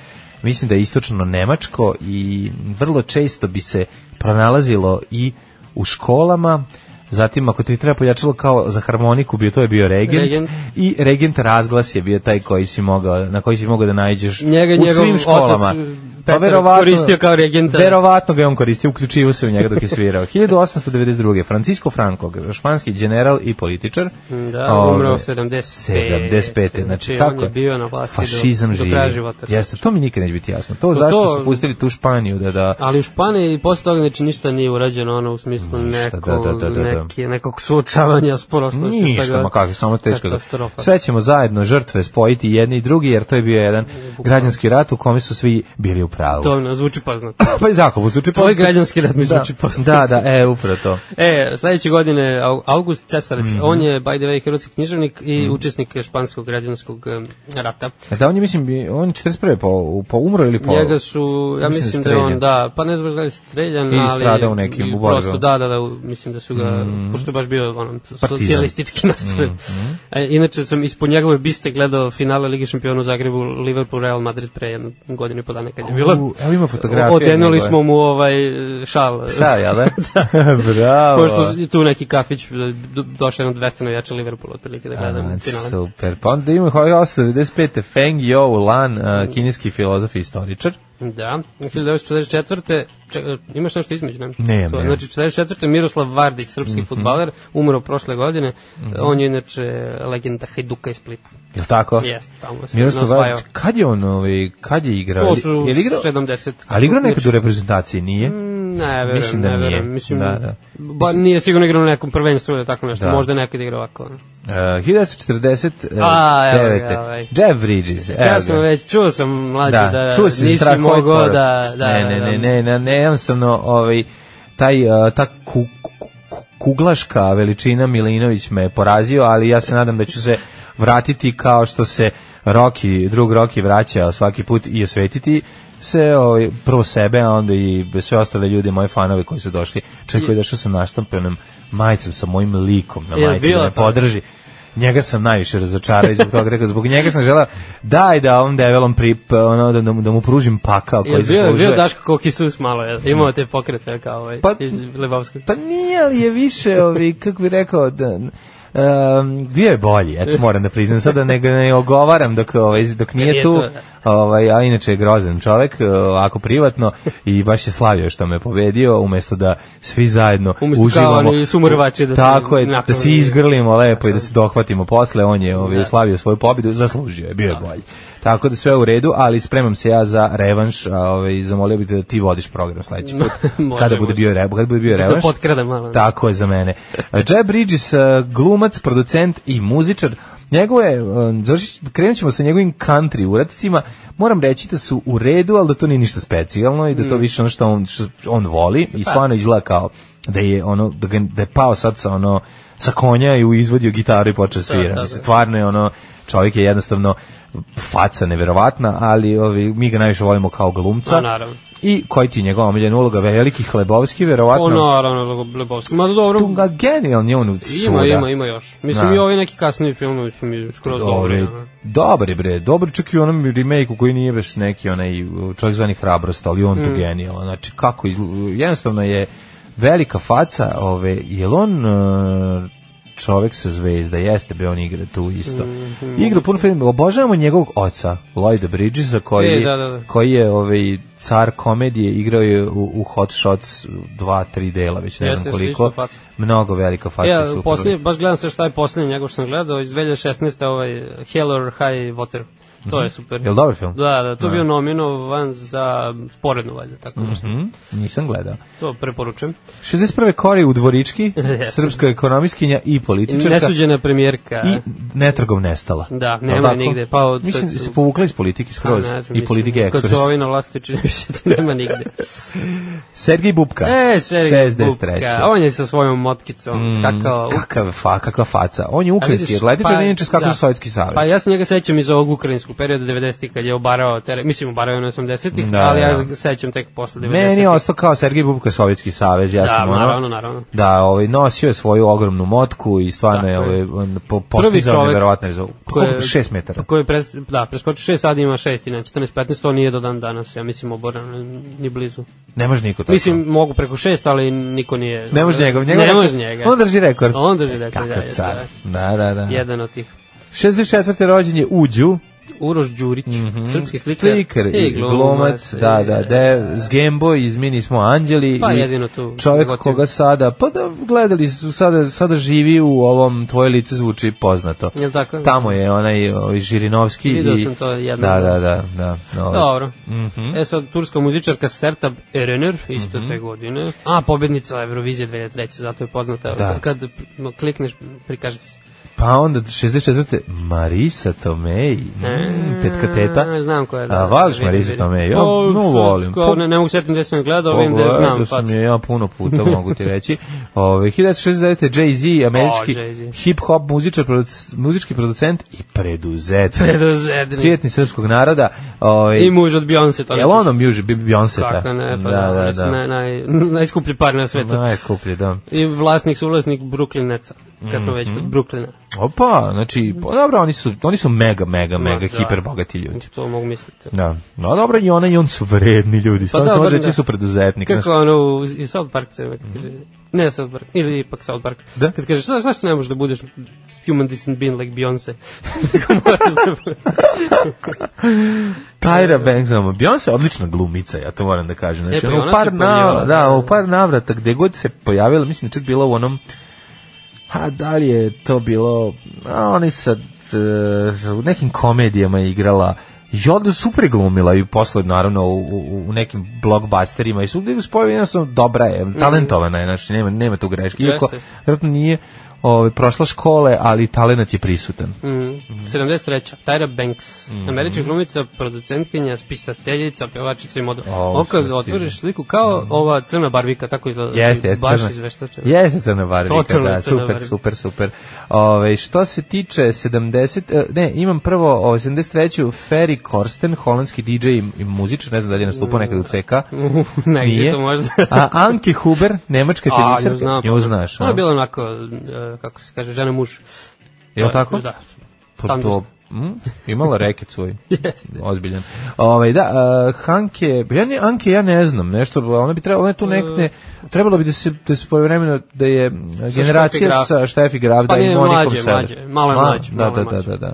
Speaker 5: Mislim da je istočno nemačko i vrlo često bi se pronalazilo i u školama. Zatim ako ti treba pojačalo kao za harmoniku bio to je bio regent,
Speaker 6: Regent.
Speaker 5: i regent razglas je bio taj koji si mogao na koji si mogao da nađeš
Speaker 6: Njega je
Speaker 5: u
Speaker 6: njegov
Speaker 5: svim
Speaker 6: otac,
Speaker 5: školama. Pa
Speaker 6: Petar, koristio kao regenta.
Speaker 5: Verovatno ga je on koristio, uključivo se u njega dok je
Speaker 6: <laughs>
Speaker 5: svirao. 1892. Francisco Franco, španski general i političar.
Speaker 6: Da,
Speaker 5: Ove,
Speaker 6: umro 75.
Speaker 5: 75. Znači,
Speaker 6: Znači,
Speaker 5: kako
Speaker 6: on je bio na vlasti do-
Speaker 5: fašizam
Speaker 6: do
Speaker 5: živi.
Speaker 6: kraja života.
Speaker 5: Jeste, to mi nikad neće biti jasno. To,
Speaker 6: Pa
Speaker 5: zašto
Speaker 6: to-
Speaker 5: su pustili tu Španiju da da
Speaker 6: Ali u Španiji posle toga znači ništa nije urađeno ono u smislu
Speaker 5: Ništa,
Speaker 6: nekog,
Speaker 5: da, da, da, da, da.
Speaker 6: Neke, nekog suočavanja s prošlošću.
Speaker 5: Ništa,
Speaker 6: tako- da
Speaker 5: ma kakvi, samo teško. ga-
Speaker 6: Katastrofa.
Speaker 5: Sve ćemo zajedno žrtve spojiti jedni i drugi, jer to je bio jedan građanski rat u kome su svi bili u pravu.
Speaker 6: To nam zvuči poznato.
Speaker 5: Pa i Zakovu zvuči
Speaker 6: Tvoj građanski rat mi zvuči
Speaker 5: da,
Speaker 6: poznato.
Speaker 5: Da, da, e, upravo to.
Speaker 6: E, sledeće godine Au- August Cesarec,
Speaker 5: Mhm.
Speaker 6: on je by the way hrvatski književnik i učesnik španskog građanskog em, rata.
Speaker 5: E, Da, on je, mislim, bi- on je 41. po, po pa umro ili po...
Speaker 6: Njega su, ja mislim,
Speaker 5: mislim
Speaker 6: da je on,
Speaker 5: streljan.
Speaker 6: da, pa ne znam da je streljan,
Speaker 5: I
Speaker 6: ali...
Speaker 5: stradao u nekim,
Speaker 6: i
Speaker 5: u borbama.
Speaker 6: Prosto, da, da, da, u- mislim da su ga, pošto je baš bio ono,
Speaker 5: Partizan. Mhm.
Speaker 6: socijalistički <laughs> nastrojen. E, inače sam ispod njegove biste gledao finale Ligi šampiona u Zagrebu, Liverpool, Real Madrid pre jednu godinu i po dana kad je bilo.
Speaker 5: U, evo ima fotografije
Speaker 6: Odenuli
Speaker 5: njegove.
Speaker 6: smo mu ovaj šal.
Speaker 5: Šta, jel
Speaker 6: <laughs>
Speaker 5: da? <laughs> Bravo.
Speaker 6: Pošto je tu neki kafić da, do- došao jedno 200 navijača Liverpoola otprilike da gledam
Speaker 5: A,
Speaker 6: finale.
Speaker 5: ovaj Super. Pa onda imamo 1895. Feng Youlan, uh, kineski filozof i istoričar.
Speaker 6: Da, 1944. Če, e, imaš nešto između, ne?
Speaker 5: Nemam,
Speaker 6: to,
Speaker 5: nemam.
Speaker 6: Znači, 44. Miroslav Vardić, srpski
Speaker 5: Mhm.
Speaker 6: mm -hmm. futbaler, umro prošle godine. Mm -hmm. On je inače legenda Hajduka iz Splita.
Speaker 5: Jel tako?
Speaker 6: Jeste, tamo se
Speaker 5: Miroslav
Speaker 6: osvajao.
Speaker 5: Vadić, kad je on, ovaj, kad je igrao?
Speaker 6: To su Mm.
Speaker 5: Jel igrao?
Speaker 6: 70.
Speaker 5: Ali igrao nekad u reprezentaciji, nije?
Speaker 6: Ne, verujem,
Speaker 5: Mislim da
Speaker 6: ne
Speaker 5: nije.
Speaker 6: verujem. Mislim,
Speaker 5: Da, da.
Speaker 6: Ba, nije sigurno igrao na nekom prvenstvu ili tako nešto.
Speaker 5: Da.
Speaker 6: Da. Možda nekad igrao ovako. ono.
Speaker 5: Uh, 1949.
Speaker 6: A, evo ga, ovaj.
Speaker 5: e, Jeff Bridges. evo
Speaker 6: Ja
Speaker 5: ga.
Speaker 6: sam već, čuo sam mlađe
Speaker 5: da,
Speaker 6: da,
Speaker 5: čuo si za
Speaker 6: nisi
Speaker 5: strah ovaj
Speaker 6: mogao
Speaker 5: poraz.
Speaker 6: da, da...
Speaker 5: ne, ne,
Speaker 6: da,
Speaker 5: ne, ne, ne, ne, jednostavno, ovaj, taj, uh, ta ku, ku- ku- kuglaška veličina Milinović me je porazio, ali ja se nadam da ću se vratiti kao što se Roki, drug Roki vraća svaki put i osvetiti se ovaj, prvo sebe, a onda i sve ostale ljude, moje fanove koji su došli. Čovjek koji je došao sa naštampanom majicom, sa mojim likom na
Speaker 6: Je li
Speaker 5: majici, da
Speaker 6: bilo
Speaker 5: me
Speaker 6: to?
Speaker 5: podrži. Njega sam najviše razočarao i zbog toga rekao, zbog njega sam želeo daj da ovom develom prip, ono, da, da, mu, da mu pružim pakao
Speaker 6: Je
Speaker 5: koji
Speaker 6: bio, je
Speaker 5: zaslužuje.
Speaker 6: bio Daško kao Kisus malo, je, imao te pokrete kao ovaj,
Speaker 5: Pa-
Speaker 6: pa, iz Lebavskog.
Speaker 5: Pa nije, ali je više, ovi, kako bi rekao, da, um, bio je bolji, eto moram da priznam, sada ne, ne ogovaram dok, ovaj, dok nije
Speaker 6: Nije
Speaker 5: tu,
Speaker 6: to,
Speaker 5: ovaj, a inače je grozan čovek, eh, ovako privatno, i baš je slavio što me pobedio, umesto da svi zajedno
Speaker 6: Umesto kao
Speaker 5: uživamo.
Speaker 6: oni sumorvači da se
Speaker 5: Tako je, da
Speaker 6: nakon-
Speaker 5: se izgrlimo lepo i da se dohvatimo posle, on je ovaj,
Speaker 6: Da.
Speaker 5: slavio svoju pobedu, zaslužio je, bio je bolji. Tako da sve u redu, ali spremam se ja za revanš, a ovaj, zamolio bih te da ti vodiš program sledeći put,
Speaker 6: <laughs> Može,
Speaker 5: kada bude
Speaker 6: može.
Speaker 5: bio, re- kada bude bio
Speaker 6: Da <laughs>
Speaker 5: revanš.
Speaker 6: potkrada malo. Da.
Speaker 5: Tako je za mene. Jeb Bridges, eh, glumac, producent i muzičar, njegove, em, završit- krenut ćemo sa njegovim country uradcima, moram reći da su u redu, ali da to nije ništa specijalno i da
Speaker 6: Mm.
Speaker 5: to više ono što on, što on voli
Speaker 6: Pa.
Speaker 5: i stvarno izgleda kao da je, ono, da, ga, da je pao sad sa ono, sa konja i u- izvadio gitaru i počeo svira.
Speaker 6: da, da.
Speaker 5: Mislim, Stvarno je ono, čovjek je jednostavno faca neverovatna, ali ovi, mi ga najviše volimo kao glumca.
Speaker 6: Ma, Pa, naravno.
Speaker 5: I koji ti je njegova omiljena uloga? Veliki Hlebovski, verovatno.
Speaker 6: Ono, naravno, Lebovski. Ma da, dobro,
Speaker 5: Tu ga genijalni on u
Speaker 6: ima,
Speaker 5: svuda.
Speaker 6: ima, ima još. Mislim,
Speaker 5: Da.
Speaker 6: i ovi neki kasniji filmovi su mi skroz
Speaker 5: Dobar je,
Speaker 6: dobri. ono.
Speaker 5: dobar je bre, dobar je čak i u onom remake-u koji nije baš neki onaj uh, čovjek zvani hrabrost, ali on mm. tu genijalan. Znači kako izgl- jednostavno je velika faca, ove, jel on uh, čovjek sa zvezda, jeste be on igra tu isto.
Speaker 6: Mhm.
Speaker 5: Mm. Igra puno film, obožavamo njegovog oca, Lloyda Bridgesa, koji,
Speaker 6: E, da, da, da.
Speaker 5: koji je ovaj, car komedije, igrao je u, u Hot Shots dva, tri dela, već ne
Speaker 6: Jeste,
Speaker 5: znam
Speaker 6: jeste,
Speaker 5: koliko.
Speaker 6: isto faca.
Speaker 5: Mnogo velika faca.
Speaker 6: Ja,
Speaker 5: pa super.
Speaker 6: posljednje, baš gledam sve šta je posljednje njegov što sam gledao, iz 2016. ovaj Hell or High Water. To je super.
Speaker 5: Mhm. Jel dobar film?
Speaker 6: Da, da, to je
Speaker 5: Da.
Speaker 6: bio nominovan za sporednu valjda, tako nešto.
Speaker 5: Mhm, nisam gledao.
Speaker 6: To preporučujem.
Speaker 5: 61. Kori u Dvorički,
Speaker 6: <laughs> Jeste.
Speaker 5: srpska ekonomiskinja i političarka
Speaker 6: Nesuđena premijerka.
Speaker 5: i netrgom nestala.
Speaker 6: Da, nema
Speaker 5: Jel tako?
Speaker 6: nigde, pa od-
Speaker 5: Mislim,
Speaker 6: kad su-
Speaker 5: se povukla iz politike skroz
Speaker 6: A, ne znam,
Speaker 5: i
Speaker 6: mislim,
Speaker 5: politike ekspres.
Speaker 6: Kad su ovi na vlasti čini mi se da nema nigde.
Speaker 5: Sergej Bubka,
Speaker 6: E, Sergej
Speaker 5: 63.
Speaker 6: Bubka, on je sa svojom motkicom skakao. u-
Speaker 5: Kakav fa, kakva faca. On je
Speaker 6: A
Speaker 5: ukrajinski
Speaker 6: vidiš,
Speaker 5: atletičar, pa, inače Mm. skakao da. za Sovjetski savez.
Speaker 6: Pa ja se njega sećam iz ovog ukrajinskog perioda 90-ih kad je obarao teren, mislim obarao je na 80-ih,
Speaker 5: Da,
Speaker 6: ali ja
Speaker 5: da.
Speaker 6: ga sećam tek posle 90-ih.
Speaker 5: Meni je ostao kao Sergej Bubka Sovjetski savez, ja
Speaker 6: Da,
Speaker 5: sam ono...
Speaker 6: naravno, naravno.
Speaker 5: Da, ovaj, nosio je svoju ogromnu motku i stvarno je
Speaker 6: Tako
Speaker 5: ovaj,
Speaker 6: je.
Speaker 5: on po, postizao
Speaker 6: čovek
Speaker 5: nevjerovatne rezultate.
Speaker 6: koji je-
Speaker 5: Koliko? 6 metara.
Speaker 6: Koji je pres, da, preskoči 6, sad ima 6 i ne, 14-15, to nije do dan danas, ja mislim oboran, ni blizu.
Speaker 5: Ne može niko to.
Speaker 6: Mislim, mogu preko 6, ali niko nije.
Speaker 5: Ne može njega, njega.
Speaker 6: ne može njega.
Speaker 5: On drži rekord.
Speaker 6: On drži rekord, da,
Speaker 5: Kakav
Speaker 6: jeste,
Speaker 5: car. Da, da, da.
Speaker 6: da. Jedan od tih.
Speaker 5: 64. rođen je Uđu,
Speaker 6: Uroš Đurić, srpski slikar,
Speaker 5: slikar Mhm. i glumac, da, da, de, s Gembo iz Mi nismo anđeli.
Speaker 6: Pa
Speaker 5: i
Speaker 6: jedino tu
Speaker 5: Čovjek
Speaker 6: motiv.
Speaker 5: koga sada, pa da, gledali su, sada, sada živi u ovom, tvoje lice zvuči poznato.
Speaker 6: Jel tako?
Speaker 5: Tamo je onaj ovaj, Žirinovski.
Speaker 6: Video
Speaker 5: i-
Speaker 6: sam to jednom.
Speaker 5: Da, da, da. da, da ovaj.
Speaker 6: Dobro. E sad, turska muzičarka Sertab Erener, isto
Speaker 5: Mhm.
Speaker 6: te godine. A, pobednica Eurovizije 2003. Zato je poznata.
Speaker 5: Da.
Speaker 6: Kad no, klikneš, prikaže ti se.
Speaker 5: Pa onda 64. Marisa Tomei, mm, tetka teta.
Speaker 6: E, Znam koja je.
Speaker 5: A, voliš Marizu
Speaker 6: vidim.
Speaker 5: Tomei? Ja,
Speaker 6: da, O,
Speaker 5: no,
Speaker 6: sad,
Speaker 5: volim.
Speaker 6: Kao, ne, ne mogu setim gde sam je gledao, vidim da
Speaker 5: Pogledao
Speaker 6: znam. Pa,
Speaker 5: sam
Speaker 6: <laughs>
Speaker 5: je ja puno puta, mogu ti reći. <laughs> Ove, 1969. Jay-Z, američki
Speaker 6: O, Jay-Z.
Speaker 5: hip-hop muzičar, produc, muzički producent i preduzetnik.
Speaker 6: Predozetni.
Speaker 5: Prijetni srpskog naroda. Ove,
Speaker 6: I muž od Beyoncé. to ne-
Speaker 5: Jel ono muži, Beyoncé? ta?
Speaker 6: Kako ne, pa
Speaker 5: da,
Speaker 6: da,
Speaker 5: da,
Speaker 6: oni su
Speaker 5: da.
Speaker 6: Naj, naj, <laughs> najskuplji par na svetu.
Speaker 5: Najkuplje, da.
Speaker 6: I vlasnik su ulaznik Brooklyneca, kad
Speaker 5: Mhm.
Speaker 6: smo već kod Brooklyna.
Speaker 5: Opa, znači, pa dobro, oni su, oni su mega, mega, mega
Speaker 6: da.
Speaker 5: hiperbogati ljudi.
Speaker 6: To mogu misliti.
Speaker 5: Da. No dobro, i ona i on su vredni ljudi. Pa
Speaker 6: da,
Speaker 5: Samo da,
Speaker 6: vrlo,
Speaker 5: reći
Speaker 6: da.
Speaker 5: su preduzetnik. znaš. Mhm.
Speaker 6: Kako ono, u, u South Park se uvek kaže, Ne South Park, ili ipak South Park.
Speaker 5: Da?
Speaker 6: Kad kažeš, "Za- zašto ne možeš da budeš human decent being like Beyoncé? <laughs> Nego moraš da budeš. Da,
Speaker 5: Tyra Banks, ono, Beyoncé je odlična glumica, ja to moram da kažem. Znači,
Speaker 6: E, pa i
Speaker 5: ono, u
Speaker 6: ona se
Speaker 5: par, na,
Speaker 6: pojavila.
Speaker 5: da, u par navrata gde god se pojavila, mislim da je čak bila u onom, a da li je to bilo, a oni sad e, u nekim komedijama je igrala, i onda super je glumila i posle naravno u, u, u nekim blockbusterima i svugde je spojava jednostavno dobra je, talentovana je, znači nema, nema tu greške, iako
Speaker 6: Mhm. Jeste.
Speaker 5: vjerojatno nije ove, prošla škole, ali talenat je prisutan.
Speaker 6: Mm.
Speaker 5: Mhm.
Speaker 6: 73. Tyra Banks, mm. američka glumica, producentkinja, spisateljica, pjevačica i model.
Speaker 5: Ovo
Speaker 6: Ovo,
Speaker 5: što
Speaker 6: kad
Speaker 5: stiže.
Speaker 6: otvoriš sliku, kao ova crna barvika, tako izgleda. znači,
Speaker 5: Jeste, jeste.
Speaker 6: Baš
Speaker 5: crna-
Speaker 6: izveštačena. <laughs>
Speaker 5: Jeste crna barvika,
Speaker 6: Totalno
Speaker 5: da,
Speaker 6: crna
Speaker 5: super,
Speaker 6: barvika.
Speaker 5: super, super. Ove, što se tiče 70, e, ne, imam prvo o, 73. Ferry Korsten, holandski DJ i, i muzičar, ne znam da li je nastupao nekad u CK.
Speaker 6: <laughs> Negdje
Speaker 5: Nije.
Speaker 6: to možda. <laughs>
Speaker 5: A Anke Huber, nemačka
Speaker 6: A, nju
Speaker 5: tenisarka,
Speaker 6: znam.
Speaker 5: nju znaš,
Speaker 6: Ona
Speaker 5: a?
Speaker 6: je bila onako, e, kako se kaže, žena muž.
Speaker 5: je li tako?
Speaker 6: Da.
Speaker 5: Pa
Speaker 6: Tangos.
Speaker 5: to, mm, imala reket
Speaker 6: <laughs>
Speaker 5: svoj. Jeste. Ozbiljan. Ovaj da, uh, Hanke, ja ne, Anke ja ne znam, nešto, ona bi trebala, ona je
Speaker 6: E,
Speaker 5: tu nekne, trebalo bi da se da se povremeno da je uh, generacija
Speaker 6: Graf.
Speaker 5: sa Štefi Graf
Speaker 6: Pa
Speaker 5: da i
Speaker 6: nije,
Speaker 5: Monikom
Speaker 6: mlađe,
Speaker 5: Seller.
Speaker 6: mlađe, malo je
Speaker 5: Ma,
Speaker 6: mlađe,
Speaker 5: Da,
Speaker 6: malo
Speaker 5: da,
Speaker 6: je
Speaker 5: da,
Speaker 6: mlađe.
Speaker 5: da, da.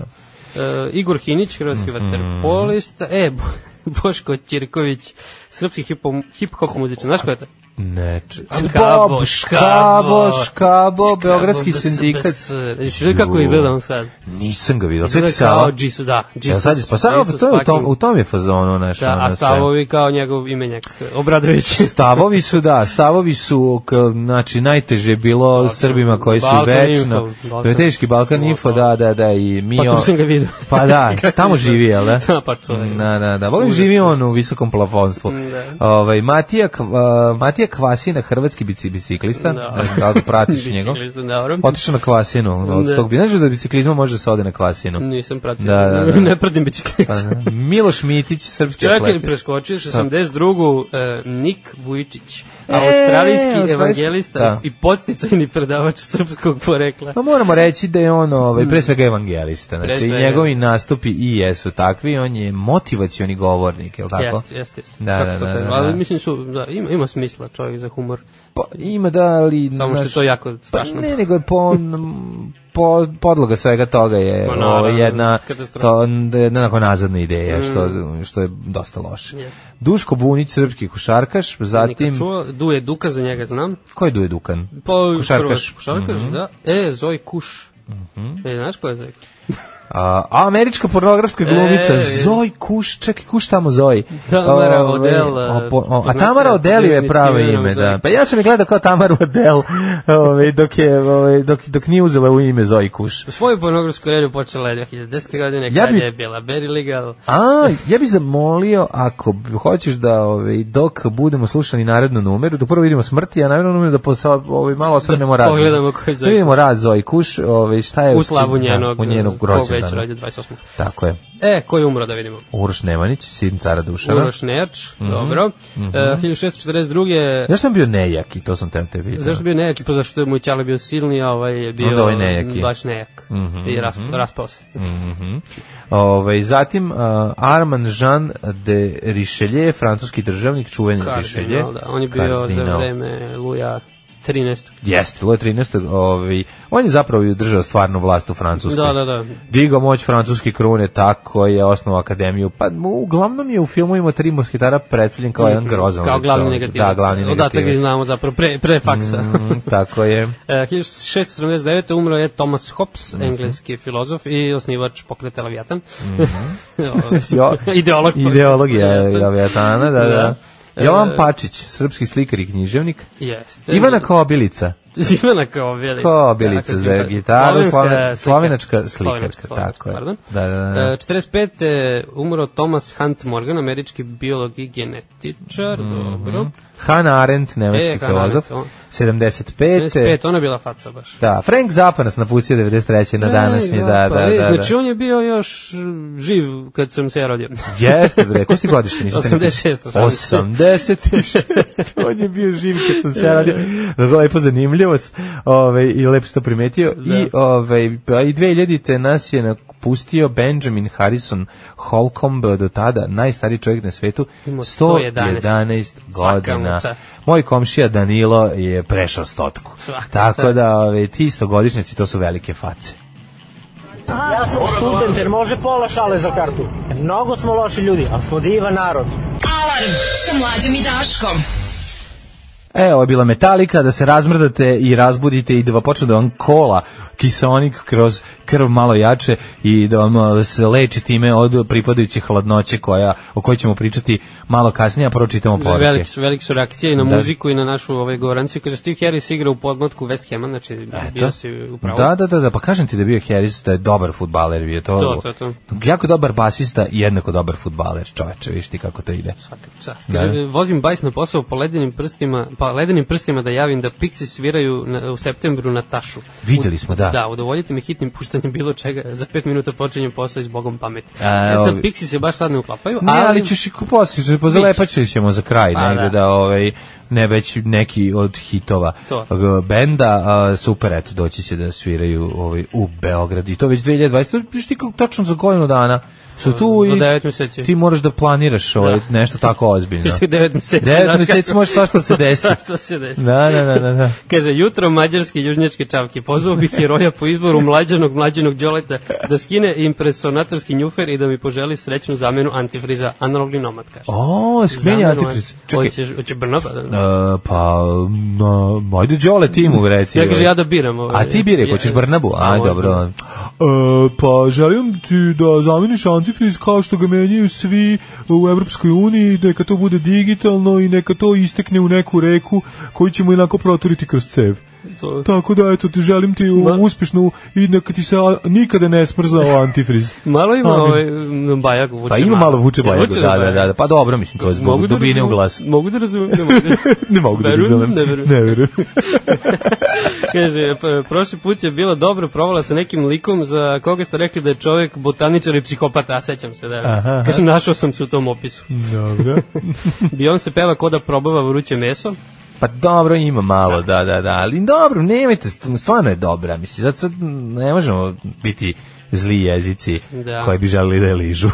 Speaker 6: E, Igor Hinić, hrvatski
Speaker 5: Mhm.
Speaker 6: vaterpolista, e, Bo- <laughs> Boško Ćirković, srpski hipo- hip-hop muzičar, znaš ko je to?
Speaker 5: Neče.
Speaker 6: Škabo,
Speaker 5: Bob, Škabo,
Speaker 6: Škabo,
Speaker 5: Škabo, Beogradski
Speaker 6: BSBS.
Speaker 5: sindikat.
Speaker 6: e, Jesi vidio kako
Speaker 5: Ju.
Speaker 6: izgleda on sad?
Speaker 5: Nisam ga vidio, sve
Speaker 6: Izgleda
Speaker 5: se
Speaker 6: kao Jesus, da.
Speaker 5: Ja
Speaker 6: Jesus,
Speaker 5: sad, pa samo
Speaker 6: Jesus
Speaker 5: to je u tom,
Speaker 6: fucking-
Speaker 5: u tom je fazonu naš.
Speaker 6: Da,
Speaker 5: ono,
Speaker 6: a
Speaker 5: sve.
Speaker 6: stavovi kao njegov imenjak, e, Obradović.
Speaker 5: Stavovi su, da, stavovi su, k- znači, najteže je bilo Srbima koji su
Speaker 6: Balkan
Speaker 5: večno.
Speaker 6: Info, Balkan.
Speaker 5: To je teški Balkan Info, da, da, da, i mi...
Speaker 6: <laughs> Pa tu <laughs> sam ga vidio.
Speaker 5: Pa da, tamo živi, jel da?
Speaker 6: Da, <laughs> pa to je.
Speaker 5: Da, da, da. Volim živi on u visokom plafonstvu.
Speaker 6: Da.
Speaker 5: Ovaj, Matija, Kv- Matija Kvasina, hrvatski bici, biciklista.
Speaker 6: Da.
Speaker 5: Ne znam da li ga
Speaker 6: <laughs>
Speaker 5: pratiš njegov.
Speaker 6: Biciklista, dobro.
Speaker 5: Otišao na Kvasinu. Od
Speaker 6: Da.
Speaker 5: tog bi. Znaš da biciklizma može da se ode na Kvasinu?
Speaker 6: Nisam pratio.
Speaker 5: Da, da, da.
Speaker 6: <laughs> ne pratim biciklista.
Speaker 5: Miloš Mitić, srpski
Speaker 6: Čekaj,
Speaker 5: atlet.
Speaker 6: preskočiš 82. Uh, Nik Vujičić,
Speaker 5: E, australijski-
Speaker 6: australijski evangelista
Speaker 5: Da.
Speaker 6: i podsticajni predavač srpskog porekla.
Speaker 5: Pa moramo reći da je on ovaj, pre svega evangelista.
Speaker 6: Mm. Pre
Speaker 5: Znači,
Speaker 6: svega.
Speaker 5: njegovi nastupi i jesu takvi, on je motivacioni govornik, je li tako?
Speaker 6: Jeste, jeste, jeste.
Speaker 5: Da,
Speaker 6: Kako
Speaker 5: da,
Speaker 6: se to
Speaker 5: da,
Speaker 6: kaže?
Speaker 5: da, da.
Speaker 6: Ali mislim su, da, ima, ima smisla čovjek za humor.
Speaker 5: Pa, ima da, ali...
Speaker 6: Samo što je
Speaker 5: znaš,
Speaker 6: to jako
Speaker 5: Pa
Speaker 6: strašno.
Speaker 5: ne, nego je po, m, po, podloga svega toga je
Speaker 6: Ma,
Speaker 5: ovo,
Speaker 6: naravno,
Speaker 5: jedna,
Speaker 6: katastrofa. Mm.
Speaker 5: to, jedna onako nazadna ideja, što, što je dosta loše.
Speaker 6: Jeste.
Speaker 5: Duško Bunić, srpski košarkaš,
Speaker 6: Nikad
Speaker 5: zatim...
Speaker 6: čuo, Duje Duka, za njega znam.
Speaker 5: Ko je Duje Dukan?
Speaker 6: Pa,
Speaker 5: Košarkaš.
Speaker 6: Košarkaš.
Speaker 5: Mhm.
Speaker 6: Košarkaš, da. E, Zoj Kuš. E, znaš ko je Zoj Kuš?
Speaker 5: A, a američka pornografska glumica,
Speaker 6: E,
Speaker 5: e,
Speaker 6: je.
Speaker 5: Zoj Kuš, čekaj, Kuš tamo Zoj.
Speaker 6: Tamara
Speaker 5: Ove,
Speaker 6: Odell, da,
Speaker 5: o, po- o, a
Speaker 6: poznata
Speaker 5: Tamara Odell je
Speaker 6: prijateljničkim
Speaker 5: pravo
Speaker 6: imenom
Speaker 5: ime,
Speaker 6: Zoe.
Speaker 5: da. Pa ja sam je gledao kao Tamara Odell, ove, dok, je, ove, dok, dok nije uzela u ime Zoj Kuš.
Speaker 6: Svoju pornografsku karijeru počela je 2010. godine,
Speaker 5: Ja
Speaker 6: ja
Speaker 5: bi-
Speaker 6: je bila Barry Legal.
Speaker 5: A, ja bih zamolio, ako b- hoćeš da ove, dok budemo slušali narednu numeru, da prvo vidimo smrti, a narednu numeru da posao, ove, malo osvrnemo rad.
Speaker 6: pogledamo ko je Zoe
Speaker 5: Da vidimo rad Zoj Kuš, ove, šta je
Speaker 6: U slavu
Speaker 5: da,
Speaker 6: njenog,
Speaker 5: u njenog
Speaker 6: kog već
Speaker 5: rođendana.
Speaker 6: rođe 28.
Speaker 5: Tako je.
Speaker 6: E, ko je umro da vidimo?
Speaker 5: Uroš Nemanjić, sin cara Dušana.
Speaker 6: Uroš Nejač,
Speaker 5: Mhm.
Speaker 6: dobro. E, 1642.
Speaker 5: Zašto sam bio nejak i to sam te te vidio?
Speaker 6: Zašto je bio nejaki? Pa zašto je moj ćale bio silni, a ovaj je bio
Speaker 5: Onda ovaj nejaki.
Speaker 6: baš nejak.
Speaker 5: Mhm,
Speaker 6: I rasp- raspao se.
Speaker 5: No Ove, zatim uh, Arman Jean de Richelieu, francuski državnik, čuveni Richelieu.
Speaker 6: Kardinal, no, da. On je bio za
Speaker 5: Kardinal.
Speaker 6: vreme Luja 13.
Speaker 5: Jeste, Luj 13. Ovaj, on je zapravo i držao stvarnu vlast u Francuskoj.
Speaker 6: Da, da, da.
Speaker 5: Digao moć francuske krune, tako je osnovao akademiju. Pa mu, uglavnom je u filmu ima tri musketara predstavljen kao jedan grozan.
Speaker 6: Mhm. Kao
Speaker 5: lik,
Speaker 6: glavni
Speaker 5: ono.
Speaker 6: negativac.
Speaker 5: Da, glavni
Speaker 6: Odatak ga i
Speaker 5: negativac.
Speaker 6: znamo zapravo, pre, pre faksa.
Speaker 5: Mm, tako je.
Speaker 6: <laughs> E, 1679. umro je Thomas Hobbes,
Speaker 5: Mhm.
Speaker 6: engleski filozof i osnivač pokreta Leviatan.
Speaker 5: Mhm.
Speaker 6: <laughs>
Speaker 5: Jo-
Speaker 6: Ideolog. pokreta
Speaker 5: Ideologija
Speaker 6: Leviatan.
Speaker 5: Leviatana, da, da.
Speaker 6: Da.
Speaker 5: Jovan
Speaker 6: E,
Speaker 5: Pačić, srpski slikar i književnik.
Speaker 6: Jeste.
Speaker 5: Ivana Kobilica.
Speaker 6: Ivana Kobilica.
Speaker 5: Kobilica
Speaker 6: Tako,
Speaker 5: za
Speaker 6: Ivana-
Speaker 5: gitaru,
Speaker 6: slovenska
Speaker 5: sloven- slovenačka
Speaker 6: Slovenačka,
Speaker 5: slikarka,
Speaker 6: slovenačka,
Speaker 5: tako je.
Speaker 6: pardon.
Speaker 5: Da, da, da.
Speaker 6: E, 45. je umro Thomas Hunt Morgan, američki biolog i genetičar,
Speaker 5: Mhm.
Speaker 6: dobro.
Speaker 5: Hannah Arendt, nemački
Speaker 6: E, Hannah Arendt,
Speaker 5: filozof,
Speaker 6: on.
Speaker 5: 75.
Speaker 6: 75, ona je bila faca baš.
Speaker 5: Da, Frank Zappa nas napustio 93. na današnji,
Speaker 6: E,
Speaker 5: da, da,
Speaker 6: pa, e,
Speaker 5: da.
Speaker 6: Znači,
Speaker 5: da.
Speaker 6: on je bio još mm, živ kad sam se ja rodio.
Speaker 5: Jeste, bre, ko si ti godište? Nisam te rekao.
Speaker 6: 86, šalim se.
Speaker 5: 86. On je bio živ kad sam se radio. Lepo ovaj,
Speaker 6: Da.
Speaker 5: zanimljivost. Ove, I lepo si to primetio. I, ove, pa i 2000. te nas je na napustio Benjamin Harrison Holcomb, do tada najstariji čovjek na svetu,
Speaker 6: Imao
Speaker 5: 111,
Speaker 6: 111
Speaker 5: godina.
Speaker 6: Svaka mu čast.
Speaker 5: Moj komšija Danilo je prešao stotku.
Speaker 6: Svaka mu
Speaker 5: Tako
Speaker 6: čast.
Speaker 5: da ove, ti stogodišnjaci to su velike face.
Speaker 9: Ja sam student jer može pola šale za kartu. Mnogo smo loši ljudi, ali smo divan narod.
Speaker 4: Alarm sa mlađom i Daškom.
Speaker 5: E, ovo je bila metalika, da se razmrdate i razbudite i da vam počne da vam kola kiseonik kroz krv malo jače i da vam e, se leči time od pripadajuće hladnoće koja, o kojoj ćemo pričati malo kasnije, a pročitamo poruke.
Speaker 6: Velike su, velike su reakcije i na
Speaker 5: Da.
Speaker 6: muziku i na našu ovaj govoranciju. Kaže, Steve Harris igra u podmatku West Hema, znači bio si upravo.
Speaker 5: Da, da, da, da, pa kažem ti da je bio Harris, da je dobar futbaler, bio to,
Speaker 6: To, to, to.
Speaker 5: jako dobar basista i jednako dobar futbaler, čoveče, viš ti kako to ide.
Speaker 6: Svaka čast. Pa,
Speaker 5: Da.
Speaker 6: Kaže, vozim bajs na posao po ledenim prstima, pa ledenim prstima da javim da Pixi sviraju na, u septembru na tašu.
Speaker 5: Videli smo, da.
Speaker 6: Da, udovoljite mi hitnim puštanjem bilo čega. Za pet minuta počinjem posao iz bogom pameti.
Speaker 5: A,
Speaker 6: ja sam,
Speaker 5: ovi-
Speaker 6: Pixi se baš sad ne uklapaju,
Speaker 5: Ne, ali
Speaker 6: <laughs>
Speaker 5: ćeš i kupositi, pozalepačit ćemo za kraj
Speaker 6: Pa,
Speaker 5: negde da,
Speaker 6: da.
Speaker 5: ovaj, ne već neki od hitova
Speaker 6: To.
Speaker 5: g- benda, a, super, eto, doći će da sviraju ovaj, u Beograd i to već 2020, to je ti kako tačno za godinu dana su tu
Speaker 6: Do
Speaker 5: i
Speaker 6: devet meseci.
Speaker 5: ti moraš da planiraš ovaj,
Speaker 6: Da.
Speaker 5: nešto tako
Speaker 6: <laughs>
Speaker 5: ozbiljno.
Speaker 6: Što je devet meseci.
Speaker 5: Devet
Speaker 6: znaš
Speaker 5: meseci
Speaker 6: kako?
Speaker 5: može svašta da
Speaker 6: <laughs>
Speaker 5: se desi.
Speaker 6: Svašta se desi.
Speaker 5: Da, da, da, da, da.
Speaker 6: Kaže, jutro mađarske i južnjačke čavke. Pozvao bih heroja po izboru mlađanog, mlađanog Đoleta da skine impresonatorski njufer i da mi poželi srećnu zamenu antifriza. Analogni nomad, kaže.
Speaker 5: O, skmenja
Speaker 6: Zamenu
Speaker 5: antifriz.
Speaker 6: anti-
Speaker 5: Čekaj,
Speaker 6: Hoćeš, hoće Brnoba? Da,
Speaker 5: e, pa, no, ajde Đole ti
Speaker 6: <laughs>
Speaker 5: mu reci.
Speaker 6: ja kaže,
Speaker 5: ovaj.
Speaker 6: ja da biram. Ovaj.
Speaker 5: A ti bi rekao, ćeš Brnabu? A,
Speaker 6: Ovo je
Speaker 5: dobro. E, pa želim ti da zameniš antifriz kao što ga menjaju svi u Evropskoj uniji, neka to bude digitalno i neka to istekne u neku reku koju ćemo inako proturiti kroz cev.
Speaker 6: To-
Speaker 5: Tako da, eto, ti želim ti u-
Speaker 6: Ma-
Speaker 5: uspešnu i neka ti se a, nikada ne smrzao antifriz.
Speaker 6: Malo ima
Speaker 5: Amin.
Speaker 6: ovaj, m, bajagu. vuče
Speaker 5: <laughs>
Speaker 6: E,
Speaker 5: Pa ima malo vuče bajagu,
Speaker 6: Vuče
Speaker 5: da, da, da, da.
Speaker 6: bajagu.
Speaker 5: Pa dobro, mislim, to je
Speaker 6: Mogu
Speaker 5: zbog
Speaker 6: da
Speaker 5: dubine u
Speaker 6: razumem-
Speaker 5: glasu.
Speaker 6: Mogu da razumem,
Speaker 5: <laughs>
Speaker 6: ne mogu da
Speaker 5: Ne mogu da
Speaker 6: Verujem,
Speaker 5: razumem.
Speaker 6: ne verujem.
Speaker 5: Ne verujem.
Speaker 6: <laughs>
Speaker 5: <laughs>
Speaker 6: Kaže, p- prošli put je bila dobro provala sa nekim likom za koga ste rekli da je čovjek botaničar i psihopata, a sećam se da.
Speaker 5: Aha,
Speaker 6: Kaže, našao sam se u
Speaker 5: <laughs>
Speaker 6: tom opisu.
Speaker 5: Dobro.
Speaker 6: Beyoncé peva ko da probava vruće meso.
Speaker 5: Pa dobro, ima malo, da, da, da, ali dobro, nemojte, st- stvarno je dobra, mislim, sad, sad ne možemo biti zli jezici
Speaker 6: Da.
Speaker 5: koji bi želili da je ližu.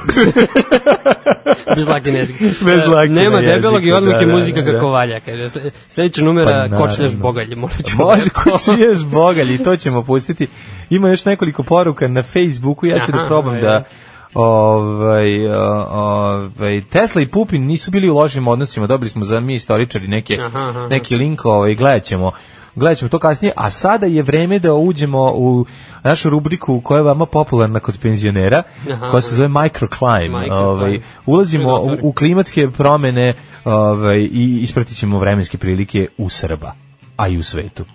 Speaker 6: Bez lakine jezika.
Speaker 5: <laughs> Bez
Speaker 6: E,
Speaker 5: lakine
Speaker 6: Nema debelog i
Speaker 5: jezika,
Speaker 6: odmah
Speaker 5: da,
Speaker 6: je
Speaker 5: da,
Speaker 6: muzika
Speaker 5: da, da.
Speaker 6: kako valja. Kaže, Sle- sledeća numera
Speaker 5: Pa,
Speaker 6: kočljaš
Speaker 5: naravno.
Speaker 6: bogalje. Morat ću
Speaker 5: Može,
Speaker 6: neko. <laughs>
Speaker 5: ko čiješ bogalj i to ćemo pustiti. Ima još nekoliko poruka na Facebooku, ja ću da
Speaker 6: Aha,
Speaker 5: probam da...
Speaker 6: ajde.
Speaker 5: Ovaj, o- ovaj, Tesla i Pupin nisu bili u lošim odnosima, dobili smo za mi istoričari neke,
Speaker 6: Aha, aha.
Speaker 5: neki link, ovaj, gledat ćemo gledat ćemo to kasnije, a sada je vreme da uđemo u našu rubriku koja je vama popularna kod penzionera,
Speaker 6: Aha.
Speaker 5: koja se zove Microclimb.
Speaker 6: Microclimb.
Speaker 5: Ovaj, ulazimo
Speaker 6: Čuj da
Speaker 5: u,
Speaker 6: otvorim.
Speaker 5: u klimatske promene ovaj, i ispratit ćemo vremenske prilike u Srba, a i u svetu.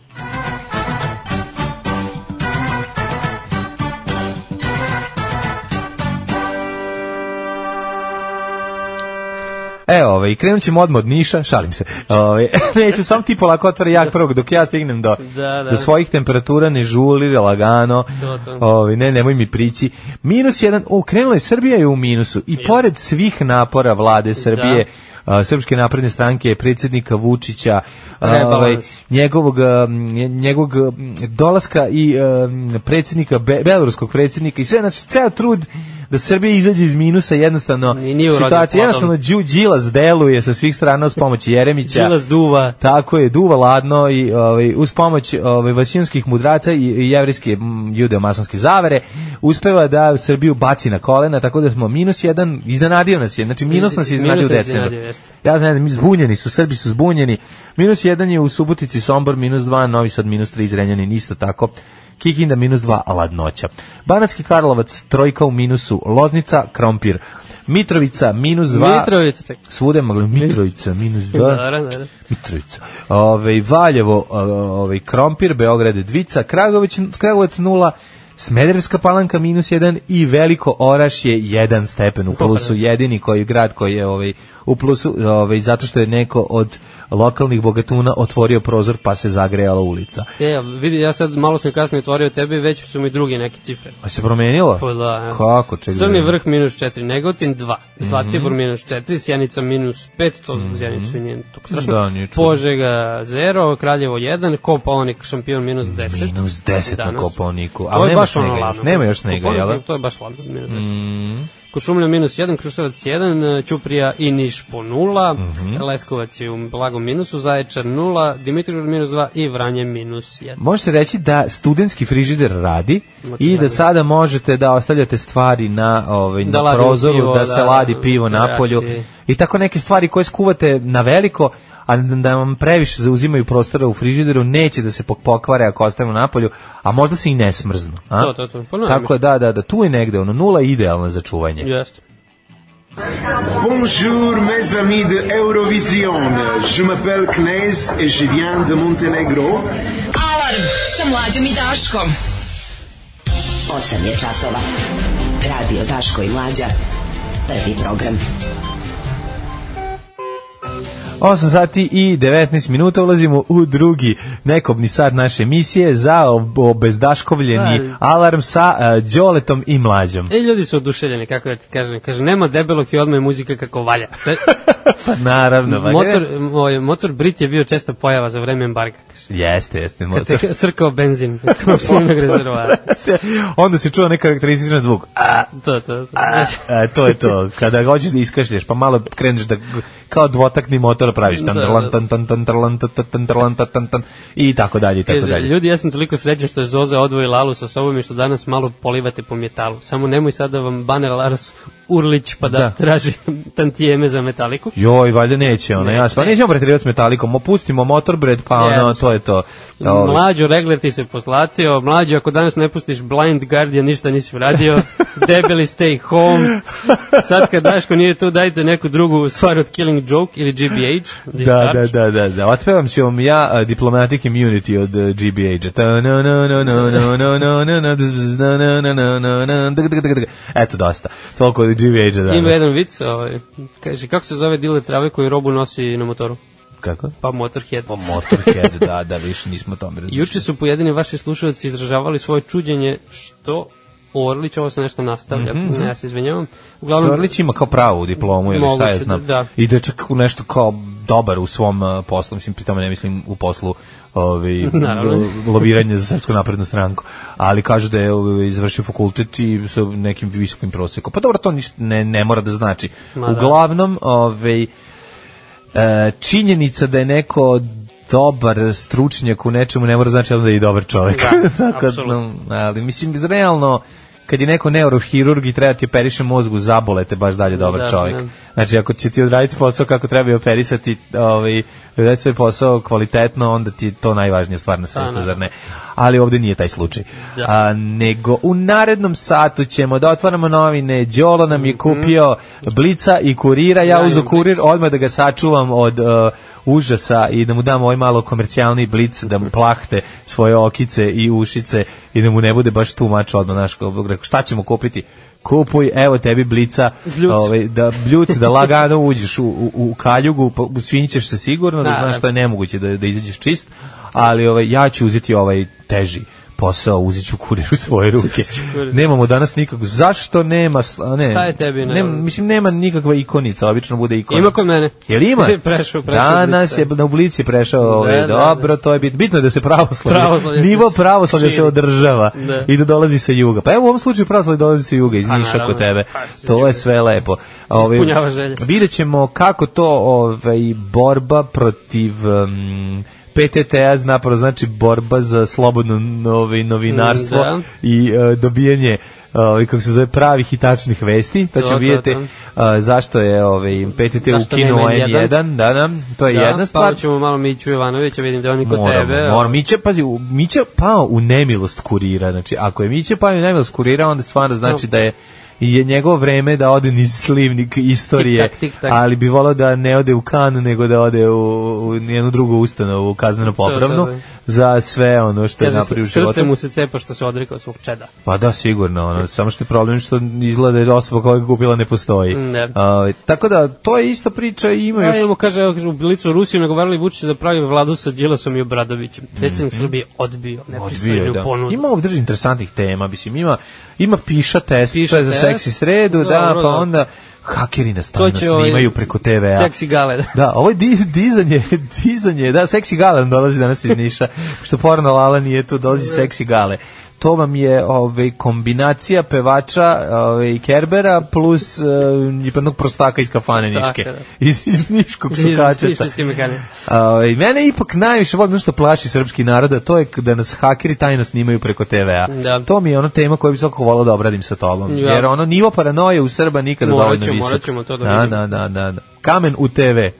Speaker 5: E, ovaj, krenut ćemo odmah od Niša, šalim se. Ovaj, <laughs> neću, sam ti polako otvori jak prvog, dok ja stignem do,
Speaker 6: Da, da.
Speaker 5: do svojih temperatura, ne žuli, lagano.
Speaker 6: To, to.
Speaker 5: Ovaj, ne, nemoj mi prići. Minus jedan, o, krenula je, Srbija je u minusu. I pored svih napora
Speaker 6: Da.
Speaker 5: vlade Srbije, a, Srpske napredne stranke, predsjednika Vučića, ovaj,
Speaker 6: Rebalans.
Speaker 5: njegovog, a, nje- njegovog a, dolaska i a, predsjednika, be, beloruskog predsjednika i sve, znači, ceo trud da Srbija izađe iz minusa jednostavno
Speaker 6: Ni- nije urodio
Speaker 5: situacija.
Speaker 6: plodom.
Speaker 5: Jednostavno, Đu Đilas deluje sa svih strana uz pomoć Jeremića.
Speaker 6: Đilas duva.
Speaker 5: Tako je, duva ladno i ovaj, uz pomoć ovaj, vasinskih mudraca i, i jevrijske mm, judeo-masonske zavere uspeva da Srbiju baci na kolena, tako da smo minus jedan, iznenadio nas je, znači minus nas je
Speaker 6: Minus
Speaker 5: iznenadio u
Speaker 6: nas je
Speaker 5: decembru.
Speaker 6: iznenadio, jeste.
Speaker 5: Ja znam, mi zbunjeni su, Srbi su zbunjeni. Minus jedan je u Subotici, Sombor, minus dva, Novi Sad, minus tri, Zrenjanin, isto tako. Kikinda minus 2, ladnoća. Banatski Karlovac, trojka u minusu, Loznica, Krompir. Mitrovica, minus 2.
Speaker 6: Mitrovica, čekaj. Da,
Speaker 5: Svuda mogli Mitrovica,
Speaker 6: <laughs>
Speaker 5: minus 2.
Speaker 6: Dobro, dobro.
Speaker 5: Mitrovica. Ove, Valjevo, o- ovaj Krompir, Beograd, Dvica, Kragović, Kragovac 0, Smederevska palanka minus 1 i Veliko Oraš je 1 stepen u plusu, jedini koji grad koji je ovaj, u plusu, ovaj, zato što je neko od lokalnih bogatuna otvorio prozor pa se zagrejala ulica.
Speaker 6: E, vidi, ja sad malo sam kasnije otvorio tebe i već su mi druge neke cifre.
Speaker 5: A se promenilo?
Speaker 6: Pa da, evo.
Speaker 5: Kako? Čekaj. da
Speaker 6: Crni
Speaker 5: vidim.
Speaker 6: vrh minus 4, Negotin 2,
Speaker 5: Mhm.
Speaker 6: Zlatibor minus 4, Sjenica minus 5, to su Sjenicu i njen tako strašno.
Speaker 5: Da, nije čudno.
Speaker 6: Požega 0, Kraljevo 1, Kopaonik šampion minus 10.
Speaker 5: Minus 10 na
Speaker 6: Danas.
Speaker 5: Koponiku.
Speaker 6: To
Speaker 5: Ali
Speaker 6: je
Speaker 5: nema
Speaker 6: baš ono
Speaker 5: snega, jel?
Speaker 6: ladno.
Speaker 5: Nema još snega,
Speaker 6: Kopaonik,
Speaker 5: jel? da? Mhm.
Speaker 6: To je baš ladno, minus 10.
Speaker 5: Mm.
Speaker 6: Košumlja minus 1, Kruševac 1, Ćuprija i Niš po 0,
Speaker 5: Mhm.
Speaker 6: Leskovac je u blagom minusu, Zaječar 0, Dimitrovgrad minus 2 i Vranje minus 1.
Speaker 5: Može se reći da studentski frižider radi
Speaker 6: Znači,
Speaker 5: i da
Speaker 6: radi.
Speaker 5: sada možete da ostavljate stvari na, ovaj,
Speaker 6: Da
Speaker 5: na
Speaker 6: ladimo
Speaker 5: prozoru,
Speaker 6: pivo,
Speaker 5: da se
Speaker 6: da,
Speaker 5: ladi pivo
Speaker 6: da
Speaker 5: na polju
Speaker 6: rasi.
Speaker 5: i tako neke stvari koje skuvate na veliko, a da vam previše zauzimaju prostora u frižideru, neće da se pok- pokvare ako ostavimo na polju, a možda se i ne smrznu. A?
Speaker 6: To, to, to. Pa najmanje.
Speaker 5: Tako je, da, da, da, tu je negde, ono, nula je idealna za čuvanje.
Speaker 6: Jeste.
Speaker 10: Bonjour mes amis de Eurovision. Je m'appelle Knez et je viens de Montenegro.
Speaker 4: Alarm sa mlađom i Daškom.
Speaker 1: 8 je časova. Radio Daško i Mlađa. Prvi program.
Speaker 5: 8 sati i 19 minuta ulazimo u drugi nekobni sat naše emisije za ob- obezdaškovljeni
Speaker 6: Da.
Speaker 5: alarm sa e, Đoletom i mlađom.
Speaker 6: E, ljudi su oduševljeni, kako da ti kažem. Kaže, nema debelog i odmah je muzika kako valja.
Speaker 5: <laughs>
Speaker 6: Sve,
Speaker 5: Pa naravno, pa
Speaker 6: motor,
Speaker 5: ne-
Speaker 6: moj, motor Brit je bio česta pojava za vreme embarga. Kaže.
Speaker 5: Jeste, jeste,
Speaker 6: Kad
Speaker 5: motor.
Speaker 6: se srkao benzin, <laughs> kako se onog rezervoara.
Speaker 5: <laughs> Onda se čuo nekarakterističan zvuk. A,
Speaker 6: To, to, to.
Speaker 5: a, a, to je to. Kada ga hoćeš da iskašlješ, pa malo kreneš da g- kao dvotakni motor praviš. Tan,
Speaker 6: Da,
Speaker 5: trlan,
Speaker 6: da.
Speaker 5: tan, tan, tan, trlan, tan, tan, tan, trlan, tan, tan, tan, I tako dalje, i tako
Speaker 6: Kaže,
Speaker 5: dalje.
Speaker 6: ljudi, ja sam toliko srećan što je Zoza odvojila Alu sa sobom i što danas malo polivate po mjetalu. Samo nemoj sad da vam bane Lars Urlić pa da,
Speaker 5: Da.
Speaker 6: traži tantijeme za metaliku.
Speaker 5: Joj, valjda neće, ono,
Speaker 6: Ne,
Speaker 5: jasno.
Speaker 6: ne.
Speaker 5: pa Nećemo pretirivati s metalikom, opustimo motorbred, pa ono,
Speaker 6: Jednostavno.
Speaker 5: to je to. Ovaj, Dobro.
Speaker 6: Mlađo, regler ti se poslatio. Mlađo, ako danas ne pustiš Blind Guardian, ništa
Speaker 5: <laughs>
Speaker 6: nisi uradio. Debeli stay home. Sad kad Daško nije tu, dajte neku drugu stvar od Killing Joke ili GBH.
Speaker 5: Da,
Speaker 6: Discharge.
Speaker 5: da, da, da, da. Otpevam ću vam ja uh, Diplomatic Immunity od uh, GBH-a. Ta na na na na na na na na na bzz, bzz, na na na na na na dg, dg, dg, dg. Eto, dosta. Toliko od GBH-a
Speaker 6: Ima
Speaker 5: danas.
Speaker 6: jedan vic, ovaj, kaže, kako se zove diler trave koji robu nosi na motoru?
Speaker 5: Kako?
Speaker 6: Pa Motorhead.
Speaker 5: Pa Motorhead, da, da, više nismo o tome razmišljali.
Speaker 6: Juče su pojedini vaši slušalci izražavali svoje čuđenje što Orlić, ovo se nešto nastavlja, ne, ja se izvinjavam. Uglavnom,
Speaker 5: Mhm, da. Orlić ima kao pravu diplomu ili šta
Speaker 6: Moguće
Speaker 5: je
Speaker 6: da-
Speaker 5: znam.
Speaker 6: da.
Speaker 5: I da je čak u nešto kao dobar u svom uh, poslu, mislim pri tome ne mislim u poslu ovaj
Speaker 6: <laughs>
Speaker 5: <laughs>
Speaker 6: Naravno.
Speaker 5: lo- lobiranja za srpsku naprednu stranku, ali kažu da je ovaj, izvršio fakultet i sa nekim visokim prosekom. Pa dobro, to ništa ne, ne mora da znači.
Speaker 6: Ma da.
Speaker 5: Uglavnom, ovaj e, činjenica da je neko dobar stručnjak u nečemu ne mora znači da je i dobar čovjek.
Speaker 6: Da,
Speaker 5: <laughs> Tako,
Speaker 6: apsolutno.
Speaker 5: no, ali mislim realno kad je neko neurohirurg i treba ti operiše mozgu, zabolete baš dalje dobar
Speaker 6: Da,
Speaker 5: čovjek.
Speaker 6: da.
Speaker 5: Znači, ako će ti odraditi posao kako treba i operisati, ovaj, odraditi svoj posao kvalitetno, onda ti je to najvažnija stvar na svetu,
Speaker 6: naravno.
Speaker 5: zar ne? Ali ovde nije taj slučaj.
Speaker 6: Da.
Speaker 5: A, nego u narednom satu ćemo da otvaramo novine, Đolo nam je kupio Blica i Kurira, ja
Speaker 6: Mhm. Ja
Speaker 5: uzu
Speaker 6: imam
Speaker 5: Kurir, odmah da ga sačuvam od... e, užasa i da mu dam ovaj malo komercijalni blic da mu plahte svoje okice i ušice i da mu ne bude baš tu mač odmah naš šta ćemo kupiti kupuj, evo tebi blica
Speaker 6: Bljuc.
Speaker 5: ovaj, da bljuc, da lagano uđeš u, u, u kaljugu, pa usvinjićeš se sigurno da,
Speaker 6: Da,
Speaker 5: znaš
Speaker 6: da.
Speaker 5: što je nemoguće da, da izađeš čist, ali ovaj, ja ću uzeti ovaj teži posao, uzet ću kurir u
Speaker 6: <laughs>
Speaker 5: svoje ruke.
Speaker 6: kurir.
Speaker 5: Nemamo danas nikakvog, zašto nema, sla- ne,
Speaker 6: Šta je tebi na-
Speaker 5: ne, mislim nema nikakva ikonica, obično bude ikonica.
Speaker 6: ima kod mene.
Speaker 5: Jel ima?
Speaker 6: <laughs> prešao, prešao.
Speaker 5: Danas
Speaker 6: ulicu.
Speaker 5: je na ulici prešao ovaj,
Speaker 6: da,
Speaker 5: dobro, to je bitno. Bitno je da se pravoslavlje,
Speaker 6: Pravoslavlje se
Speaker 5: nivo pravoslavlja se
Speaker 6: širi.
Speaker 5: održava
Speaker 6: Da.
Speaker 5: i da dolazi sa juga. Pa evo u ovom slučaju pravoslavlje dolazi sa juga, iz
Speaker 6: Pa,
Speaker 5: Niša
Speaker 6: naravno.
Speaker 5: kod tebe.
Speaker 6: Pa, sa
Speaker 5: To je
Speaker 6: juga.
Speaker 5: sve lepo. Ovaj,
Speaker 6: Ispunjava želje.
Speaker 5: Vidjet ćemo kako to ovaj, borba protiv... Um, PTT-a zapravo znači borba za slobodno novi, novinarstvo
Speaker 6: Mm, da.
Speaker 5: i e, dobijanje uh, kako se zove pravih i tačnih vesti. To
Speaker 6: To,
Speaker 5: ćemo
Speaker 6: to,
Speaker 5: vidjeti
Speaker 6: to.
Speaker 5: e, zašto je ovaj, PTT
Speaker 6: Zašto
Speaker 5: ukinuo
Speaker 6: nema N1?
Speaker 5: N1, da, da, to je
Speaker 6: Da,
Speaker 5: jedna stvar.
Speaker 6: Pa ćemo malo Miću Jovanovića, vidim da je on i kod
Speaker 5: Moramo,
Speaker 6: tebe. ali-
Speaker 5: moramo. Mića, pazi, u- Mića pao u nemilost kurira, znači ako je Mića pao u nemilost kurira, onda stvarno znači
Speaker 6: No.
Speaker 5: da je je njegovo vreme da ode niz slivnik istorije,
Speaker 6: Tik tak, tik tak.
Speaker 5: ali bi volao da ne ode u kan, nego da ode u, u jednu drugu ustanovu, kazneno popravnu,
Speaker 6: to, to.
Speaker 5: za sve ono što je
Speaker 6: Kaže,
Speaker 5: napravio u
Speaker 6: srce
Speaker 5: životu.
Speaker 6: mu se cepa što se odrekao svog čeda.
Speaker 5: Pa da, sigurno, ono, samo što je problem što izgleda da osoba koja ga kupila ne postoji.
Speaker 6: Ne.
Speaker 5: Ovaj, tako da, to je ista priča i ima
Speaker 6: Pa
Speaker 5: još...
Speaker 6: evo kaže, evo kaže, u Bilicu Rusiju nagovarali Vučića da pravi vladu sa Đilasom i Obradovićem. Predsjednik Srbije odbio
Speaker 5: Mhm. Odbio je,
Speaker 6: nepristojnu
Speaker 5: da.
Speaker 6: ponudu.
Speaker 5: Ima ovdje interesantnih tema, mislim, ima, ima piša test,
Speaker 6: Piša
Speaker 5: to je za
Speaker 6: test.
Speaker 5: seksi sredu, da,
Speaker 6: Dobro,
Speaker 5: pa
Speaker 6: da.
Speaker 5: onda hakeri na
Speaker 6: To
Speaker 5: stanu
Speaker 6: će ovaj,
Speaker 5: snimaju preko TV-a.
Speaker 6: Seksi gale, da.
Speaker 5: Da, ovo je di- dizanje, <laughs> dizanje, da, seksi gale nam dolazi danas iz Niša, što porno lala nije tu, dolazi seksi gale. To vam je ovaj, kombinacija pevača ovaj, Kerbera plus eh, jednog prostaka iz kafane
Speaker 6: Tako,
Speaker 5: Niške.
Speaker 6: da.
Speaker 5: Iz, iz Niškog sukačeta.
Speaker 6: Iz- iz- iz- iz-
Speaker 5: Ovaj, mene ipak najviše volim ono što plaši srpski narod, a to je da nas hakeri tajno snimaju preko TV-a.
Speaker 6: Da.
Speaker 5: To mi je ona tema koju bi svako volao da obradim sa tobom.
Speaker 6: Ja.
Speaker 5: Jer ono nivo paranoje u Srba nikada
Speaker 6: Morat
Speaker 5: dovoljno
Speaker 6: ćemo,
Speaker 5: visok.
Speaker 6: morat ćemo to da
Speaker 5: da,
Speaker 6: vidimo.
Speaker 5: da, da, da, da. Kamen u TV.
Speaker 4: 10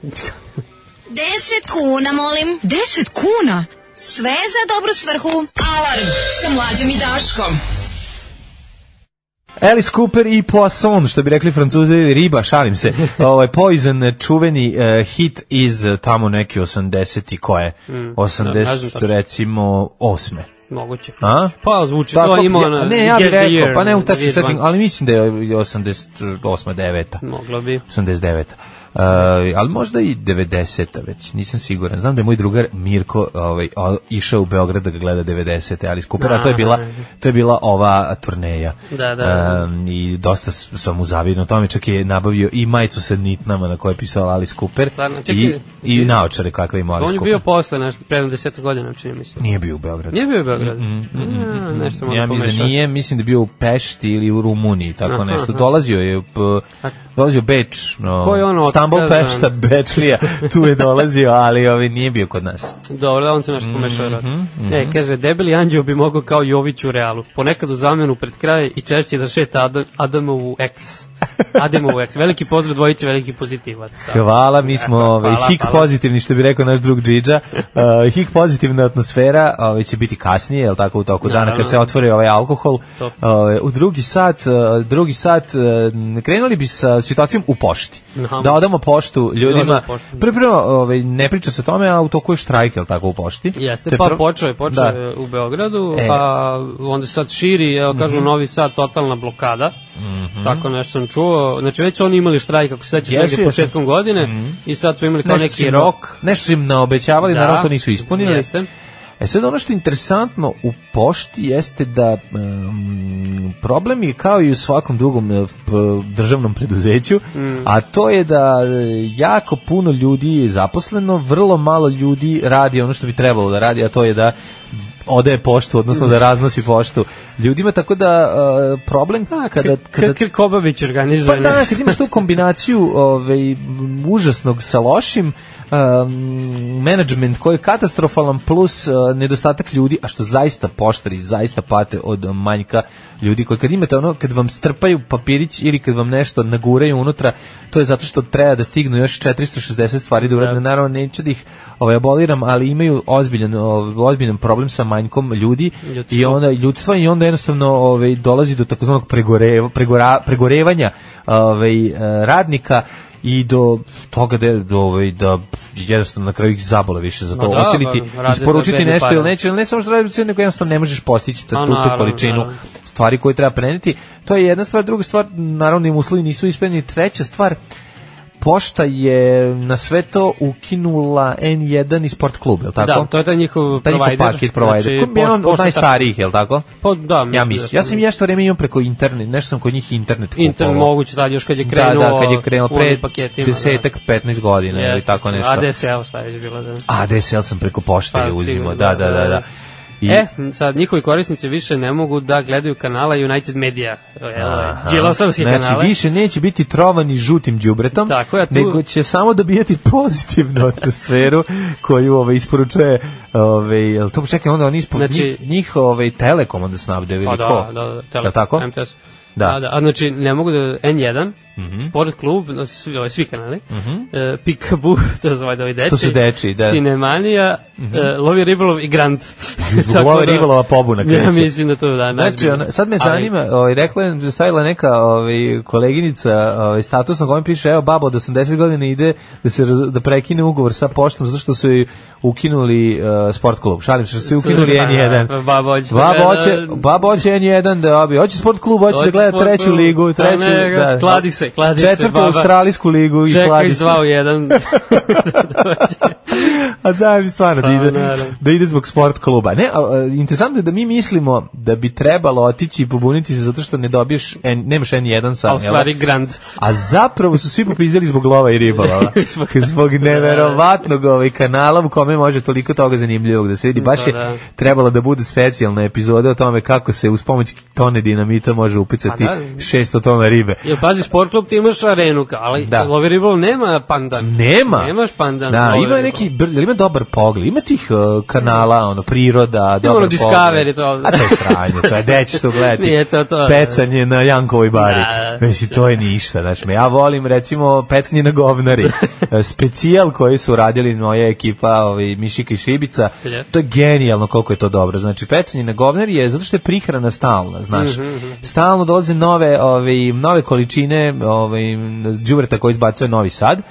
Speaker 4: kuna, molim. 10 kuna? Sve za dobru svrhu. Alarm sa mlađom i Daškom.
Speaker 5: Alice Cooper i Poisson, što bi rekli francuzi, riba, šalim
Speaker 6: <laughs>
Speaker 5: se. Ovaj Poison, čuveni eh, hit iz eh, tamo neki 80 i koje?
Speaker 6: Mm, da, ne znam
Speaker 5: 80,
Speaker 6: tačno.
Speaker 5: recimo, osme.
Speaker 6: Moguće.
Speaker 5: A?
Speaker 6: Pa zvuči,
Speaker 5: Tako,
Speaker 6: to ima
Speaker 5: Da, ja-
Speaker 6: ono...
Speaker 5: Ne, ja
Speaker 6: Yes
Speaker 5: bih
Speaker 6: the
Speaker 5: rekao,
Speaker 6: year,
Speaker 5: pa ne u
Speaker 6: the
Speaker 5: tačni
Speaker 6: year
Speaker 5: setting,
Speaker 6: one.
Speaker 5: ali mislim da je 88. 9.
Speaker 6: Moglo bi.
Speaker 5: 89. Uh, ali možda i 90. već, nisam siguran. Znam da je moj drugar Mirko ovaj, o- išao u Beograd da ga gleda 90. ali skupera, a to je bila, to je bila ova turneja.
Speaker 6: Da, da, da.
Speaker 5: Um, I dosta s- sam mu zavidno tome, čak je nabavio i majicu sa nitnama na kojoj je pisao Alice Cooper
Speaker 6: Stvarno,
Speaker 5: i,
Speaker 6: čekaj.
Speaker 5: i naočare kakve ima Alice
Speaker 6: On je
Speaker 5: Cooper.
Speaker 6: bio posle, znači, nešto, predno deset godina, čini mi se.
Speaker 5: Nije bio u Beogradu.
Speaker 6: Nije bio u
Speaker 5: mm,
Speaker 6: Beogradu? A, nešto malo
Speaker 5: Ja mislim da
Speaker 6: pomešao.
Speaker 5: nije, mislim da je bio u Pešti ili u Rumuniji, tako
Speaker 6: Aha,
Speaker 5: nešto.
Speaker 6: aha.
Speaker 5: Dolazio je p, dolazio Beč, no,
Speaker 6: Ko je ono
Speaker 5: Stambol
Speaker 6: otkazan?
Speaker 5: Pešta, Bečlija, tu je dolazio, ali ovaj nije bio kod nas.
Speaker 6: Dobro, da on se
Speaker 5: Mhm,
Speaker 6: nešto pomešao. Mm E, kaže, debeli anđeo bi mogao kao Jović u Realu. Ponekad u zamenu pred kraj i češće da šeta Adam, Adamovu
Speaker 5: <laughs>
Speaker 6: ex. Adamovu ex. Veliki pozdrav dvojice, veliki pozitivac.
Speaker 5: Hvala, mi
Speaker 6: <laughs>
Speaker 5: smo
Speaker 6: Hvala,
Speaker 5: ovaj, hik
Speaker 6: hvala.
Speaker 5: pozitivni, što bi rekao naš drug Džidža.
Speaker 6: <laughs>
Speaker 5: Uh, hik pozitivna atmosfera ovaj, će biti kasnije, jel tako, u toku dana, kad
Speaker 6: Naravno.
Speaker 5: se otvori ovaj alkohol.
Speaker 6: Top.
Speaker 5: Ovaj, u drugi sat, uh, drugi sat, uh, krenuli bi sa situacijom u pošti.
Speaker 6: Aha. Da
Speaker 5: Da odamo poštu ljudima.
Speaker 6: Odamo poštu.
Speaker 5: Prvo, prvo, ovaj, ne priča se o tome, a u toku je štrajk, jel tako, u pošti. To
Speaker 6: Jeste,
Speaker 5: je
Speaker 6: pa
Speaker 5: prvo-
Speaker 6: počeo je, počeo
Speaker 5: Da.
Speaker 6: je u Beogradu,
Speaker 5: E. Mhm.
Speaker 6: a onda sad širi, evo kažu Novi Sad, totalna blokada, tako nešto sam čuo, znači već su oni imali štrajk, ako se sećaš
Speaker 5: Jesu,
Speaker 6: negdje
Speaker 5: jesu.
Speaker 6: početkom godine, i sad su imali kao
Speaker 5: Nešto su
Speaker 6: neki
Speaker 5: im-
Speaker 6: rok,
Speaker 5: Nešto su im naobećavali,
Speaker 6: Da.
Speaker 5: naravno to nisu ispunili.
Speaker 6: Jeste.
Speaker 5: E sad ono što je interesantno u pošti jeste da um, problem je kao i u svakom drugom e, p- državnom preduzeću, a to je da e, jako puno ljudi je zaposleno, vrlo malo ljudi radi ono što bi trebalo da radi, a to je da odaje poštu, odnosno da raznosi poštu ljudima, tako da e, problem kada, kada
Speaker 6: kada Krkobavić organizuje
Speaker 5: Pa da,
Speaker 6: nešto.
Speaker 5: kad imaš tu kombinaciju ovaj, m, užasnog sa lošim, um, management koji je katastrofalan plus uh, nedostatak ljudi, a što zaista poštari zaista pate od uh, manjka ljudi koji kad imate ono, kad vam strpaju papirić ili kad vam nešto naguraju unutra, to je zato što treba da stignu još 460 stvari da uradne, naravno neću da ih ovaj, aboliram, ali imaju ozbiljan, ovaj, ozbiljan problem sa manjkom ljudi
Speaker 6: Ljudstvo.
Speaker 5: i onda ljudstva i onda jednostavno ovaj dolazi do takozvanog pregoreva, pregora, pregorevanja ovaj eh, radnika i do toga da do ovaj da jednostavno na kraju ih zabole više za
Speaker 6: Ma
Speaker 5: to
Speaker 6: da,
Speaker 5: hoće li ti
Speaker 6: ba, rade za
Speaker 5: isporučiti
Speaker 6: bedne
Speaker 5: nešto
Speaker 6: pare.
Speaker 5: ili neće ili ne samo što radi cenu, nego jednostavno ne možeš postići tu,
Speaker 6: Ma,
Speaker 5: tu
Speaker 6: naravno,
Speaker 5: količinu
Speaker 6: naravno.
Speaker 5: stvari koje treba preneti to je jedna stvar druga stvar naravno da im uslovi nisu ispunjeni treća stvar Pošta je na sve to ukinula N1 i sport klub, je li tako?
Speaker 6: Da, to je taj njihov
Speaker 5: taj njihov
Speaker 6: provider.
Speaker 5: paket provider.
Speaker 6: Znači,
Speaker 5: Znači, jedan od
Speaker 6: pošta- pošta-
Speaker 5: najstarijih, je li tako?
Speaker 6: Pa da, mislim
Speaker 5: Ja
Speaker 6: da
Speaker 5: mislim.
Speaker 6: sam-
Speaker 5: Ja sam i nešto vreme imam preko internet, nešto sam kod njih internet kupovao.
Speaker 6: Internet moguće tad još kad je
Speaker 5: Da,
Speaker 6: krenuo,
Speaker 5: da, kad je krenuo
Speaker 6: u onim
Speaker 5: pre
Speaker 6: paketima, da.
Speaker 5: desetak, 15 godina ili
Speaker 6: Jeste,
Speaker 5: tako nešto.
Speaker 6: ADSL, šta je već bilo da.
Speaker 5: ADSL sam preko pošte
Speaker 6: Pa,
Speaker 5: je uzimao,
Speaker 6: sigurno,
Speaker 5: da, da,
Speaker 6: da,
Speaker 5: da. da.
Speaker 6: da.
Speaker 5: I,
Speaker 6: E, sad njihovi korisnici više ne mogu da gledaju kanala United Media,
Speaker 5: aha.
Speaker 6: Đilasovski
Speaker 5: znači,
Speaker 6: kanale.
Speaker 5: više neće biti trovani žutim đubretom,
Speaker 6: Tako je, a tu-
Speaker 5: nego će samo dobijati <laughs> pozitivnu atmosferu koju ovaj, isporučuje ovaj, jel to čekaj, onda oni ispo,
Speaker 6: Znači-
Speaker 5: njih, njih ovaj, telekom onda snabde ili
Speaker 6: Pa da,
Speaker 5: ko?
Speaker 6: da, da,
Speaker 5: Jel
Speaker 6: tele,
Speaker 5: tako?
Speaker 6: MTS.
Speaker 5: Da.
Speaker 6: Da. da, a znači ne mogu da N1 Sport klub, no, svi, ovaj, svi kanali, mm -hmm. Pikabu, to je zvajda ovi deči,
Speaker 5: To su deči, da.
Speaker 6: Cinemanija, e, Lovi Ribolov i Grand.
Speaker 5: Zbog love ribolova pobuna kreće.
Speaker 6: Ja mislim da to je da,
Speaker 5: Znači,
Speaker 6: najozbiljnije.
Speaker 5: ona, sad me
Speaker 6: Ali-
Speaker 5: zanima, ovaj, rekla je, stavila neka ovaj, koleginica ovaj, status na kojem piše, evo, baba od 80 godina ide da se raz, da prekine ugovor sa poštom zato što su joj ukinuli uh, sport klub. Šalim se, što su joj ukinuli
Speaker 6: Da,
Speaker 5: N1.
Speaker 6: baba hoće da
Speaker 5: Baba
Speaker 6: gleda-
Speaker 5: hoće, baba hoće N1 da obi. Hoće sport klub, hoće, da
Speaker 6: Hoće
Speaker 5: gleda
Speaker 6: sport
Speaker 5: treću
Speaker 6: klub.
Speaker 5: ligu,
Speaker 6: Pa
Speaker 5: treću,
Speaker 6: ne,
Speaker 5: da.
Speaker 6: kladi se, kladi se,
Speaker 5: Četvrtu
Speaker 6: baba.
Speaker 5: australijsku ligu i
Speaker 6: Čekaj,
Speaker 5: kladi se.
Speaker 6: zvao jedan.
Speaker 5: <laughs> A znam stvarno da
Speaker 6: Pa,
Speaker 5: ide,
Speaker 6: naravno.
Speaker 5: da ide zbog sport kluba. Ne, a, a, interesantno je da mi mislimo da bi trebalo otići i pobuniti se zato što ne dobiješ, N, nemaš N1
Speaker 6: A
Speaker 5: sam,
Speaker 6: u
Speaker 5: jel? da?
Speaker 6: stvari Grand.
Speaker 5: A zapravo su svi popizdali zbog lova i
Speaker 6: <laughs>
Speaker 5: ribolova. zbog,
Speaker 6: da,
Speaker 5: neverovatnog ovaj kanala u kome može toliko toga zanimljivog da se vidi. Baš je
Speaker 6: Da, da.
Speaker 5: trebalo da bude specijalna epizoda o tome kako se uz pomoć tone dinamita može upicati
Speaker 6: Pa da.
Speaker 5: 600 tona ribe.
Speaker 6: Jel pazi, sport klub ti imaš arenu, ka- ali
Speaker 5: Da.
Speaker 6: Lovi Ribolov nema pandan.
Speaker 5: Nema.
Speaker 6: Nemaš pandan.
Speaker 5: Da,
Speaker 6: Lovi
Speaker 5: ima
Speaker 6: Ribolov.
Speaker 5: neki br- jel ima dobar pogled. Ima tih uh, kanala, ono priroda,
Speaker 6: Ima
Speaker 5: dobar
Speaker 6: ono
Speaker 5: pogled.
Speaker 6: Discovery to.
Speaker 5: A to je sranje,
Speaker 6: <laughs>
Speaker 5: to je deči što gledati.
Speaker 6: Nije to to.
Speaker 5: Pecanje na Jankovoj bari.
Speaker 6: Da, da.
Speaker 5: Znači, to je ništa, znaš me. Ja volim, recimo, pecanje na govnari.
Speaker 6: <laughs>
Speaker 5: E, Specijal koji su radili moja ekipa, ovaj, Mišika i Šibica,
Speaker 6: Jeste.
Speaker 5: to je genijalno koliko je to dobro. Znači, pecanje na govnari je zato što je prihrana stalna, znaš.
Speaker 6: Mhm,
Speaker 5: Stalno dolaze nove, ovaj, nove količine ovaj, đubreta koji izbacuje Novi Sad,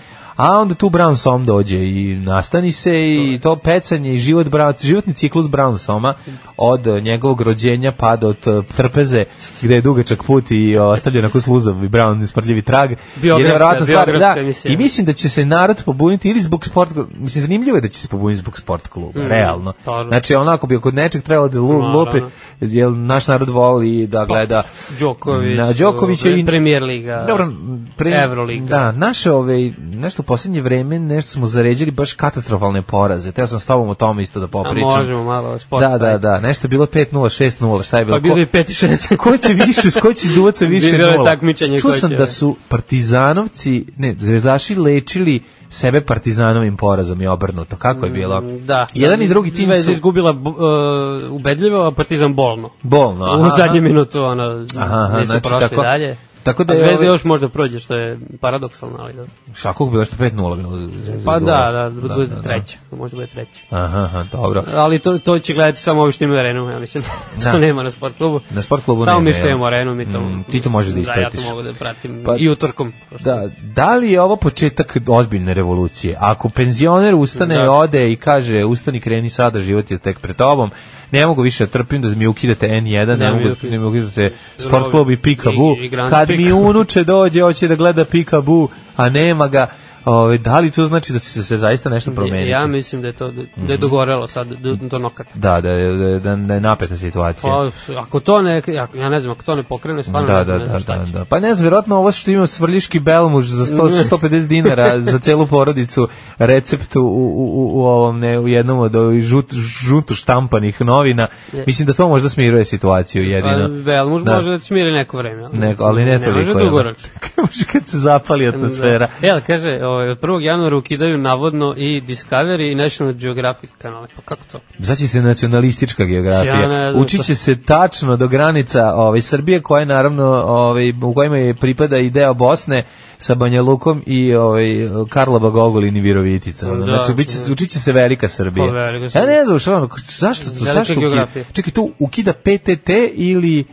Speaker 5: A onda tu Brown Som dođe i nastani se i to pecanje i život Brown, životni ciklus Brown Soma od eh, njegovog rođenja pa do t- trpeze gde je dugačak put i ovaj, ostavljen onako sluzav i Brown smrdljivi trag. je
Speaker 6: Biografska-
Speaker 5: nevjerojatna stvar,
Speaker 6: biografska
Speaker 5: da.
Speaker 6: emisija.
Speaker 5: I mislim da će se narod pobuniti ili zbog sport mislim zanimljivo je da će se pobuniti zbog sport
Speaker 6: Mm,
Speaker 5: kluba, realno.
Speaker 6: naravno.
Speaker 5: Znači onako bi kod nečeg trebalo da lu- lupe,
Speaker 6: Naravno.
Speaker 5: jer naš narod voli
Speaker 6: Pa.
Speaker 5: da gleda
Speaker 6: Đoković.
Speaker 5: Na Đokovića
Speaker 6: pre-
Speaker 5: i-
Speaker 6: Premier Liga.
Speaker 5: dobro, pre,
Speaker 6: Euroliga.
Speaker 5: Da, naše ove, nešto u poslednje vreme, nešto smo zaređili baš katastrofalne poraze. Teo sam s tobom o tome isto da
Speaker 6: A
Speaker 5: popričam.
Speaker 6: možemo malo o sportu.
Speaker 5: Da, da, da, nešto je bilo 5-0, 6-0, šta je bilo?
Speaker 6: Pa bilo
Speaker 5: Ko-
Speaker 6: je 5 i 6.
Speaker 5: <laughs> ko će više, s ko će izduvat sa više
Speaker 6: Bilo je
Speaker 5: nula.
Speaker 6: takmičenje
Speaker 5: Čuo
Speaker 6: ko
Speaker 5: sam
Speaker 6: će.
Speaker 5: da su partizanovci, ne, zvezdaši lečili sebe partizanovim porazom i obrnuto. Kako je bilo?
Speaker 6: <laughs> Da.
Speaker 5: Jedan
Speaker 6: da,
Speaker 5: i drugi tim
Speaker 6: Zvezda
Speaker 5: su
Speaker 6: izgubila bu- uh, ubedljivo, a Partizan bolno.
Speaker 5: bolno.
Speaker 6: U
Speaker 5: aha.
Speaker 6: zadnjem minutu ono,
Speaker 5: Aha, aha,
Speaker 6: nisu
Speaker 5: znači
Speaker 6: prošli
Speaker 5: tako-
Speaker 6: dalje.
Speaker 5: tako da
Speaker 6: a
Speaker 5: je
Speaker 6: Zvezda
Speaker 5: ovaj-
Speaker 6: još možda prođe, što je paradoksalno, ali da.
Speaker 5: Šakog bilo što 5-0 bilo. za-
Speaker 6: Pa
Speaker 5: za-
Speaker 6: da, da, da, bude treća, možda bude treća.
Speaker 5: Aha, aha, dobro.
Speaker 6: Ali to, to će gledati samo ovi što imaju arenu, ja mislim. <laughs> to
Speaker 5: Da.
Speaker 6: nema na sport klubu.
Speaker 5: Na sport klubu
Speaker 6: Samo
Speaker 5: nema,
Speaker 6: mi što
Speaker 5: jel?
Speaker 6: imamo arenu, mi to...
Speaker 5: Mm, ti to možeš da
Speaker 6: Da,
Speaker 5: ispratiš.
Speaker 6: ja to mogu da pratim
Speaker 5: Pa-
Speaker 6: i utorkom.
Speaker 5: Da, da li je ovo početak ozbiljne revolucije? Ako penzioner ustane
Speaker 6: Da.
Speaker 5: i ode i kaže ustani, kreni sada, život je tek pred tobom, ne mogu više da trpim da mi ukidate N1, ne,
Speaker 6: Da, mi
Speaker 5: mogu,
Speaker 6: ukidate.
Speaker 5: ne mogu ukidate sport klub i Pikabu.
Speaker 6: I- i Grand
Speaker 5: Kad mi
Speaker 6: Pika. <laughs>
Speaker 5: unuče dođe, hoće da gleda Pikabu, a nema ga. Ove, da li to znači da će se zaista nešto promeniti? Mhm.
Speaker 6: Ja mislim da je to, da je dogorelo sad, do, do nokata.
Speaker 5: Da, da, je- da, je- da, da je napeta situacija.
Speaker 6: Pa, ako to ne, ako- ja ne znam, ako to ne pokrene, stvarno
Speaker 5: da,
Speaker 6: ne
Speaker 5: da,
Speaker 6: znam, ne
Speaker 5: da,
Speaker 6: znam
Speaker 5: da,
Speaker 6: šta će.
Speaker 5: da. Pa ne znam, vjerojatno ovo što ima svrljiški belmuž za
Speaker 6: <laughs>
Speaker 5: 100, 150 dinara za celu porodicu receptu u, u, u- u ovom, ne, u jednom od ovih žut, žuto štampanih novina. Mislim da to možda smiruje situaciju jedino.
Speaker 6: Pa, Velmuž
Speaker 5: Da.
Speaker 6: može da smiri neko vreme. ali-
Speaker 5: Neko, ali ne toliko.
Speaker 6: Ne može
Speaker 5: jel da? <laughs>
Speaker 6: dugoročno.
Speaker 5: Može kad se zapali atmosfera.
Speaker 6: Da. Jel, kaže, ovaj, od 1. januara ukidaju navodno i Discovery i National Geographic kanale. Pa kako to?
Speaker 5: Sad će se nacionalistička
Speaker 6: Ja ne
Speaker 5: geografija.
Speaker 6: znam
Speaker 5: Učit
Speaker 6: šta-
Speaker 5: će se tačno do granica ovaj, Srbije, koja je naravno, ovaj, u kojima je pripada i deo Bosne sa Banja Lukom i ovaj, Karlobag, Ogulin i Virovitica. ono.
Speaker 6: Da,
Speaker 5: znači, bit će,
Speaker 6: da.
Speaker 5: učit će se velika Srbija.
Speaker 6: Pa, velika Srbija.
Speaker 5: Ja ne znam, šta ono, zašto to?
Speaker 6: Velika
Speaker 5: Zašto ukida?
Speaker 6: geografija.
Speaker 5: Čekaj, tu ukida PTT ili,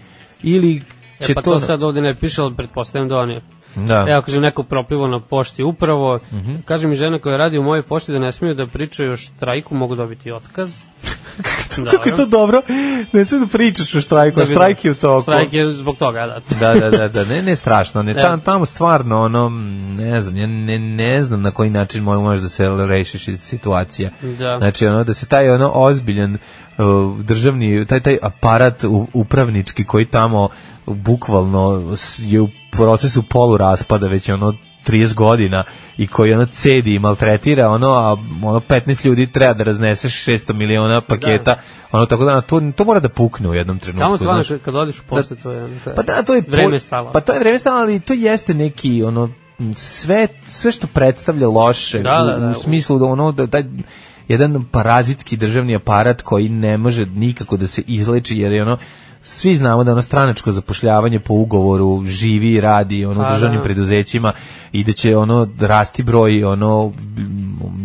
Speaker 5: ili će
Speaker 6: E, pa to,
Speaker 5: to...
Speaker 6: sad ovde ne piše, ali pretpostavljam da on je.
Speaker 5: Da.
Speaker 6: Evo, kaže, neko proplivo na pošti upravo.
Speaker 5: Mhm.
Speaker 6: Kaže mi žena koja radi u mojoj pošti da ne smiju da pričaju o štrajku, mogu dobiti
Speaker 5: <laughs>
Speaker 6: otkaz.
Speaker 5: Kako je to dobro? Ne sve da pričaš o štrajku, a štrajk je u toku.
Speaker 6: Da Štrajk je zbog toga, da.
Speaker 5: da, da, da, da, ne, ne strašno, ne,
Speaker 6: Da.
Speaker 5: tam, tamo stvarno, ono, mm, ne znam, ja ne, ne znam na koji način mo- možeš da se rešiš iz situacija.
Speaker 6: Da.
Speaker 5: Znači, ono, da se taj, ono, ozbiljan uh, državni, taj, taj aparat u- upravnički koji tamo bukvalno s- je u procesu polu raspada već ono 30 godina i koji ono cedi i maltretira ono a ono 15 ljudi treba da razneseš 600 miliona paketa ono tako da to to mora da pukne u jednom trenutku
Speaker 6: Tamo stvarno,
Speaker 5: znaš.
Speaker 6: kad- kad odeš u poštu, to je... ono,
Speaker 5: Pa da, to je
Speaker 6: Vreme
Speaker 5: po-
Speaker 6: stalo.
Speaker 5: Pa to je vreme stalo, ali to jeste neki ono m, sve sve što predstavlja loše
Speaker 6: Da, da,
Speaker 5: u-
Speaker 6: da.
Speaker 5: u smislu da ono da taj jedan parazitski državni aparat koji ne može nikako da se izleči jer je ono svi znamo da ono stranačko zapošljavanje po ugovoru živi i radi ono u
Speaker 6: Pa,
Speaker 5: državnim
Speaker 6: da.
Speaker 5: preduzećima i da će ono rasti broj ono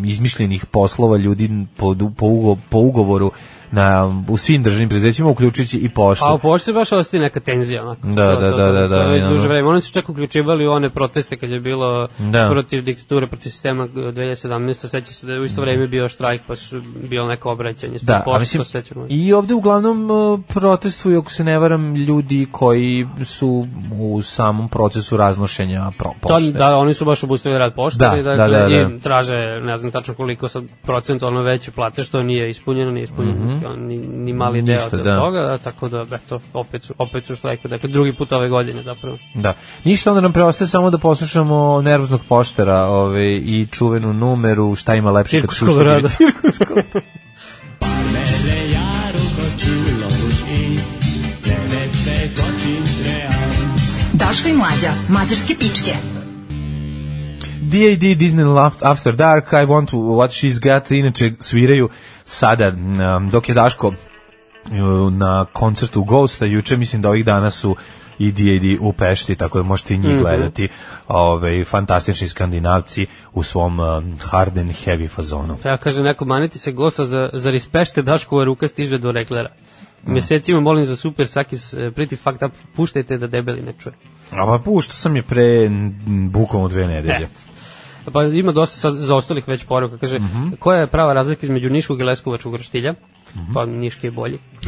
Speaker 5: izmišljenih poslova ljudi po, du- po, ugo- po ugovoru na u svim državnim preduzećima uključujući i poštu.
Speaker 6: A u pošti baš ostaje neka tenzija. Onako.
Speaker 5: Da, da, da, da,
Speaker 6: to
Speaker 5: da,
Speaker 6: je već
Speaker 5: da,
Speaker 6: duže
Speaker 5: da.
Speaker 6: vreme. Oni su čak uključivali u one proteste kad je bilo
Speaker 5: Da.
Speaker 6: protiv diktature, protiv sistema 2017. Seća se da je u isto vreme bio štrajk, pa su bilo neko obraćanje. ispred
Speaker 5: Da, a
Speaker 6: pošte,
Speaker 5: mislim,
Speaker 6: to se sećam.
Speaker 5: i ovde uglavnom e, protestuju, ako se ne varam, ljudi koji su u samom procesu raznošenja pro,
Speaker 6: To,
Speaker 5: pošte.
Speaker 6: da, oni su baš obustavili rad pošte
Speaker 5: Da,
Speaker 6: i,
Speaker 5: da, da, da.
Speaker 6: i traže, ne znam tačno koliko sad procentualno veće plate, što nije ispunjeno, nije ispunjeno kao ni, ni mali deo
Speaker 5: Mhm. Ništa,
Speaker 6: od
Speaker 5: da.
Speaker 6: toga, da, tako da, eto, opet su, opet su štrajku, dakle, drugi put ove godine zapravo.
Speaker 5: Da. Ništa onda nam preostaje samo da poslušamo nervoznog poštara ovaj, i čuvenu numeru šta ima lepše kad
Speaker 6: Cirkuskog
Speaker 5: šuška
Speaker 6: rada.
Speaker 5: vidi
Speaker 6: <laughs>
Speaker 5: cirkuskog.
Speaker 4: Daško i mlađa, mađarske pičke.
Speaker 5: D.A.D. Disney Laugh- After Dark, I want to what she's got, inače sviraju sada, um, dok je Daško uh, na koncertu Ghosta, juče mislim da ovih dana su i D.A.D. u Pešti, tako da možete i njih gledati, ovaj, fantastični skandinavci u svom um, hard and heavy fazonu.
Speaker 6: Pa ja kažem, neko maniti se gosta za, za rispešte, Daškova ruka stiže do reklera.
Speaker 5: Mhm.
Speaker 6: Mesecima molim za super sakis, eh, pretty fucked up, puštajte da debeli ne čuje.
Speaker 5: A pa pušto sam je pre mm, bukvalno dve
Speaker 6: <laughs>
Speaker 5: nedelje.
Speaker 6: Et. Pa ima dosta sad zaostalih već poruka. Kaže, koja je prava razlika između Niškog i Leskovačkog roštilja? Pa Niški je bolji. <laughs>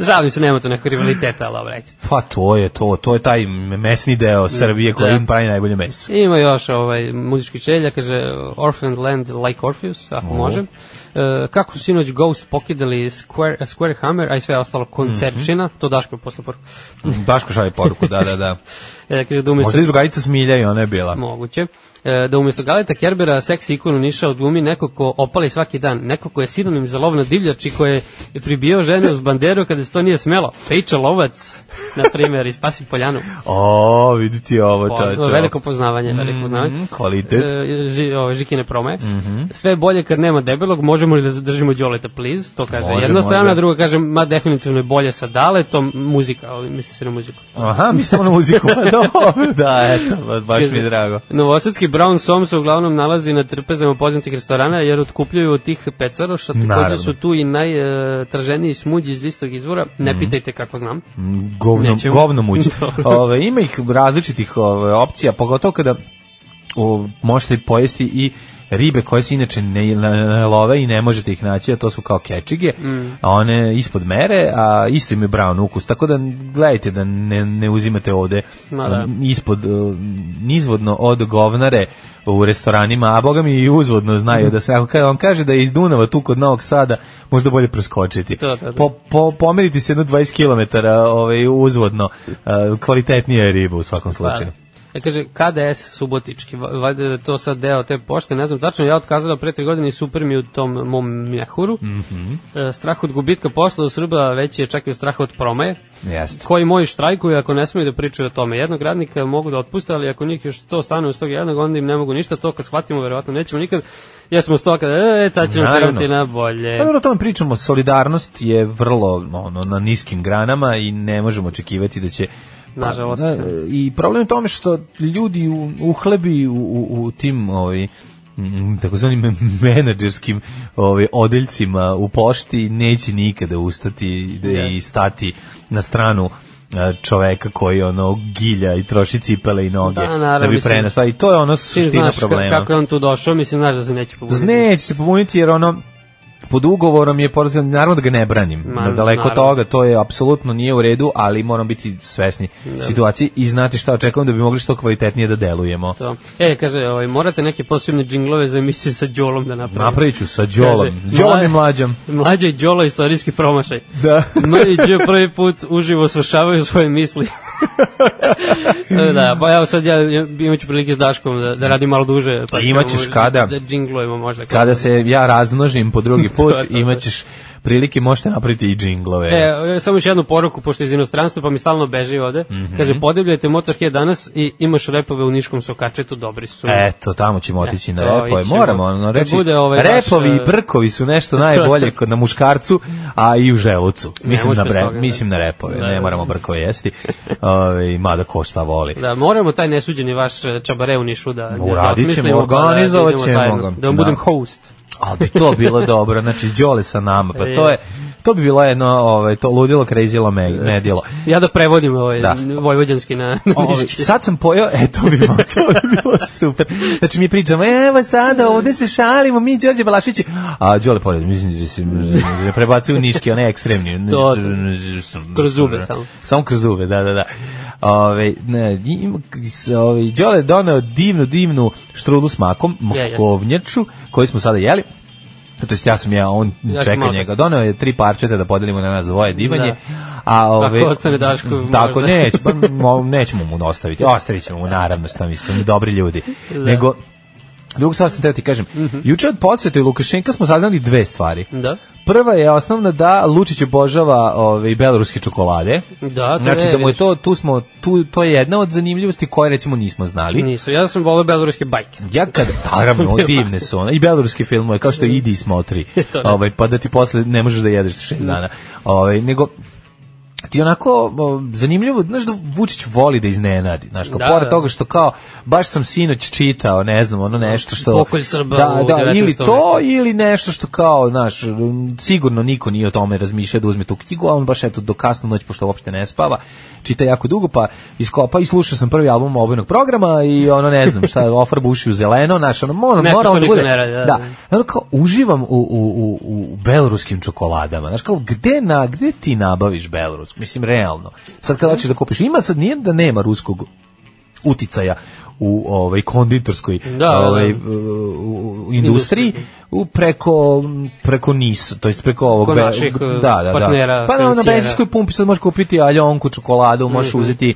Speaker 6: Žalim se, nema to nekog rivaliteta, ali ovaj.
Speaker 5: Pa to je to, to je taj mesni deo Srbije koji
Speaker 6: Da.
Speaker 5: im pravi najbolje meso.
Speaker 6: Ima još ovaj muzički čelja, kaže Orphan Land Like Orpheus, ako može. E, kako su sinoć Ghost pokidali Square, Square Hammer, a i sve ostalo koncertčina, to Daško posle poruku.
Speaker 5: Daško šalje poruku, da, da, da.
Speaker 6: E, kaže da umesto...
Speaker 5: Možda i drugarica Smilja i ona je bila.
Speaker 6: Moguće. E, da umesto Galeta Kerbera seksi ikonu Niša odglumi neko ko opali svaki dan, neko ko je sinonim za lov na divljač i ko je pribio žene uz banderu kada se to nije smelo. Pejča lovac, na primjer, i spasi poljanu.
Speaker 5: O, vidite ovo, <laughs>
Speaker 6: Po,
Speaker 5: to, to.
Speaker 6: Pa, veliko poznavanje, veliko poznavanje.
Speaker 5: Mhm, kvalitet.
Speaker 6: E, ži, ove, žikine promaje.
Speaker 5: Mhm.
Speaker 6: Sve je bolje kad nema debelog, možemo li da zadržimo Đoleta, please? To kaže
Speaker 5: Može,
Speaker 6: jedna strana,
Speaker 5: može.
Speaker 6: a druga kaže, ma definitivno je bolje sa Daletom, muzika, ali misli se na muziku.
Speaker 5: Aha, mi samo na
Speaker 6: <laughs>
Speaker 5: muziku, pa dobro, da, eto, ba- baš mi je drago.
Speaker 6: Novosadski Brown Som se uglavnom nalazi na trpezama poznatih restorana jer otkupljuju od tih pecaroša,
Speaker 5: Naravno.
Speaker 6: takođe su tu i najtraženiji smuđi iz istog izvora, ne pitajte kako znam.
Speaker 5: Govno,
Speaker 6: Nećemo.
Speaker 5: govno mući.
Speaker 6: <laughs> Dobro.
Speaker 5: Ove, ima ih različitih ove, opcija, pogotovo kada o, možete pojesti i ribe koje se inače ne, ne- ne love i ne možete ih naći, a to su kao kečige,
Speaker 6: Mm.
Speaker 5: a one ispod mere, a isto im je brown ukus, tako da gledajte da ne, ne uzimate ovde
Speaker 6: Ma da.
Speaker 5: a, ispod, e, nizvodno od govnare u restoranima, a boga mi i uzvodno znaju da se, ako ka- vam kaže da je iz Dunava tu kod Novog Sada, možda bolje preskočiti.
Speaker 6: To, to, to.
Speaker 5: Po, po, pomeriti se jedno 20 km ovaj, uzvodno, e, kvalitetnija je riba u svakom slučaju.
Speaker 6: Da kaže KDS Subotički, va- valjda je to sad deo te pošte, ne znam tačno, ja otkazala pre tri godine i super mi je u tom mom mjehuru. E, strah od gubitka posla u Srba veći je čak i od straha od promaje.
Speaker 5: Jeste.
Speaker 6: koji moji štrajkuju ako ne smeju da pričaju o tome. Jednog radnika mogu da otpuste, ali ako njih još to stane uz tog jednog, onda im ne mogu ništa. To kad shvatimo, verovatno nećemo nikad. Jesmo sto kada, e, ta ćemo
Speaker 5: Naravno.
Speaker 6: krenuti na bolje.
Speaker 5: Pa dobro, o tome pričamo, solidarnost je vrlo ono, na niskim granama i ne možemo očekivati da će pa,
Speaker 6: Nažalost.
Speaker 5: da, I problem je u tome što ljudi u, uhlebi u, u, u tim ovi, mm, takozvanim menadžerskim ovaj, odeljcima u pošti neće nikada ustati da, i stati na stranu e, čoveka koji ono gilja i troši cipele i noge
Speaker 6: Da, naravno,
Speaker 5: da bi
Speaker 6: mislim,
Speaker 5: prenesla i to je ono
Speaker 6: Ti
Speaker 5: suština
Speaker 6: znaš ka-
Speaker 5: problema.
Speaker 6: kako je on tu došao, mislim, znaš da se neće pobuditi.
Speaker 5: Neće se pobuniti jer ono pod ugovorom je porazio, naravno da ga ne branim.
Speaker 6: Ma,
Speaker 5: daleko od
Speaker 6: naravno.
Speaker 5: toga, to je apsolutno nije u redu, ali moram biti svesni
Speaker 6: Da.
Speaker 5: situacije i znati šta očekujem da bi mogli što kvalitetnije da delujemo.
Speaker 6: To. E, kaže, ovaj, morate neke posebne džinglove za emisije sa Đolom da napravite.
Speaker 5: Napravit ću sa Đolom.
Speaker 6: Kaže,
Speaker 5: Đolom
Speaker 6: mla-
Speaker 5: i mlađom.
Speaker 6: Mlađa i Đolo istorijski promašaj.
Speaker 5: Da.
Speaker 6: Mlađi Đo prvi put uživo svršavaju svoje
Speaker 5: <laughs>
Speaker 6: misli. da, pa evo sad ja imaću prilike s Daškom da, da radim malo duže. Pa
Speaker 5: Imaćeš
Speaker 6: ćemo-
Speaker 5: kada?
Speaker 6: Da džinglujemo možda.
Speaker 5: Kada se ja razmnožim po drugi
Speaker 6: <laughs>
Speaker 5: put
Speaker 6: to, to.
Speaker 5: imaćeš prilike, možete napraviti i džinglove.
Speaker 6: Da, E, samo još jednu poruku, pošto je iz inostranstva, pa mi stalno beži ovde.
Speaker 5: Mhm.
Speaker 6: Kaže, podivljajte Motorhead danas i imaš repove u Niškom sokačetu, dobri su.
Speaker 5: Eto, tamo ćemo otići na
Speaker 6: Eto,
Speaker 5: repove.
Speaker 6: ići ćemo.
Speaker 5: Moramo, ono,
Speaker 6: Da
Speaker 5: reći,
Speaker 6: bude ovaj naš,
Speaker 5: repovi
Speaker 6: e,
Speaker 5: i brkovi su nešto
Speaker 6: <laughs>
Speaker 5: najbolje kod na muškarcu, a i u želucu. Mislim,
Speaker 6: može
Speaker 5: na,
Speaker 6: bez
Speaker 5: bre,
Speaker 6: toga, da.
Speaker 5: mislim na repove,
Speaker 6: Da, da,
Speaker 5: ne
Speaker 6: da.
Speaker 5: moramo brkove jesti, Ove, mada ko šta voli.
Speaker 6: Da, moramo taj nesuđeni vaš e, čabare u Nišu da, da
Speaker 5: Uradit ćemo,
Speaker 6: osmislimo, pa da
Speaker 5: organizovat
Speaker 6: idemo
Speaker 5: ćemo
Speaker 6: zajedno.
Speaker 5: ga.
Speaker 6: Da vam
Speaker 5: Da.
Speaker 6: budem host.
Speaker 5: Ali bi to bilo dobro, znači Đole sa nama, pa
Speaker 6: <laughs>
Speaker 5: to je to bi bilo jedno, ovaj to ludilo krezilo
Speaker 6: <laughs>
Speaker 5: me, medilo.
Speaker 6: Ja da prevodim ovaj
Speaker 5: Da.
Speaker 6: vojvođanski na, na <laughs>
Speaker 5: Ovi,
Speaker 6: niški.
Speaker 5: sad sam pojeo, e, to bi, bilo, to bi bilo super. Znači, mi pričamo, evo sada, ovde se šalimo, mi Đorđe Balašvići, a Đole pored, mislim da se da prebacuju niški, one ekstremni.
Speaker 6: <laughs>
Speaker 5: Da,
Speaker 6: To, to. Kroz zube samo.
Speaker 5: Samo kroz zube, da, da, da. Ove, ne, ima, s- ove, Đole je doneo divnu, divnu štrudlu s makom,
Speaker 6: Ja, jesam.
Speaker 5: mokovnjaču, koju smo sada jeli. To jest ja sam ja, on
Speaker 6: Ja sam
Speaker 5: čeka
Speaker 6: malo
Speaker 5: njega. Doneo je tri parčeta da podelimo na nas dvoje divanje.
Speaker 6: Da.
Speaker 5: A ove
Speaker 6: Ako ostane Dašku,
Speaker 5: Tako
Speaker 6: možda.
Speaker 5: neć, pa mo- nećemo mu
Speaker 6: <laughs>
Speaker 5: ostaviti. Ostavićemo mu naravno, što mi smo mi dobri ljudi.
Speaker 6: Da.
Speaker 5: Nego Drugo stvar sam teo ti kažem,
Speaker 6: Mhm.
Speaker 5: juče od podsjeta i Lukašenka smo saznali dve stvari.
Speaker 6: Da.
Speaker 5: Prva je osnovna da Lučić obožava ove, beloruske čokolade.
Speaker 6: Da, to
Speaker 5: znači
Speaker 6: ne,
Speaker 5: da mu je
Speaker 6: vidiš.
Speaker 5: to, tu smo, tu, to je jedna od zanimljivosti koje recimo nismo znali.
Speaker 6: Nisu, ja sam volio beloruske bajke.
Speaker 5: Ja
Speaker 6: <laughs>
Speaker 5: kad, naravno, divne su one. I beloruski filmove, kao što je Idi i Smotri.
Speaker 6: Da. <laughs> To ne.
Speaker 5: ovaj, pa da ti posle ne možeš da jedeš šest dana. Ovaj, nego, ti onako o, zanimljivo, znaš da Vučić voli da iznenadi, znaš, kao
Speaker 6: Da,
Speaker 5: pored
Speaker 6: da.
Speaker 5: toga što kao, baš sam sinoć čitao, ne znam, ono nešto što...
Speaker 6: Pokolj Srba
Speaker 5: da,
Speaker 6: u
Speaker 5: da,
Speaker 6: 19.
Speaker 5: ili to, ili nešto što kao, znaš, m, sigurno niko nije o tome razmišljao da uzme tu knjigu, a on baš eto do kasno noć, pošto uopšte ne spava, čita jako dugo, pa iskopa i slušao sam prvi album obojnog programa i ono, ne znam, šta, <laughs> ofarba uši u zeleno, znaš, ono, ono,
Speaker 6: Nešto
Speaker 5: moralo
Speaker 6: što
Speaker 5: da
Speaker 6: niko
Speaker 5: bude.
Speaker 6: ne radi, da,
Speaker 5: da,
Speaker 6: da.
Speaker 5: ono kao uživam u, u, u, u beloruskim čokoladama. Znaš kao gde na gde ti nabaviš belorusku? Mislim realno. Sad kad hoćeš da kupiš, ima sad nije da nema ruskog uticaja u ovaj konditorskoj
Speaker 6: da, da.
Speaker 5: ovaj u- u- u industriji u preko preko NIS, to jest preko ovog
Speaker 6: Kod
Speaker 5: be-
Speaker 6: naših,
Speaker 5: da,
Speaker 6: eh,
Speaker 5: da, da.
Speaker 6: partnera,
Speaker 5: Pa na, na
Speaker 6: financijera.
Speaker 5: benzinskoj pumpi sad možeš kupiti aljonku čokoladu, možeš
Speaker 6: Mhm.
Speaker 5: uzeti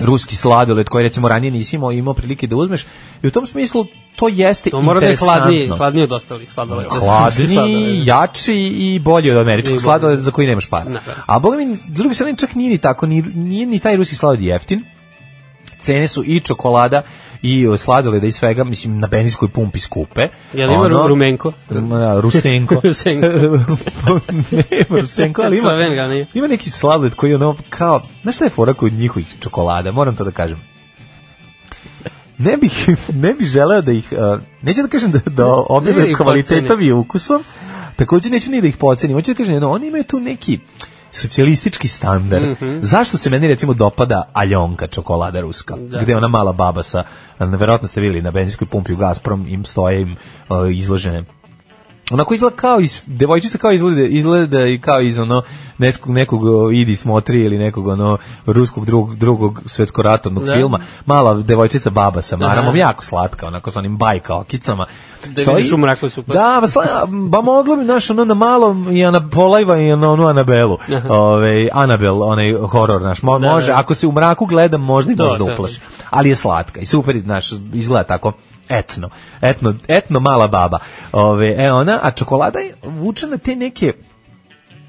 Speaker 5: ruski sladoled koji recimo ranije nisi imao, imao prilike da uzmeš i u tom smislu to jeste
Speaker 6: To mora da je hladniji,
Speaker 5: interesantno.
Speaker 6: hladniji od ostalih sladoleda.
Speaker 5: Hladni, jači i bolji od
Speaker 6: I
Speaker 5: američkog
Speaker 6: bolji.
Speaker 5: sladoleda za koji nemaš para.
Speaker 6: Da.
Speaker 5: A boga mi, s druge strane, čak nije ni tako, ni, nije ni taj ruski sladoled jeftin. Cene su i čokolada i o, sladoleda i svega, mislim, na benzinskoj pumpi skupe.
Speaker 6: Jel ima ru- rumenko?
Speaker 5: Da, <laughs>
Speaker 6: <laughs>
Speaker 5: Rusenko.
Speaker 6: Rusenko.
Speaker 5: <laughs> Nema Rusenko, ali ima,
Speaker 6: Saven ga nije.
Speaker 5: ima neki sladoled koji je ono kao, znaš šta je fora kod njihovih čokolada, moram to da kažem. Ne bih, <laughs> ne bih želeo da ih, uh, neću da kažem da, da
Speaker 6: Ne,
Speaker 5: objave
Speaker 6: ih
Speaker 5: kvalitetom
Speaker 6: podceni.
Speaker 5: i ukusom, takođe neću ni da ih pocenim, hoću da kažem jedno, oni imaju tu neki socijalistički standard.
Speaker 6: Mhm.
Speaker 5: Zašto se meni recimo dopada aljonka čokolada ruska,
Speaker 6: Da.
Speaker 5: gde ona mala baba sa, verovatno ste videli na benzinskoj pumpi u Gazprom, im stoje im uh, izložene onako izgleda kao iz devojčica kao izgleda izgleda i kao iz ono nekog nekog o, idi smotri ili nekog ono ruskog drugog drugog svetskoratovnog
Speaker 6: Da.
Speaker 5: filma mala devojčica baba sa maramom
Speaker 6: Aha.
Speaker 5: jako slatka onako sa onim bajka okicama
Speaker 6: Da vidiš u mraku super.
Speaker 5: da pa, sla, pa moglo bi naš ono na malom i ana polajva i na onu Anabelu ovaj Anabel onaj horor naš mo,
Speaker 6: Da,
Speaker 5: može
Speaker 6: da.
Speaker 5: ako se u mraku gleda možda i
Speaker 6: To,
Speaker 5: možda
Speaker 6: to.
Speaker 5: uplaši ali je slatka i super znaš, izgleda tako etno, etno, etno mala baba. Ove, e ona, a čokolada je vuče na te neke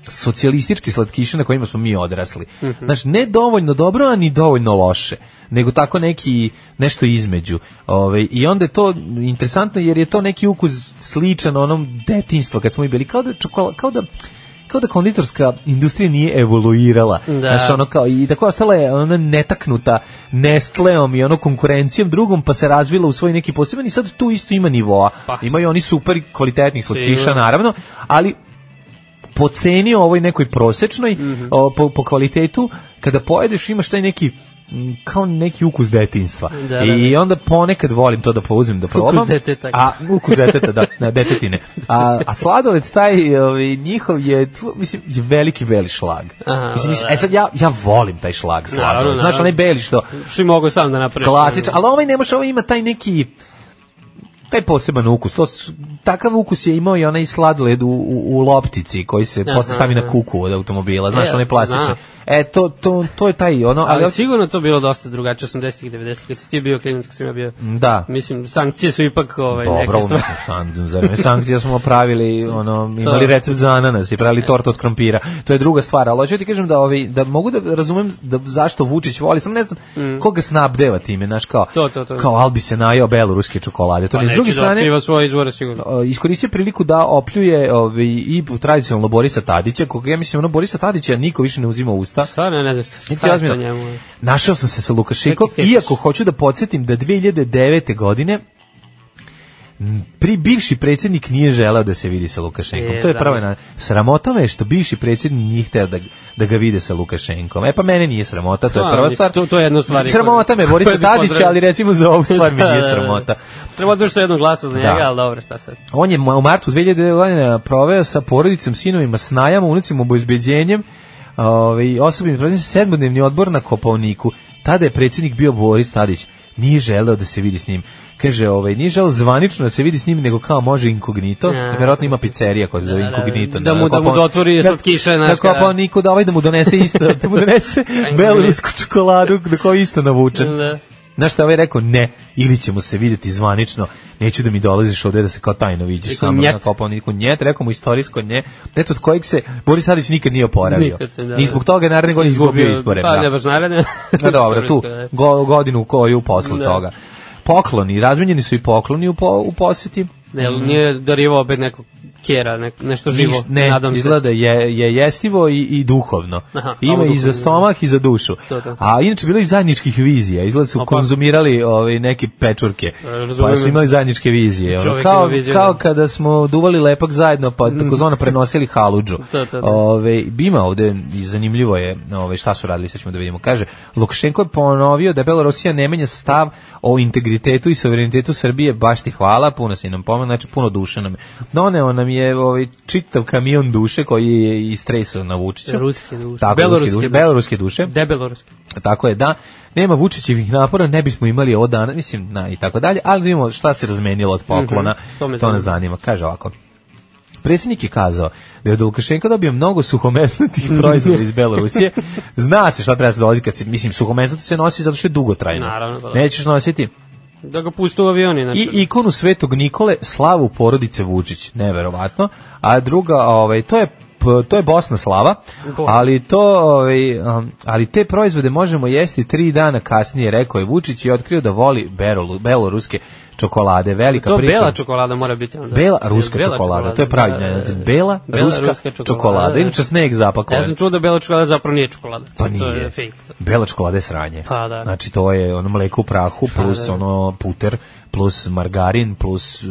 Speaker 5: socijalističke slatkiše na kojima smo mi odrasli.
Speaker 6: Mhm.
Speaker 5: Znaš, ne dovoljno dobro, a ni dovoljno loše, nego tako neki nešto između. Ove, I onda je to interesantno jer je to neki ukus sličan onom detinjstva kad smo mi bili kao da čokola, kao da kao da konditorska industrija nije evoluirala.
Speaker 6: Da.
Speaker 5: Znaš, ono kao, i tako ostala je ona netaknuta Nestleom i ono konkurencijom drugom, pa se razvila u svoj neki poseban i sad tu isto ima nivoa.
Speaker 6: Pa.
Speaker 5: Imaju oni super kvalitetnih slatkiša,
Speaker 6: Sigurno.
Speaker 5: naravno, ali po ceni ovoj nekoj prosečnoj,
Speaker 6: Mhm.
Speaker 5: o, po, po kvalitetu, kada pojedeš imaš taj neki m, kao neki ukus detinstva.
Speaker 6: Da, da,
Speaker 5: I onda ponekad volim to da pouzmem, da probam.
Speaker 6: deteta.
Speaker 5: A, ukus deteta, da, na detetine. A, a sladoled taj ovaj, njihov je, tu, mislim, je veliki beli šlag.
Speaker 6: Aha,
Speaker 5: mislim,
Speaker 6: da,
Speaker 5: niš- E sad, ja, ja volim taj šlag sladoled.
Speaker 6: Naravno,
Speaker 5: Znaš, onaj
Speaker 6: naravno.
Speaker 5: beli što,
Speaker 6: Što i mogu sam da napravim.
Speaker 5: klasičan, ali ovaj ne može, ovaj ima taj neki taj poseban ukus. To, s- takav ukus je imao i onaj sladoled u, u, u loptici koji se
Speaker 6: Aha,
Speaker 5: posle stavi na
Speaker 6: da.
Speaker 5: kuku od automobila, znaš,
Speaker 6: E,
Speaker 5: onaj plastični.
Speaker 6: znam.
Speaker 5: E, to, to, to je taj, ono, ali,
Speaker 6: Ali, sigurno to bilo dosta drugačije 80-ih 90-ih kad si ti bio klinac kad sam ja bio.
Speaker 5: Da.
Speaker 6: Mislim sankcije su ipak ovaj
Speaker 5: Dobro,
Speaker 6: neke
Speaker 5: <laughs>
Speaker 6: stvari.
Speaker 5: mislim, san, za vreme sankcija smo pravili, ono, imali recept za ananas i pravili tort od krompira. To je druga stvar, ali hoću ti kažem da, ovi, da mogu da razumem da, zašto Vučić voli, samo ne znam koga snabdeva time, znaš, kao,
Speaker 6: Mm. To, to, to.
Speaker 5: kao Albi se najao beloruske čokolade. To
Speaker 6: Pa
Speaker 5: ne, s
Speaker 6: neće
Speaker 5: druge
Speaker 6: da
Speaker 5: strane,
Speaker 6: otkriva svoje izvore sigurno.
Speaker 5: o, iskoristio priliku da opljuje ovaj, i tradicionalno Borisa Tadića, koga ja mislim, ono, Borisa Tadića niko više ne uzima u usta.
Speaker 6: Stvarno ja ne znam šta,
Speaker 5: Niti
Speaker 6: šta je to
Speaker 5: ozbiljno.
Speaker 6: njemu.
Speaker 5: Našao sam se sa Lukašenkom,
Speaker 6: Neki fetiš.
Speaker 5: iako hoću da podsjetim da 2009. godine m, pri bivši predsjednik nije želeo da se vidi sa Lukašenkom.
Speaker 6: Je,
Speaker 5: to je
Speaker 6: da,
Speaker 5: prva
Speaker 6: mislim.
Speaker 5: na... sramota me je što bivši predsjednik nije hteo da, da ga vide sa Lukašenkom. E pa mene nije sramota, to je
Speaker 6: A,
Speaker 5: prva
Speaker 6: mislim,
Speaker 5: stvar.
Speaker 6: to- to je jedna stvar.
Speaker 5: Sramota me Borisa
Speaker 6: Koju bi
Speaker 5: Tadića,
Speaker 6: pozdravio.
Speaker 5: ali recimo za ovu stvar mi
Speaker 6: <laughs> Da,
Speaker 5: nije
Speaker 6: da, da.
Speaker 5: sramota.
Speaker 6: Treba odvrš sa jednog glasa za njega,
Speaker 5: Da.
Speaker 6: ali dobro, šta sad.
Speaker 5: On je u martu 2000 godine proveo sa porodicom, sinovima, snajama, unucima, obezbeđenjem ovaj, i osobnim praznicima sedmodnevni odbor na Kopovniku. Tada je predsjednik bio Boris Tadić. Nije želeo da se vidi s njim. Kaže, ovaj, nije želeo zvanično da se vidi s njim, nego kao može inkognito.
Speaker 6: Ja.
Speaker 5: Verovatno ima pizzerija koja se zove
Speaker 6: Da, da,
Speaker 5: inkognito.
Speaker 6: da mu- da mu
Speaker 5: Kopon-
Speaker 6: dotvori
Speaker 5: da-
Speaker 6: slatkiše,
Speaker 5: Na
Speaker 6: znaš, kada-
Speaker 5: Kopovniku, da ovaj da mu donese isto, da mu
Speaker 6: <laughs>
Speaker 5: donese belorusku čokoladu, da koju isto navučen.
Speaker 6: Da.
Speaker 5: Znaš šta je ovaj rekao? Ne, ili ćemo se vidjeti zvanično, neću da mi dolaziš ovde da se kao tajno viđeš
Speaker 6: Rekao
Speaker 5: samo
Speaker 6: njet.
Speaker 5: na kopalniku. Njet, rekao mu istorijsko nje, eto od kojeg se Boris Tadić nikad nije oporavio.
Speaker 6: Nikad se, da,
Speaker 5: I zbog toga je naredne godine izgubio izbore.
Speaker 6: Pa, ne
Speaker 5: Da.
Speaker 6: baš naredne.
Speaker 5: Pa
Speaker 6: <laughs>
Speaker 5: dobro, tu,
Speaker 6: Istorijsko, da.
Speaker 5: go- godinu koju posle
Speaker 6: Da.
Speaker 5: toga. Pokloni, razmenjeni su i pokloni u, po, u poseti.
Speaker 6: Ne, nije darivao opet nekog kjera, nek, nešto živo,
Speaker 5: Niš- ne,
Speaker 6: nadam se.
Speaker 5: izgleda da je, je jestivo i, i duhovno.
Speaker 6: Aha,
Speaker 5: Ima
Speaker 6: ovo
Speaker 5: i za
Speaker 6: duhovno, da.
Speaker 5: stomak i za dušu.
Speaker 6: To, to.
Speaker 5: A inače bilo je i zajedničkih vizija. Izgleda su
Speaker 6: A pa-
Speaker 5: konzumirali ove, neke pečurke.
Speaker 6: razumijem.
Speaker 5: Pa su imali zajedničke vizije. Ono,
Speaker 6: Čovek
Speaker 5: kao,
Speaker 6: ima viziju,
Speaker 5: kao
Speaker 6: da.
Speaker 5: kada smo duvali lepak zajedno, pa takozvano prenosili haludžu.
Speaker 6: To, to, Mm. da.
Speaker 5: Ove, ima ovde, i zanimljivo je ove, šta su radili, sad ćemo da vidimo. Kaže, Lukašenko je ponovio da Belorusija ne menja stav o integritetu i suverenitetu Srbije, baš ti hvala, puno si nam pomen, znači puno duše nam je. Doneo nam je ovaj, čitav kamion duše koji je istresao na Vučića.
Speaker 6: Ruske duše.
Speaker 5: Tako, beloruske,
Speaker 6: Beloruske
Speaker 5: duše,
Speaker 6: duše.
Speaker 5: beloruske duše.
Speaker 6: Debeloruski.
Speaker 5: Tako je, da. Nema Vučićevih napora, ne bismo imali ovo danas, mislim, na, i tako dalje, ali da vidimo šta se razmenilo od poklona,
Speaker 6: Mhm,
Speaker 5: to,
Speaker 6: to me
Speaker 5: me to nas
Speaker 6: zanima.
Speaker 5: zanima. Kaže ovako, Predsjednik je kazao da je od Lukašenka dobio mnogo
Speaker 6: <laughs>
Speaker 5: suhomesnatih proizvoda iz Belorusije. Zna se šta treba se dolazi kad se, mislim, suhomesnato se nosi zato što je dugotrajno.
Speaker 6: Naravno, pa da.
Speaker 5: Nećeš nositi.
Speaker 6: Da ga pustu u avioni, znači.
Speaker 5: I ikonu Svetog Nikole, slavu porodice Vučić, neverovatno. A druga, ovaj, to je p- to je Bosna slava,
Speaker 6: Bosna.
Speaker 5: ali to ovaj, um, ali te proizvode možemo jesti tri dana kasnije, rekao je Vučić i otkrio da voli berolu, beloruske čokolade, velika
Speaker 6: to
Speaker 5: priča.
Speaker 6: bela čokolada mora biti onda.
Speaker 5: Bela ruska
Speaker 6: Bela
Speaker 5: čokolada, to je pravi naziv.
Speaker 6: da, da.
Speaker 5: Bela, ruska, čokolada.
Speaker 6: da.
Speaker 5: Inače sneg zapakovan.
Speaker 6: Ja sam čuo da bela čokolada zapravo nije čokolada.
Speaker 5: Pa
Speaker 6: To
Speaker 5: nije.
Speaker 6: je fake. to.
Speaker 5: Bela čokolada je sranje.
Speaker 6: Pa da.
Speaker 5: Znači to je ono mleko u prahu plus
Speaker 6: da.
Speaker 5: ono puter plus margarin plus uh,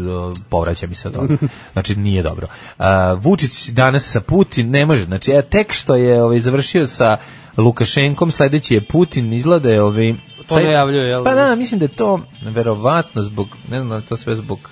Speaker 5: povraća mi se to.
Speaker 6: <laughs>
Speaker 5: Znači nije dobro. Uh, Vučić danas sa Putin ne može. Znači ja tek što je ovaj završio sa Lukašenkom, sledeći je Putin, izgleda je ovaj
Speaker 6: To najavljuje, jel?
Speaker 5: Pa da, mislim da je to verovatno zbog, ne znam da li je to sve zbog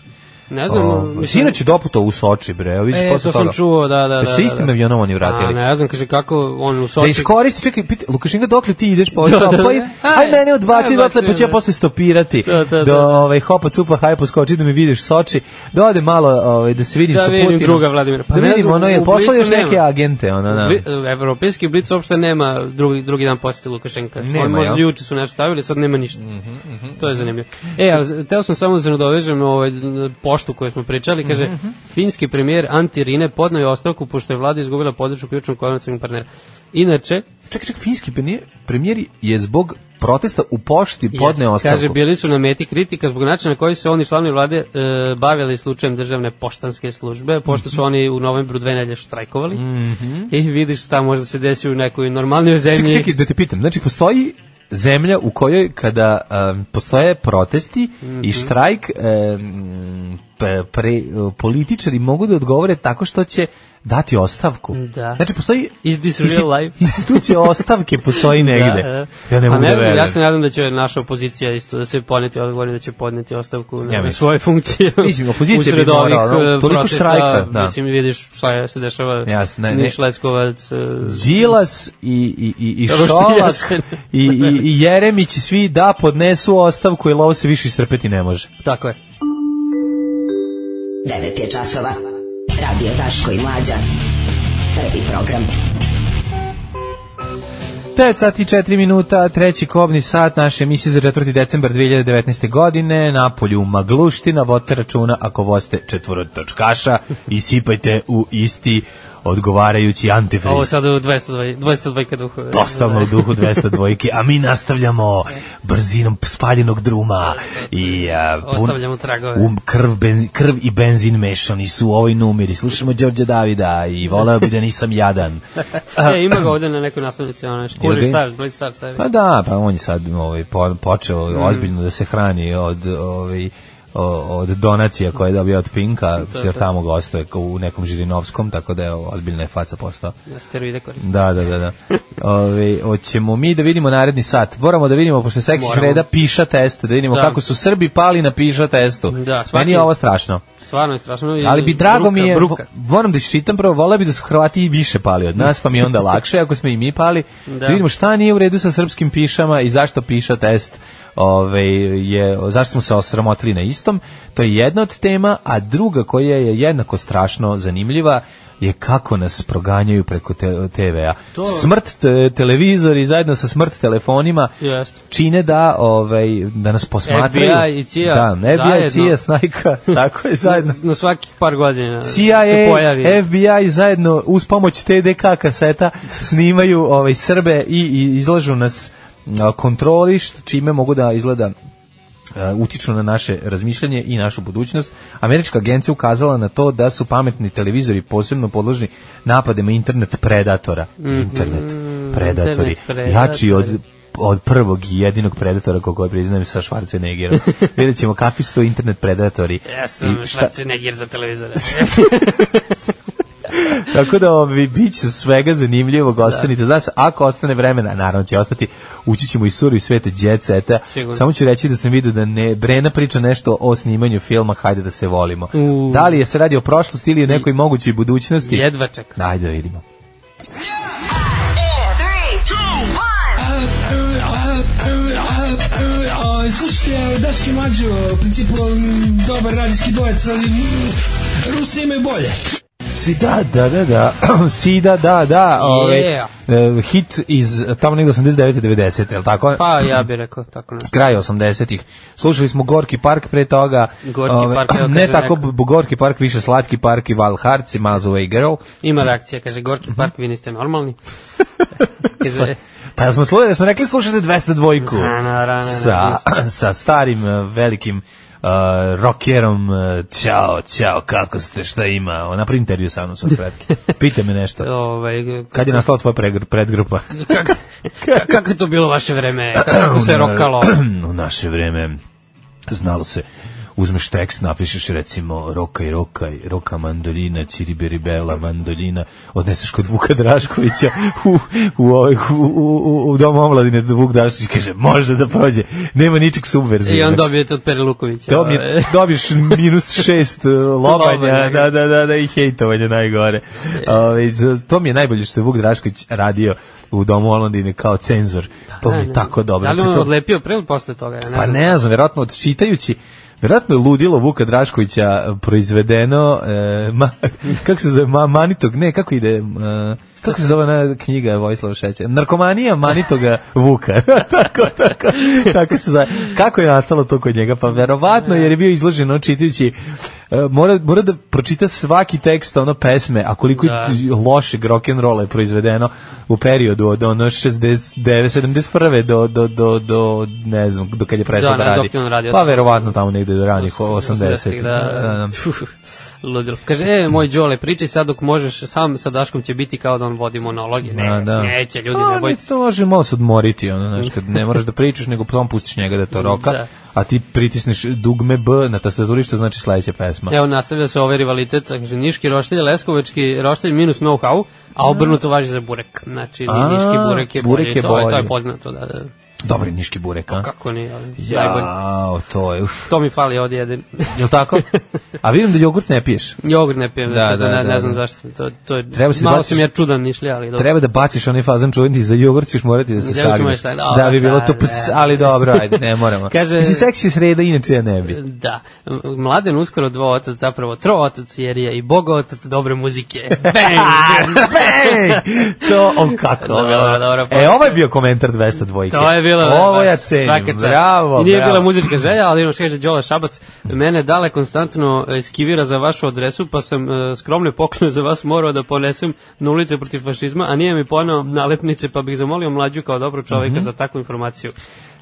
Speaker 6: Ne znam.
Speaker 5: o,
Speaker 6: mislim-
Speaker 5: sinoć je doputovao u Soči, bre, ovi
Speaker 6: E,
Speaker 5: posle
Speaker 6: to sam
Speaker 5: toga.
Speaker 6: čuo, da, da, da.
Speaker 5: Jesu se
Speaker 6: da,
Speaker 5: istim
Speaker 6: da.
Speaker 5: avionom oni vratili?
Speaker 6: A, ne znam, kaže kako on u
Speaker 5: Da
Speaker 6: Soči...
Speaker 5: iskoristi, čekaj, pita, Lukašenka, dokle ti ideš po
Speaker 6: Da,
Speaker 5: ovo?
Speaker 6: da,
Speaker 5: Pa i-
Speaker 6: da.
Speaker 5: aj
Speaker 6: Aj,
Speaker 5: mene odbaci,
Speaker 6: aj,
Speaker 5: dotle pa
Speaker 6: odbaci,
Speaker 5: ću ja
Speaker 6: da.
Speaker 5: posle stopirati.
Speaker 6: Da, da,
Speaker 5: Do
Speaker 6: da.
Speaker 5: ovaj, hopa, cupa, haj, poskoči da mi vidiš Soči. Da ode malo ovaj, da se vidim
Speaker 6: Da
Speaker 5: sa
Speaker 6: vidim
Speaker 5: Putinom.
Speaker 6: druga Vladimira. Pa
Speaker 5: da
Speaker 6: ne
Speaker 5: vidim,
Speaker 6: znam,
Speaker 5: ono je
Speaker 6: u
Speaker 5: poslao još
Speaker 6: Blicu
Speaker 5: neke
Speaker 6: nema.
Speaker 5: agente, ono, da.
Speaker 6: Vi- Evropski blic uopšte nema drugi, drugi dan posjeti Lukašenka.
Speaker 5: Nema,
Speaker 6: On možda
Speaker 5: jel? Mhm,
Speaker 6: juče su nešto stavili, sad nema ništa. To je zanimljivo. E, ali teo sam samo da se nadovežem na ovaj, na poštu koju smo pričali. Kaže,
Speaker 5: Mhm,
Speaker 6: finski premijer Antti Rine podnao je ostavku pošto je vlada izgubila podršku ključnog koalicijnog partnera. Inače,
Speaker 5: Čekaj, čekaj, finski premijer, premijer je zbog protesta u pošti podneo
Speaker 6: Jeste.
Speaker 5: ostavku.
Speaker 6: Kaže, bili su na meti kritika zbog načina na koji su oni članovi vlade e, bavili slučajem državne poštanske službe, pošto su oni u novembru dve nedelje štrajkovali. I vidiš šta možda se desi u nekoj
Speaker 5: <laughs>
Speaker 6: normalnoj zemlji.
Speaker 5: Čekaj, Mhm. čekaj, da te pitam. Znači, postoji zemlja u kojoj kada um, postoje protesti
Speaker 6: Mhm.
Speaker 5: i štrajk um, pe- pre, političari mogu da odgovore tako što će dati ostavku.
Speaker 6: Da.
Speaker 5: Znači, postoji
Speaker 6: Is this real life?
Speaker 5: institucija ostavke postoji <laughs> negde.
Speaker 6: <laughs> Da,
Speaker 5: Ja ne
Speaker 6: A
Speaker 5: mogu da verujem.
Speaker 6: Ja se nadam da će naša opozicija isto da se poneti odgovor i da će podneti ostavku na,
Speaker 5: Ja
Speaker 6: na
Speaker 5: mislim.
Speaker 6: svoje funkcije.
Speaker 5: <laughs> Mislim, opozicija
Speaker 6: Usred
Speaker 5: bi morala,
Speaker 6: ovih,
Speaker 5: ono,
Speaker 6: e,
Speaker 5: toliko
Speaker 6: protesta,
Speaker 5: štrajka, da.
Speaker 6: Mislim, vidiš šta je, se dešava.
Speaker 5: Jasno, ne, ne.
Speaker 6: Niš Leskovac, e,
Speaker 5: Đilas i, i, i, i
Speaker 6: Dobro što
Speaker 5: Šolak
Speaker 6: jesen.
Speaker 5: i, i, i Jeremić i svi da podnesu ostavku jer ovo se više istrpeti ne može.
Speaker 6: tako je.
Speaker 4: 9 je časova. Radio Daško i Mlađa. Prvi program.
Speaker 5: 9 sati i 4 minuta, treći kobni sat naše emisije za 4. decembar 2019. godine, na polju Magluština, vodite računa ako voste četvorotočkaša i sipajte u isti odgovarajući antifriz.
Speaker 6: Ovo je sada u 202, 202 duhu.
Speaker 5: Totalno
Speaker 6: E,
Speaker 5: u duhu 202 a mi nastavljamo brzinom spaljenog druma i a,
Speaker 6: Ostavljamo tragove.
Speaker 5: Um, krv, benz- krv i benzin mešani su u ovoj numeri. Slušamo Đorđa Davida i voleo bi da nisam jadan.
Speaker 6: <laughs> E, ima ga ovde na nekoj naslovnici, ono,
Speaker 5: Jel
Speaker 6: škuri
Speaker 5: ga ima?
Speaker 6: staž, bled staž, stavi.
Speaker 5: Pa da, pa on je sad ovaj, po- počeo
Speaker 6: Mm.
Speaker 5: ozbiljno da se hrani od ovaj, o- od donacija koje je dobio od
Speaker 6: Da,
Speaker 5: Pinka, jer tamo gostuje kao u nekom Žirinovskom, tako da je ozbiljna je faca postao.
Speaker 6: Na steroide koristi.
Speaker 5: Da, da,
Speaker 6: <laughs>
Speaker 5: da. da. Ove, hoćemo mi da vidimo naredni sat. Moramo da vidimo, pošto je seksi
Speaker 6: Moramo.
Speaker 5: sreda piša test, da vidimo
Speaker 6: Da.
Speaker 5: kako su Srbi pali na piša testu.
Speaker 6: Da, svaki-
Speaker 5: Meni je ovo strašno.
Speaker 6: Stvarno je strašno. i
Speaker 5: Ali bi drago
Speaker 6: bruka,
Speaker 5: mi je,
Speaker 6: Bruka.
Speaker 5: moram da iščitam prvo, voleo bi da su Hrvati i više pali od nas, pa mi je onda lakše ako smo i mi pali. Da.
Speaker 6: Da.
Speaker 5: vidimo šta nije u redu sa srpskim pišama i zašto piša test. Ove, je, zašto smo se osramotili na istom, to je jedna od tema, a druga koja je jednako strašno zanimljiva je kako nas proganjaju preko te, TV-a.
Speaker 6: To-
Speaker 5: Smrt te, televizori zajedno sa smrt telefonima
Speaker 6: Jeste.
Speaker 5: čine da ovaj da nas posmatraju.
Speaker 6: FBI i CIA
Speaker 5: Da, FBI,
Speaker 6: zajedno.
Speaker 5: CIA, Snajka, <laughs> tako je zajedno.
Speaker 6: Na, na svakih par godina se
Speaker 5: CIA,
Speaker 6: pojavi. da.
Speaker 5: FBI zajedno uz pomoć TDK kaseta snimaju ovaj Srbe i, i izlažu nas a, kontroli što- čime mogu da izgleda a, utiču na naše razmišljanje i našu budućnost. Američka agencija ukazala na to da su pametni televizori posebno podložni napadima internet predatora. Internet predatori.
Speaker 6: Mhm. internet
Speaker 5: Jači od
Speaker 6: predatori.
Speaker 5: od prvog i jedinog predatora koga priznajem sa
Speaker 6: <laughs>
Speaker 5: Schwarzeneggerom. Vidjet ćemo kakvi su to internet predatori.
Speaker 6: Ja sam
Speaker 5: I šta-
Speaker 6: Schwarzenegger za televizora.
Speaker 5: Tako da ovi, bit će svega zanimljivog, ostanite. Da. Znači, ako ostane vremena, naravno će ostati, ući ćemo i suru i svete jet seta.
Speaker 6: Sigurno.
Speaker 5: Samo ću reći da sam vidio da ne, Brena priča nešto o snimanju filma Hajde da se volimo.
Speaker 6: U.
Speaker 5: Da li je se radi o prošlosti ili o nekoj mogućoj budućnosti?
Speaker 6: Jedva čekam.
Speaker 5: Ajde da vidimo.
Speaker 9: Slušajte, Daški Mađo, u principu um, dobar radijski dvojec, ali Rusi imaju bolje.
Speaker 5: Si da, da, da, da. <clears throat> si da, da, da. Ovaj,
Speaker 6: Yeah.
Speaker 5: eh, hit iz eh, tamo negde 89. 90. Je li tako?
Speaker 6: Pa ja bih rekao tako nešto.
Speaker 5: kraj 80-ih. Slušali smo Gorki park pre toga.
Speaker 6: Gorki
Speaker 5: Ove,
Speaker 6: park,
Speaker 5: <clears throat>
Speaker 6: evo
Speaker 5: ne
Speaker 6: kaže
Speaker 5: tako
Speaker 6: neko.
Speaker 5: b- Gorki park, više Slatki park i Val Harci, Miles Away Girl.
Speaker 6: Ima reakcija, kaže Gorki
Speaker 5: Mhm.
Speaker 6: Park, vi niste
Speaker 5: <laughs>
Speaker 6: normalni. kaže,
Speaker 5: Pa smo slušali, da smo rekli slušajte 202-ku.
Speaker 6: Na, na, na, na,
Speaker 5: Sa, sa <laughs> starim eh, velikim uh, rockerom eh, Ćao, ćao, kako ste, šta ima? Napri intervju sa mnom sa Fredke. Pite me nešto.
Speaker 6: ovaj,
Speaker 5: Pa, Kad je nastala tvoja pregr- predgrupa?
Speaker 6: <laughs> kako, kako je to bilo vaše
Speaker 5: <clears throat>
Speaker 6: vreme? Kako se rokalo?
Speaker 5: u naše vreme znalo se uzmeš tekst, napišeš recimo rokaj, rokaj, roka mandolina, čiriberibela mandolina, odneseš kod Vuka Draškovića u, u, ovaj- u, u, u, u domu omladine Vuk Drašković kaže može da prođe, nema ničeg subverzivnog.
Speaker 6: I on dobijete od Pere Lukovića. <laughs>
Speaker 5: Dobije, dobiješ minus šest eh, lobanja,
Speaker 6: Lobanja. E.
Speaker 5: da, da, da, da, i hejtovanja najgore. Ove, za- to mi je najbolje što je Vuk Drašković radio u domu Omladine kao cenzor. To mi je tako dobro.
Speaker 6: Da li
Speaker 5: Znači,
Speaker 6: on
Speaker 5: to-
Speaker 6: odlepio pre ili posle toga? Ja ne
Speaker 5: pa
Speaker 6: znam.
Speaker 5: ne znam, verovatno odčitajući Verovatno je ludilo Vuka Draškovića e, proizvedeno, e, ma, <laughs> kako se zove, ma, Manitog, ne, kako ide, e, kako se zove na knjiga Vojislava Šeća? Narkomanija Manitoga Vuka, <laughs> tako, tako, tako se zove. Kako je nastalo to kod njega? Pa verovatno, jer je bio izložen on čitajući, e, mora, mora da pročita svaki tekst ono pesme, a koliko
Speaker 6: Da.
Speaker 5: je lošeg rock'n'rolla je proizvedeno u periodu od ono 69, 71. do, do, do, do ne znam, do kad je prestao
Speaker 6: Da,
Speaker 5: da
Speaker 6: ne,
Speaker 5: radi.
Speaker 6: dok je on radio.
Speaker 5: Pa verovatno tamo negde do ranih 80.
Speaker 6: 80-ih, da.
Speaker 5: Da,
Speaker 6: <laughs> Fuh, Ludilo. Kaže, e, moj Đole, pričaj sad dok možeš, sam sa Daškom će biti kao da on vodi monologe. Ne,
Speaker 5: Da, da.
Speaker 6: neće, ljudi,
Speaker 5: A,
Speaker 6: ne bojte.
Speaker 5: To može malo se odmoriti, ono, znaš, kad ne moraš da pričaš, nego potom pustiš njega da to roka,
Speaker 6: Da.
Speaker 5: a ti pritisneš dugme B na tastaturi, što znači sledeća pesma.
Speaker 6: Evo, nastavlja se ovaj rivalitet, kaže, Niški roštilj, Leskovački roštilj minus know-how, a obrnuto važi za burek. Znači,
Speaker 5: Mm. A,
Speaker 6: Niški burek je
Speaker 5: burek
Speaker 6: bolji,
Speaker 5: je
Speaker 6: to, je, to je
Speaker 5: bolji.
Speaker 6: poznato, da, da.
Speaker 5: Dobri niški burek, a?
Speaker 6: Kako nije, ali najbolje.
Speaker 5: Ja, to je, uf.
Speaker 6: To mi fali ovdje jedan.
Speaker 5: Jel tako? A vidim da jogurt ne piješ.
Speaker 6: <laughs> Jogurt ne pijem,
Speaker 5: Da,
Speaker 6: da,
Speaker 5: da,
Speaker 6: ne,
Speaker 5: da.
Speaker 6: ne znam zašto. To, to je,
Speaker 5: Treba si da
Speaker 6: malo
Speaker 5: baciš-
Speaker 6: sam ja čudan nišlija, ali dobro.
Speaker 5: Treba da baciš onaj fazan čuveni za jogurt ćeš morati da se
Speaker 6: Jogurt ću
Speaker 5: sagneš.
Speaker 6: morati da- dobro,
Speaker 5: Da bi bilo to
Speaker 6: sad,
Speaker 5: ps,
Speaker 6: ne.
Speaker 5: ali dobro, ajde, ne moramo.
Speaker 6: <laughs> Kaže-
Speaker 5: Mislim, seksi sreda, inače ja ne bi.
Speaker 6: Da, mladen uskoro dva otac, zapravo tro otac jer je i boga otac dobre muzike.
Speaker 5: <laughs>
Speaker 6: Bang!
Speaker 5: Bang! To, o kako.
Speaker 6: Dobro, dobro, dobro.
Speaker 5: E, ovo je bio komentar 202.
Speaker 6: To je bilo
Speaker 5: Ovo
Speaker 6: baš
Speaker 5: ja cenim.
Speaker 6: svaka čast.
Speaker 5: Bravo,
Speaker 6: I nije
Speaker 5: bravo.
Speaker 6: bila muzička želja, ali ono što kaže Đole Šabac, mene dale konstantno e, skivira za vašu adresu, pa sam e, skromne poklone za vas morao da ponesem na ulice protiv fašizma, a nije mi ponao nalepnice, pa bih zamolio mlađu kao dobro čoveka
Speaker 5: Mhm.
Speaker 6: za takvu informaciju.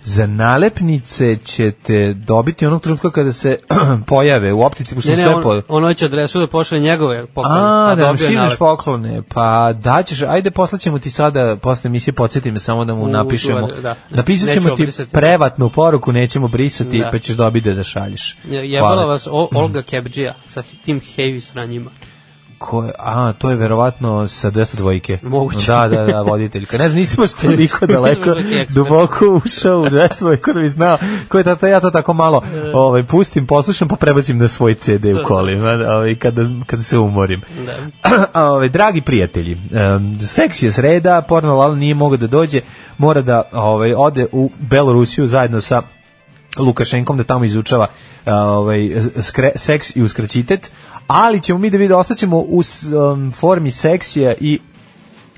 Speaker 5: Za nalepnice ćete dobiti onog trenutka kada se <clears throat> pojave u optici, pošto
Speaker 6: Ne, ne,
Speaker 5: sve po...
Speaker 6: on, on hoće adresu da pošle njegove poklone. pa
Speaker 5: A, da nam
Speaker 6: dobio je
Speaker 5: šibneš
Speaker 6: nalepnicu.
Speaker 5: poklone, pa daćeš, ajde poslaćemo ti sada, posle emisije podsjeti me samo da mu
Speaker 6: U,
Speaker 5: napišemo,
Speaker 6: čuvar, da.
Speaker 5: napisat ćemo
Speaker 6: Nećemo
Speaker 5: ti
Speaker 6: brisati.
Speaker 5: prevatnu poruku, nećemo brisati,
Speaker 6: Da.
Speaker 5: pa ćeš dobiti da šalješ.
Speaker 6: Je- Jebala
Speaker 5: Hvala.
Speaker 6: vas o, Olga Kebđija sa tim heavy sranjima.
Speaker 5: Ko je, a, to je verovatno sa 202-ke.
Speaker 6: Moguće.
Speaker 5: Da, da, da, voditeljka. Ne znam, nisam baš
Speaker 6: <laughs>
Speaker 5: toliko daleko,
Speaker 6: Neki ekspert.
Speaker 5: duboko ušao u 202-ku da bi znao ko je tata, ja to tako malo
Speaker 6: Da.
Speaker 5: ovaj, pustim, poslušam, pa prebacim na svoj CD u kolima, ovaj, kada, kada se umorim.
Speaker 6: Da.
Speaker 5: <clears throat> A, ovaj, dragi prijatelji, em, seks je sreda, porno lal nije mogao da dođe, mora da ovaj, ode u Belorusiju zajedno sa Lukašenkom da tamo izučava a, ovaj, skre, seks i uskraćitet, ali ćemo mi da vidimo, ostaćemo u s- em, formi seksija i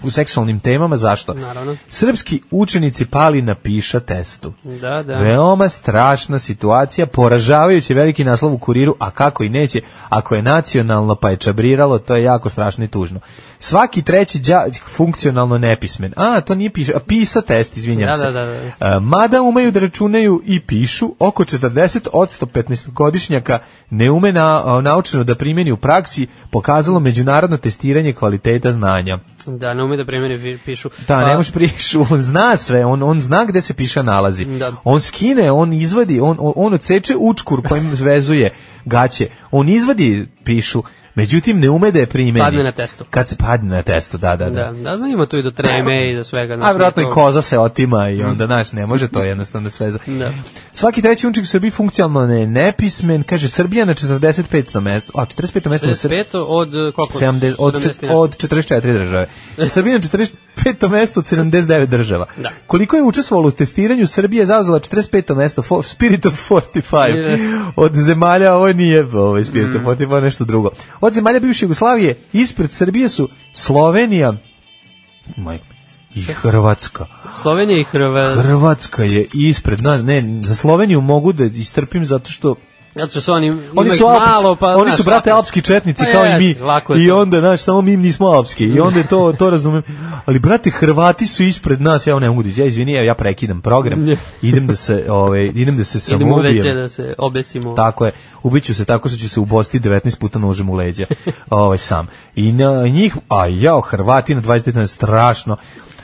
Speaker 5: u seksualnim temama, zašto?
Speaker 6: Naravno.
Speaker 5: Srpski učenici pali na piša testu.
Speaker 6: Da, da.
Speaker 5: Veoma strašna situacija, poražavajući veliki naslov u kuriru, a kako i neće, ako je nacionalno pa je čabriralo, to je jako strašno i tužno. Svaki treći đak funkcionalno nepismen. A, to nije piše, a pisa test, izvinjam
Speaker 6: Da,
Speaker 5: se.
Speaker 6: da, da, da.
Speaker 5: E, Mada umeju da računaju i pišu, oko 40 od 115-godišnjaka ne ume na, naučeno da primjeni u praksi, pokazalo međunarodno testiranje kvaliteta znanja.
Speaker 6: Da, ne ume da primjeri vi- pišu.
Speaker 5: Da,
Speaker 6: Pa-
Speaker 5: ne možeš prišu, on zna sve, on, on zna gde se piša nalazi.
Speaker 6: Da.
Speaker 5: On skine, on izvadi, on, on- on odseče učkur kojim <laughs> vezuje gaće, on izvadi pišu, međutim ne ume da je primeni.
Speaker 6: Padne na testu.
Speaker 5: Kad se padne na testu, da, da, da.
Speaker 6: Da, da, da, ima tu i do treme i do svega.
Speaker 5: A
Speaker 6: znači,
Speaker 5: vjerojatno i
Speaker 6: to- Mm.
Speaker 5: koza se otima i onda, znaš, ne može to jednostavno sve za...
Speaker 6: Da.
Speaker 5: Svaki treći unčik u Srbiji funkcionalno ne, nepismen, kaže Srbija na 45. mesto, a 45. mesto na Srbiji.
Speaker 6: 45 od e, koliko?
Speaker 5: 70, od,
Speaker 6: 70 i nešto.
Speaker 5: od 44
Speaker 6: <laughs>
Speaker 5: države. Srbija na 45. mesto od 79 država.
Speaker 6: Da.
Speaker 5: Koliko je učestvovalo u testiranju, Srbija je zauzela 45. mesto for, Spirit of 45.
Speaker 6: Je.
Speaker 5: Od zemalja, ovo nije ovaj Spirit
Speaker 6: Mm.
Speaker 5: of 45, nešto drugo. Od zemalja bivše Jugoslavije, ispred Srbije su Slovenija Maj, i Hrvatska.
Speaker 6: Slovenija i Hrvatska.
Speaker 5: Hrvatska je ispred nas. Ne, za Sloveniju mogu da istrpim zato što
Speaker 6: Zato što su oni, ima
Speaker 5: oni
Speaker 6: ih
Speaker 5: su alpski,
Speaker 6: malo, pa...
Speaker 5: oni
Speaker 6: znaš,
Speaker 5: su brate
Speaker 6: lako-
Speaker 5: alpski četnici
Speaker 6: Pa
Speaker 5: kao i
Speaker 6: jest,
Speaker 5: mi.
Speaker 6: lako je
Speaker 5: I
Speaker 6: to.
Speaker 5: onda znaš samo mi nismo alpski. I onda je to to razumem. Ali brate Hrvati su ispred nas, ja ovo ne mogu da iz- ja izvini, ja, ja prekidam program.
Speaker 6: <laughs> Ne.
Speaker 5: Idem da se ovaj idem da se
Speaker 6: Idemo u WC
Speaker 5: samoubijem.
Speaker 6: da se obesimo.
Speaker 5: Tako je. Ubiću se tako što ću se ubosti 19 puta nožem u leđa. <laughs> ovaj sam. I na njih, a jao, Hrvati na 29 je strašno.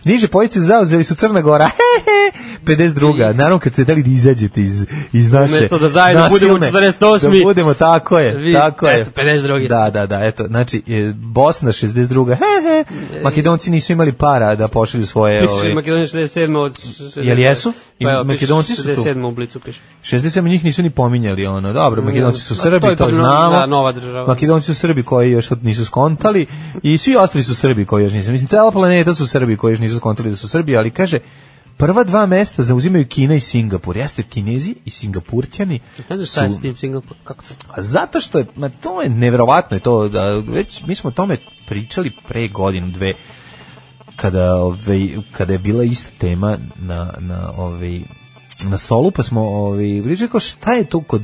Speaker 5: Niže pojice zauzeli su Crna Gora. <laughs> Hehe, 52. Naravno kad ste dali da izađete iz, iz naše
Speaker 6: Umesto da zajedno budemo
Speaker 5: nasilne-
Speaker 6: 48..
Speaker 5: Da budemo, tako je.
Speaker 6: Vi,
Speaker 5: tako je.
Speaker 6: eto, 52.
Speaker 5: Da, da, da, eto. Znači, e, Bosna 62. <laughs> Hehe,
Speaker 6: E,
Speaker 5: Makedonci nisu imali para da pošalju svoje...
Speaker 6: Piše
Speaker 5: Ovaj,
Speaker 6: Makedonija 67. od... 60.
Speaker 5: Jel jesu? I
Speaker 6: Pa evo, piše
Speaker 5: Makedonci su tu.
Speaker 6: 67. u Blicu piše.
Speaker 5: 67 njih nisu ni pominjali ono. Dobro, Makedonci su
Speaker 6: A to je
Speaker 5: Srbi, to,
Speaker 6: ipak no-
Speaker 5: znamo.
Speaker 6: da, nova država.
Speaker 5: Makedonci su Srbi koji još od- nisu skontali i svi ostali su Srbi koji još nisu. Mislim, cela planeta su Srbi koji još nisu skontali da su Srbi, ali kaže, prva dva mesta zauzimaju Kina i Singapur. Jeste, Kinezi i Singapurćani
Speaker 6: Ne znam šta je s
Speaker 5: su...
Speaker 6: tim Singapur, kako to?
Speaker 5: A zato što je, ma to je nevjerovatno je to, da, već mi smo o tome pričali pre godinu, dve, kada, ovaj, kada je bila ista tema na, na, ovaj, na stolu, pa smo ovaj, pričali kao šta je to kod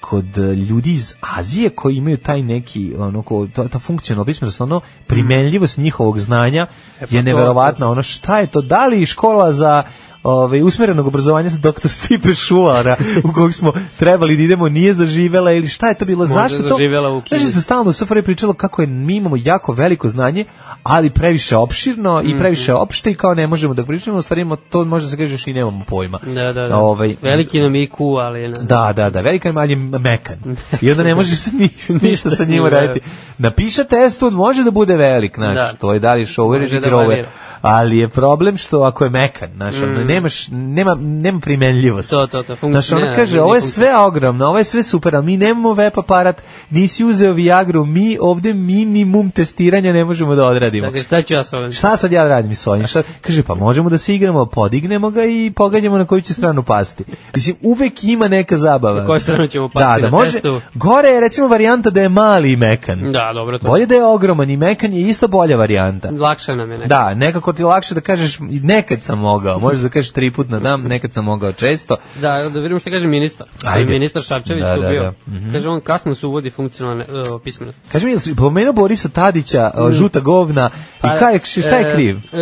Speaker 5: kod eh, ljudi iz Azije koji imaju taj neki ono ko ta, ta funkcionalna pismenost ono primenljivost njihovog znanja
Speaker 6: pa
Speaker 5: je
Speaker 6: to-
Speaker 5: neverovatna ono šta je to da li škola za ovaj usmerenog obrazovanja sa doktor Stipe Šuara u kog smo trebali da idemo nije zaživela ili šta je to bilo
Speaker 6: Možda je
Speaker 5: zašto to
Speaker 6: zaživela u Kini.
Speaker 5: Znaš, se stalno u SFRJ pričalo kako je mi imamo jako veliko znanje, ali previše opširno
Speaker 6: Mhm.
Speaker 5: i previše opšte i kao ne možemo da pričamo, u stvari imamo- to može da se kaže još i nemamo pojma.
Speaker 6: Da, da, da.
Speaker 5: Ovaj,
Speaker 6: Veliki nam IQ, ali... Na,
Speaker 5: Da, da, da, velika je mali mekan. I onda ne može se
Speaker 6: <laughs>
Speaker 5: ni, ništa sa
Speaker 6: s njim
Speaker 5: njima raditi. Napiše test, on može da bude velik, znaš,
Speaker 6: Da.
Speaker 5: to je da li shower
Speaker 6: Može
Speaker 5: ili
Speaker 6: da
Speaker 5: grower,
Speaker 6: varira.
Speaker 5: ali je problem što ako je mekan, znaš, ono,
Speaker 6: Mm.
Speaker 5: nemaš, nema, nema primenljivost.
Speaker 6: To, to, to, fun-
Speaker 5: Znaš, ona
Speaker 6: ne,
Speaker 5: kaže,
Speaker 6: ne,
Speaker 5: ovo je
Speaker 6: funkcija.
Speaker 5: sve ogromno, ovo je sve super, ali mi nemamo web aparat, nisi uzeo Viagru, mi ovde minimum testiranja ne možemo da odradimo.
Speaker 6: Dakle, šta ću ja s ovim?
Speaker 5: Šta sad ja radim s ovim? Šta? Kaže, pa možemo da se igramo, podignemo ga i pogađamo na koju će stranu pasti. Mislim, uvek ima neka zabava.
Speaker 6: Na koju stranu ćemo pasti,
Speaker 5: da, da
Speaker 6: na
Speaker 5: može,
Speaker 6: testu?
Speaker 5: Gore je recimo varijanta da je mali i mekan.
Speaker 6: Da, dobro, to
Speaker 5: Bolje da je ogroman i mekan je isto bolja varijanta.
Speaker 6: Lakše nam je nekako.
Speaker 5: Da, nekako ti je lakše da kažeš nekad sam mogao, možeš da kažeš tri put na dan, nekad sam mogao često.
Speaker 6: Da, da vidimo što kaže ministar. Ajde.
Speaker 5: Ajde.
Speaker 6: Ministar Šarčević
Speaker 5: Da,
Speaker 6: da,
Speaker 5: da,
Speaker 6: bio.
Speaker 5: da.
Speaker 6: Kaže, on kasno se uvodi funkcionalne
Speaker 5: e,
Speaker 6: uh, pismenost.
Speaker 5: Kaži mi, jel si pomenuo Borisa Tadića,
Speaker 6: Mm.
Speaker 5: o, žuta govna, i kaj, je- šta je kriv?
Speaker 6: Pa,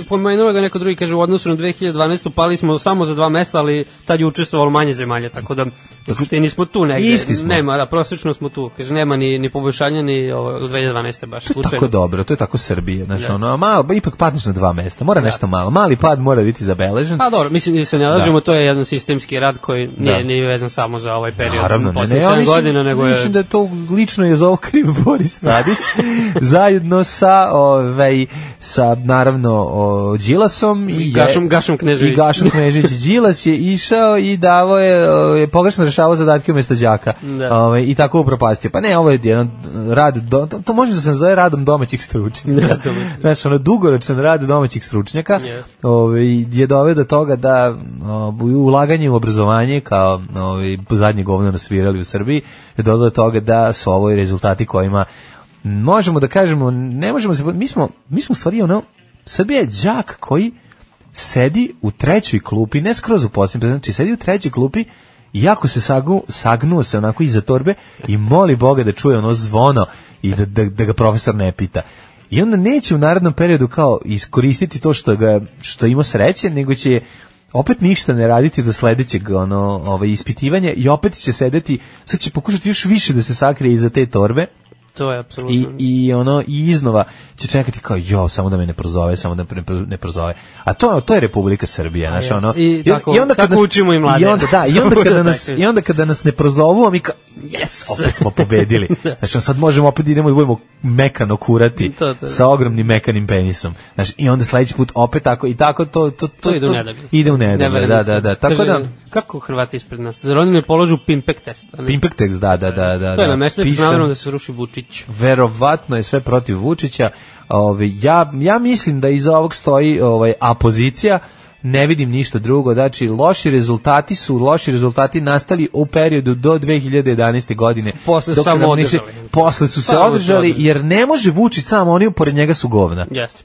Speaker 6: E, pomenuo je ga neko drugi, kaže, u odnosu na 2012. pali smo samo za dva mesta, ali tad je učestvovalo manje zemalja, tako da uopšte nismo tu negde.
Speaker 5: Isti smo.
Speaker 6: Nema, da, prosječno smo tu. Kaže, nema ni, ni poboljšanja, ni ovo, od 2012. baš
Speaker 5: To je
Speaker 6: slučajno.
Speaker 5: tako dobro, to je tako Srbije, znači ono, a malo, ba, ipak padneš na dva mesta, mora nešto malo, mali pad mora biti zabeležen.
Speaker 6: Da. Pa dobro, mislim da se ne lažemo, to je jedan sistemski rad koji nije,
Speaker 5: Da.
Speaker 6: nije vezan samo za ovaj period.
Speaker 5: Naravno, ne,
Speaker 6: posle
Speaker 5: ne, ja
Speaker 6: 7
Speaker 5: mislim,
Speaker 6: godina, nego je...
Speaker 5: mislim da je to lično je za ovo kriv <laughs> Boris Tadić, zajedno sa, ovaj, sa naravno, o, Đilasom i,
Speaker 6: I
Speaker 5: je-
Speaker 6: Gašom- Gašom Knežević.
Speaker 5: I Gašom Knežević. Đilas je išao i davo je, o, je pogrešno rešavao zadatke umesto đaka.
Speaker 6: Da.
Speaker 5: Ovaj, I tako upropastio. Pa ne, ovo je jedan rad, do, to, to može da se nazove radom domaćih stručnjaka.
Speaker 6: Da, domaćih.
Speaker 5: Znaš, ono, dugoročan rad domaćih stručnjaka
Speaker 6: Jeste.
Speaker 5: ovaj, je doveo do toga da o, ulaganje u obrazovanje kao ovaj, zadnje govno nasvirali u Srbiji je doveo do toga da su ovo i rezultati kojima možemo da kažemo, ne možemo se, mi smo, mi smo u stvari ono, Srbija je đak koji sedi u trećoj klupi, ne skroz u posljednjem, znači sedi u trećoj klupi i jako se sagu, sagnuo se onako iza torbe i moli Boga da čuje ono zvono i da, da, da ga profesor ne pita. I onda neće u narednom periodu kao iskoristiti to što ga što ima sreće, nego će opet ništa ne raditi do sledećeg ono, ovaj, ispitivanja i opet će sedeti, sad će pokušati još više da se sakrije iza te torbe
Speaker 6: <laughs> To je apsolutno.
Speaker 5: i, i ono i iznova će čekati kao jo samo da me ne prozove samo da me ne- ne prozove a to to je Republika Srbija znači ono
Speaker 6: I tako- tako
Speaker 5: kad nas-
Speaker 6: učimo i mlade.
Speaker 5: i onda da i onda
Speaker 6: <laughs> Samo
Speaker 5: kada
Speaker 6: da
Speaker 5: nas
Speaker 6: tako.
Speaker 5: i onda kada nas ne prozovu a mi kao yes opet smo
Speaker 6: <laughs>
Speaker 5: pobedili znači ono, sad možemo opet idemo da budemo mekano kurati
Speaker 6: <laughs> To, to, da.
Speaker 5: sa ogromnim mekanim penisom znači i onda sledeći put opet tako i tako to to to,
Speaker 6: To ide u
Speaker 5: to-
Speaker 6: nedelje.
Speaker 5: ide u nedelje,
Speaker 6: Never
Speaker 5: da
Speaker 6: miss.
Speaker 5: da da tako
Speaker 6: Kaže,
Speaker 5: da
Speaker 6: Kako Hrvati ispred nas? Zar oni ne polažu pimpek test? a ne?
Speaker 5: Pimpek tekst, da, da, da, da.
Speaker 6: to je
Speaker 5: da,
Speaker 6: na mesto
Speaker 5: pišem.
Speaker 6: namjerom da se ruši Vučić.
Speaker 5: verovatno je sve protiv Vučića. Ove, ja, ja mislim da iza ovog stoji ovaj, apozicija, ne vidim ništa drugo, znači loši rezultati su loši rezultati nastali u periodu do 2011. godine.
Speaker 6: Posle
Speaker 5: Dok
Speaker 6: samo
Speaker 5: nam nisi-
Speaker 6: održali.
Speaker 5: Posle su se
Speaker 6: Samo su
Speaker 5: održali,
Speaker 6: održali.
Speaker 5: jer ne može Vučić samo, oni pored njega su govna.
Speaker 6: Jeste.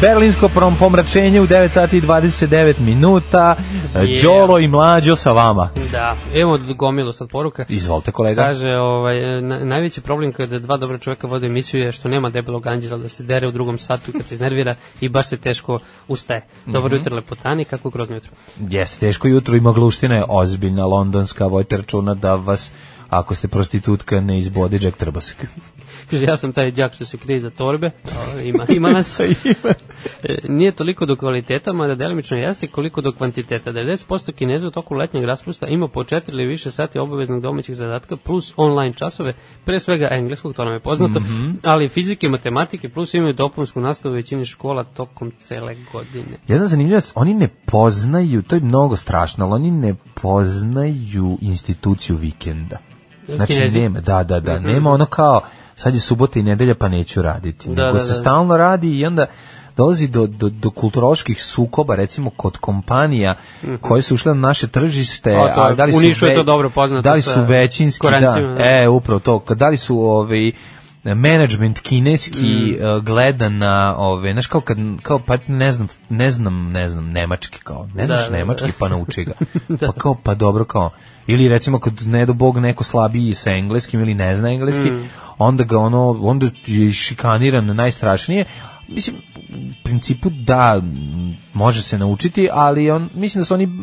Speaker 5: Berlinsko prom- pomračenje u 9 sati i 29 minuta,
Speaker 6: Yeah.
Speaker 5: Đolo i Mlađo sa vama.
Speaker 6: Da. Evo gomilu sad poruka.
Speaker 5: Izvolite kolega.
Speaker 6: Kaže, ovaj, e, na, najveći problem kada dva dobra čoveka vode emisiju je što nema debelog anđela da se dere u drugom satu kad se iznervira i baš se teško ustaje. Dobro
Speaker 5: Mhm.
Speaker 6: jutro lepotani, kako grozno jutro.
Speaker 5: Jeste, teško jutro i magluština je ozbiljna londonska, vojte računa da vas, ako ste prostitutka, ne izbode Jack Trbasak.
Speaker 6: Kaže, ja sam taj đak što se krije za torbe, O, ima, ima
Speaker 5: <laughs>
Speaker 6: nas. E, Nije toliko do kvaliteta, mada delimično jeste, koliko do kvantiteta. 90% kineza u toku letnjeg raspusta ima po 4 ili više sati obaveznog domaćih zadatka plus online časove, pre svega engleskog, to nam je poznato,
Speaker 5: Mhm.
Speaker 6: ali fizike, matematike, plus imaju dopunsku nastavu u većini škola tokom cele godine.
Speaker 5: Jedna zanimljivost, oni ne poznaju, to je mnogo strašno, ali oni ne poznaju instituciju vikenda. Znači,
Speaker 6: Kinezi.
Speaker 5: nema, da, da, da,
Speaker 6: Mhm.
Speaker 5: nema ono kao, sad je subota i nedelja pa neću raditi.
Speaker 6: Da,
Speaker 5: Nego
Speaker 6: da,
Speaker 5: se
Speaker 6: da.
Speaker 5: stalno radi i onda dolazi do, do, do kulturoloških sukoba, recimo kod kompanija koje su ušle na naše tržište.
Speaker 6: Mhm. A, to je- u Nišu je to dobro poznato
Speaker 5: Da li
Speaker 6: sa
Speaker 5: su većinski, da,
Speaker 6: Koreancima, da.
Speaker 5: E, upravo to. Da li su ovi management kineski
Speaker 6: Mm.
Speaker 5: eh, gleda na ove, znaš kao kad kao pa ne znam, ne znam, ne znam nemački kao. Ne znaš
Speaker 6: da, da.
Speaker 5: nemački pa nauči
Speaker 6: <laughs>
Speaker 5: ga. Pa kao pa dobro kao. Ili recimo kad ne do bog neko slabiji sa engleskim ili ne zna engleski,
Speaker 6: Mm.
Speaker 5: onda ga ono onda je šikaniran najstrašnije. Mislim u principu da m, može se naučiti, ali on mislim da su oni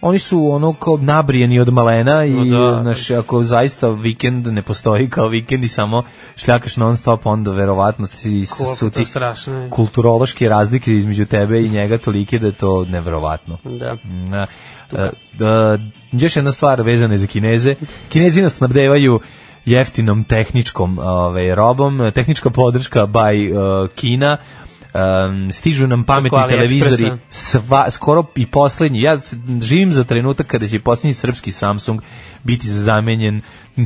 Speaker 5: oni su ono kao nabrijeni od malena i
Speaker 6: No da.
Speaker 5: znaš, ako zaista vikend ne postoji kao vikend i samo šljakaš non stop onda verovatno ti s-
Speaker 6: Koliko
Speaker 5: su
Speaker 6: to
Speaker 5: ti
Speaker 6: strašno je.
Speaker 5: kulturološke razlike između tebe i njega tolike da je to neverovatno.
Speaker 6: Da.
Speaker 5: Na, e, e, još jedna stvar vezana je za Kineze. Kinezi nas snabdevaju jeftinom tehničkom ovaj, robom, tehnička podrška by e, Kina, Em, stižu nam pametni
Speaker 6: Preko
Speaker 5: televizori
Speaker 6: AliExpressa.
Speaker 5: sva, skoro i poslednji ja s- živim za trenutak kada će posljednji srpski Samsung biti zamenjen mm,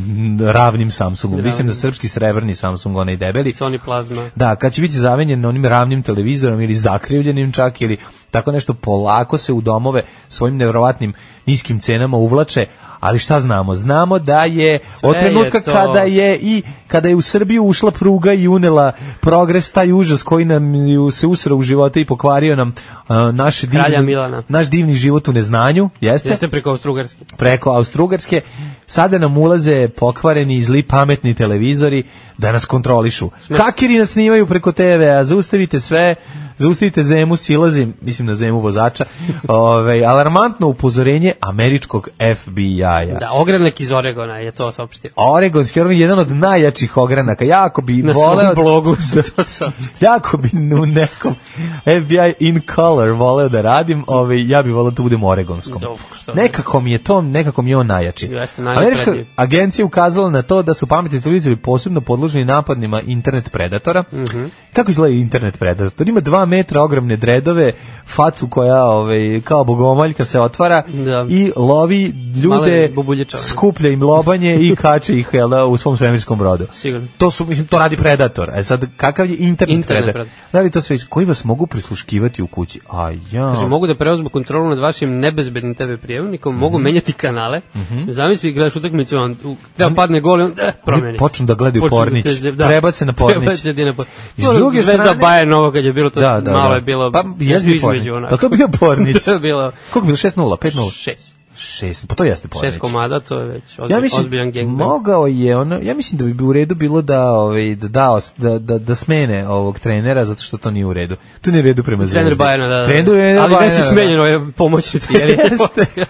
Speaker 5: ravnim Samsungom mislim da srpski srebrni Samsung onaj debeli
Speaker 6: Sony Plasma.
Speaker 5: da, kad će biti zamenjen onim ravnim televizorom ili zakrivljenim čak ili tako nešto polako se u domove svojim nevjerovatnim niskim cenama uvlače, ali šta znamo? Znamo da je od
Speaker 6: je
Speaker 5: trenutka
Speaker 6: to.
Speaker 5: kada je i kada je u Srbiju ušla pruga i unela progres taj užas koji nam ju se usrao u živote i pokvario nam uh, naš
Speaker 6: Kralja
Speaker 5: divni,
Speaker 6: Milana.
Speaker 5: naš divni život u neznanju, jeste?
Speaker 6: Jeste preko Austrugarske.
Speaker 5: preko Austrugarske, sada nam ulaze pokvareni i zli pametni televizori da nas kontrolišu. Hakeri nas snimaju preko TV-a, zaustavite sve, zaustavite Zemu, silazim, mislim na Zemu
Speaker 6: <laughs>
Speaker 5: vozača, Ovaj alarmantno upozorenje američkog FBI-a.
Speaker 6: Da, ogrenak iz Oregona je to saopštio.
Speaker 5: Oregonski organ je jedan od najjačih ogranaka. Jako bi
Speaker 6: Na
Speaker 5: voleo
Speaker 6: svom blogu se to saopštio.
Speaker 5: <laughs> jako bi u nekom FBI in color voleo da radim, ovaj ja bih voleo da budem u oregonskom.
Speaker 6: Dobro, što ne.
Speaker 5: Nekako mi je to, nekako mi je on najjači.
Speaker 6: Jeste, najnapredniji.
Speaker 5: Američka agencija ukazala na to da su pametni televizori posebno podložni napadnima internet predatora.
Speaker 6: Mhm.
Speaker 5: Kako izgleda internet predator? Ima dva metra ogromne dredove, facu koja ovaj, kao bogomoljka se otvara
Speaker 6: Da.
Speaker 5: i lovi
Speaker 6: Male
Speaker 5: ljude,
Speaker 6: bubuljičare.
Speaker 5: skuplja im lobanje i kače ih jel, da, u svom svemirskom brodu.
Speaker 6: Sigurno.
Speaker 5: To, su, mislim, to radi predator. E sad, kakav je internet,
Speaker 6: Internet
Speaker 5: predator?
Speaker 6: predator.
Speaker 5: Da li to sve, koji vas mogu prisluškivati u kući? A ja...
Speaker 6: Kaže, mogu da preuzmu kontrolu nad vašim nebezbednim TV
Speaker 5: Mhm.
Speaker 6: prijemnikom, mogu menjati kanale. Zamisli, gledaš utakmicu, on u- treba padne gol i on eh, promeni.
Speaker 5: Oni počnu da gledaju
Speaker 6: Počnu
Speaker 5: pornić.
Speaker 6: te-
Speaker 5: Prebace na pornić.
Speaker 6: Prebace ti na pornić.
Speaker 5: Iz
Speaker 6: Ono,
Speaker 5: druge
Speaker 6: Zvezda
Speaker 5: strane-
Speaker 6: Bayern ovo kad je bilo, to
Speaker 5: Da, da,
Speaker 6: malo
Speaker 5: da.
Speaker 6: je bilo
Speaker 5: Pa, jeste
Speaker 6: nešto
Speaker 5: pornić.
Speaker 6: između onako.
Speaker 5: Pa to
Speaker 6: <laughs>
Speaker 5: bio pornić.
Speaker 6: to je bilo
Speaker 5: Koliko je bilo? 6-0, 5-0?
Speaker 6: šest.
Speaker 5: 6, pa to jeste pornić.
Speaker 6: Šest komada, to je već ozbilj,
Speaker 5: Ja mislim,
Speaker 6: ozbiljan gangbang.
Speaker 5: mogao je ono, ja mislim da bi bi u redu bilo da, ovaj, da, da, os- da, da, da smene ovog trenera, zato što to nije u redu. To nije u redu prema zvezdi.
Speaker 6: Trener Bajerna, da. da.
Speaker 5: Trener Bajerna,
Speaker 6: Ali već je
Speaker 5: da.
Speaker 6: smenjeno, je pomoćni trener. <laughs>
Speaker 5: jeste?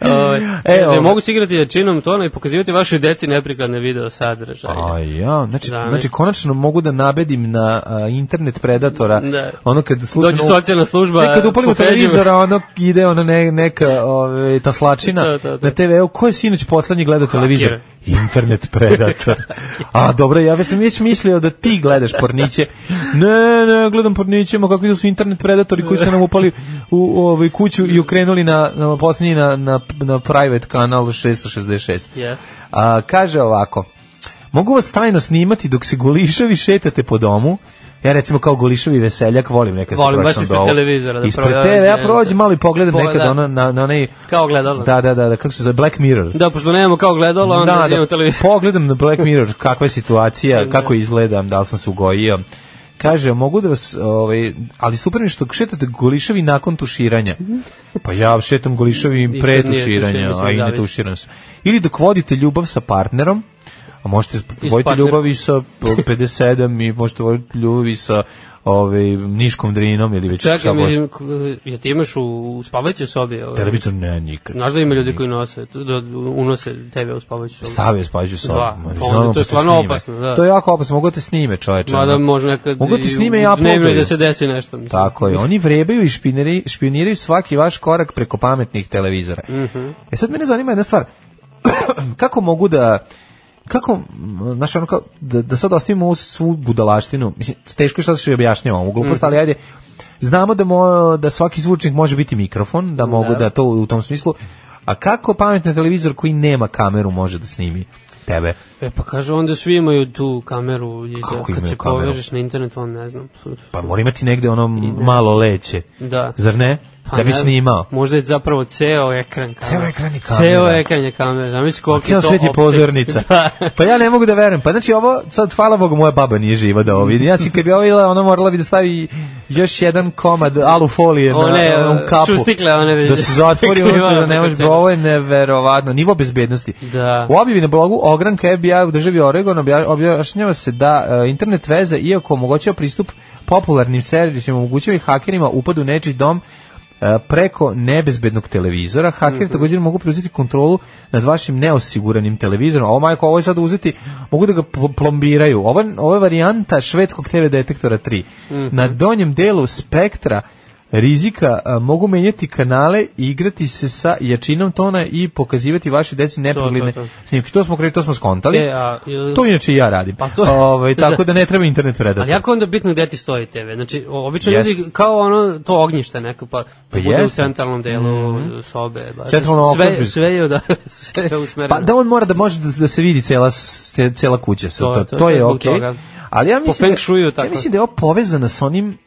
Speaker 5: <laughs>
Speaker 6: Ovaj,
Speaker 5: E,
Speaker 6: kaže,
Speaker 5: ovo-
Speaker 6: mogu se igrati jačinom tona i pokazivati vašoj deci neprikladne video sadržaje.
Speaker 5: A ja, znači,
Speaker 6: Zamisli.
Speaker 5: znači konačno mogu da nabedim na a, internet predatora.
Speaker 6: Da.
Speaker 5: Ono kad slučajno
Speaker 6: Dođe socijalna služba,
Speaker 5: Nekad upalimo
Speaker 6: popeđuje.
Speaker 5: televizora, ono ide ono ne, neka ovaj taslačina
Speaker 6: Da, da, da.
Speaker 5: na TV-u. Ko je sinoć poslednji gledao televizor? Internet predator. A dobro, ja već sam već mislio da ti gledaš porniće. Ne, ne, gledam porniće, ma kakvi da su internet predatori koji su nam upali u ovaj kuću i okrenuli na, na poslednji na, na, na private kanal 666.
Speaker 6: Jeste.
Speaker 5: A, kaže ovako, mogu vas tajno snimati dok se golišavi šetate po domu, ja recimo kao golišavi veseljak volim nekad se
Speaker 6: Volim, baš
Speaker 5: prošlam
Speaker 6: ispred
Speaker 5: dolu.
Speaker 6: televizora da
Speaker 5: ispred
Speaker 6: prođe,
Speaker 5: TV, ja
Speaker 6: ono,
Speaker 5: prođem malo i pogledam
Speaker 6: pogleda.
Speaker 5: nekad ono, na, na onaj...
Speaker 6: Kao gledalo.
Speaker 5: Da, da, da, da, kako se zove, Black Mirror.
Speaker 6: Da, pošto nemamo kao gledalo, onda
Speaker 5: da,
Speaker 6: imamo
Speaker 5: da,
Speaker 6: televizor.
Speaker 5: <laughs> pogledam na Black Mirror kakva je situacija, kako izgledam, da li sam se ugojio. Kaže, mogu da vas, ovaj, ali super mi je što šetate golišavi nakon tuširanja. Pa ja šetam golišavi
Speaker 6: I
Speaker 5: pre
Speaker 6: kad Mhm. nije tuširanje,
Speaker 5: tuširanja,
Speaker 6: mislim,
Speaker 5: a i ne
Speaker 6: zavisi.
Speaker 5: tuširam se. Ili dok vodite ljubav sa partnerom, a možete voditi
Speaker 6: partnerom.
Speaker 5: ljubav i sa 57 i možete voditi ljubav i sa ovaj, niškom drinom ili već šta
Speaker 6: Čekaj,
Speaker 5: god.
Speaker 6: mislim, k- je ti imaš u, u spavajućoj sobi? Ovaj.
Speaker 5: Televizor ne, nikad.
Speaker 6: Znaš da ima ljudi koji nose, tu- da unose tebe u spavajuću sobu?
Speaker 5: Stavio spađu sobu.
Speaker 6: Da,
Speaker 5: Ma,
Speaker 6: onda
Speaker 5: normalno, pa
Speaker 6: to je
Speaker 5: te
Speaker 6: stvarno
Speaker 5: snime.
Speaker 6: opasno, da.
Speaker 5: To je jako opasno, mogu da te snime, čoveče.
Speaker 6: Mada
Speaker 5: ono.
Speaker 6: može nekad
Speaker 5: Mogu ti
Speaker 6: i
Speaker 5: snime i
Speaker 6: u dnevnoj
Speaker 5: uploaduju.
Speaker 6: da se desi nešto. mislim.
Speaker 5: Tako je, oni vrebaju i špineri, špiniraju svaki vaš korak preko pametnih televizora.
Speaker 6: Mhm.
Speaker 5: E sad mene zanima jedna stvar, <clears throat> kako mogu da kako, m, znaš, ono kao, da, da sad ostavimo ovu svu budalaštinu, mislim, teško je što se objašnjavamo u
Speaker 6: Mhm.
Speaker 5: glupost, ali ajde, znamo da, mo, da svaki zvučnik može biti mikrofon, da mogu da.
Speaker 6: Da.
Speaker 5: to u tom smislu, a kako pametni televizor koji nema kameru može da snimi tebe?
Speaker 6: E pa kaže, onda svi imaju tu kameru. I
Speaker 5: Kako
Speaker 6: da, kad
Speaker 5: imaju
Speaker 6: se
Speaker 5: kameru?
Speaker 6: povežeš na internet, on ne znam.
Speaker 5: Pa mora imati negde ono malo leće,
Speaker 6: Da.
Speaker 5: zar ne?
Speaker 6: Pa
Speaker 5: da bi
Speaker 6: ne,
Speaker 5: snimao.
Speaker 6: Možda je zapravo ceo ekran kamera.
Speaker 5: Ceo ekran je kamera.
Speaker 6: Ceo ekran je kamera. Zamisli koliko je
Speaker 5: Cijel
Speaker 6: to
Speaker 5: svet je
Speaker 6: opseg.
Speaker 5: pozornica.
Speaker 6: <laughs> Da.
Speaker 5: Pa ja ne mogu da verujem. Pa znači ovo, sad hvala Bogu, moja baba nije živa da ovo vidi. Ja si kad bi ovo videla, ona morala bi da stavi još jedan komad alufolije na
Speaker 6: One, e,
Speaker 5: na onu kapu.
Speaker 6: šustikle, one već-
Speaker 5: Da se
Speaker 6: <laughs>
Speaker 5: zatvori
Speaker 6: klivala
Speaker 5: unutra, da ne
Speaker 6: preko
Speaker 5: može.
Speaker 6: cene.
Speaker 5: Ovo je neverovatno. Nivo bezbednosti.
Speaker 6: Da.
Speaker 5: U objavi na blogu Ogranka FBI u državi Oregon obja- objašnjava se da e, internet veze, iako omogućava pristup popularnim servisima, omogućava i hakerima upad u nečiji dom e, preko nebezbednog televizora. Hakeri
Speaker 6: Mhm.
Speaker 5: također mogu preuzeti kontrolu nad vašim neosiguranim televizorom. Ovo, majko, ovo je sad uzeti, mogu da ga pl- plombiraju. Ovo, ovo je varijanta švedskog TV detektora 3.
Speaker 6: Mhm.
Speaker 5: Na donjem delu spektra rizika a, mogu menjati kanale i igrati se sa jačinom tona i pokazivati vaši deci nepregledne
Speaker 6: to.
Speaker 5: snimke. To smo kreili, to smo skontali.
Speaker 6: E, a, ili-
Speaker 5: To inače i ja radim.
Speaker 6: Pa to- <laughs>
Speaker 5: Ovaj, tako da ne treba internet predator.
Speaker 6: Ali jako onda bitno gde ti stoji TV. Znači, o- obično
Speaker 5: Jeste.
Speaker 6: ljudi kao ono, to ognjište neko, pa,
Speaker 5: Pa
Speaker 6: bude u
Speaker 5: jeste. Mhm.
Speaker 6: centralnom delu sobe. Ba,
Speaker 5: Centralno
Speaker 6: sve,
Speaker 5: okružje.
Speaker 6: sve je, da, <laughs> sve je usmereno.
Speaker 5: Pa da on mora da može da, da se vidi cela s- ce- cela kuća sa
Speaker 6: To-
Speaker 5: to, to,
Speaker 6: to- to je
Speaker 5: je
Speaker 6: zbog
Speaker 5: okej.
Speaker 6: toga.
Speaker 5: Ali ja
Speaker 6: Po
Speaker 5: mislim
Speaker 6: feng shuiju
Speaker 5: da,
Speaker 6: tako.
Speaker 5: ja mislim da je ovo povezano sa onim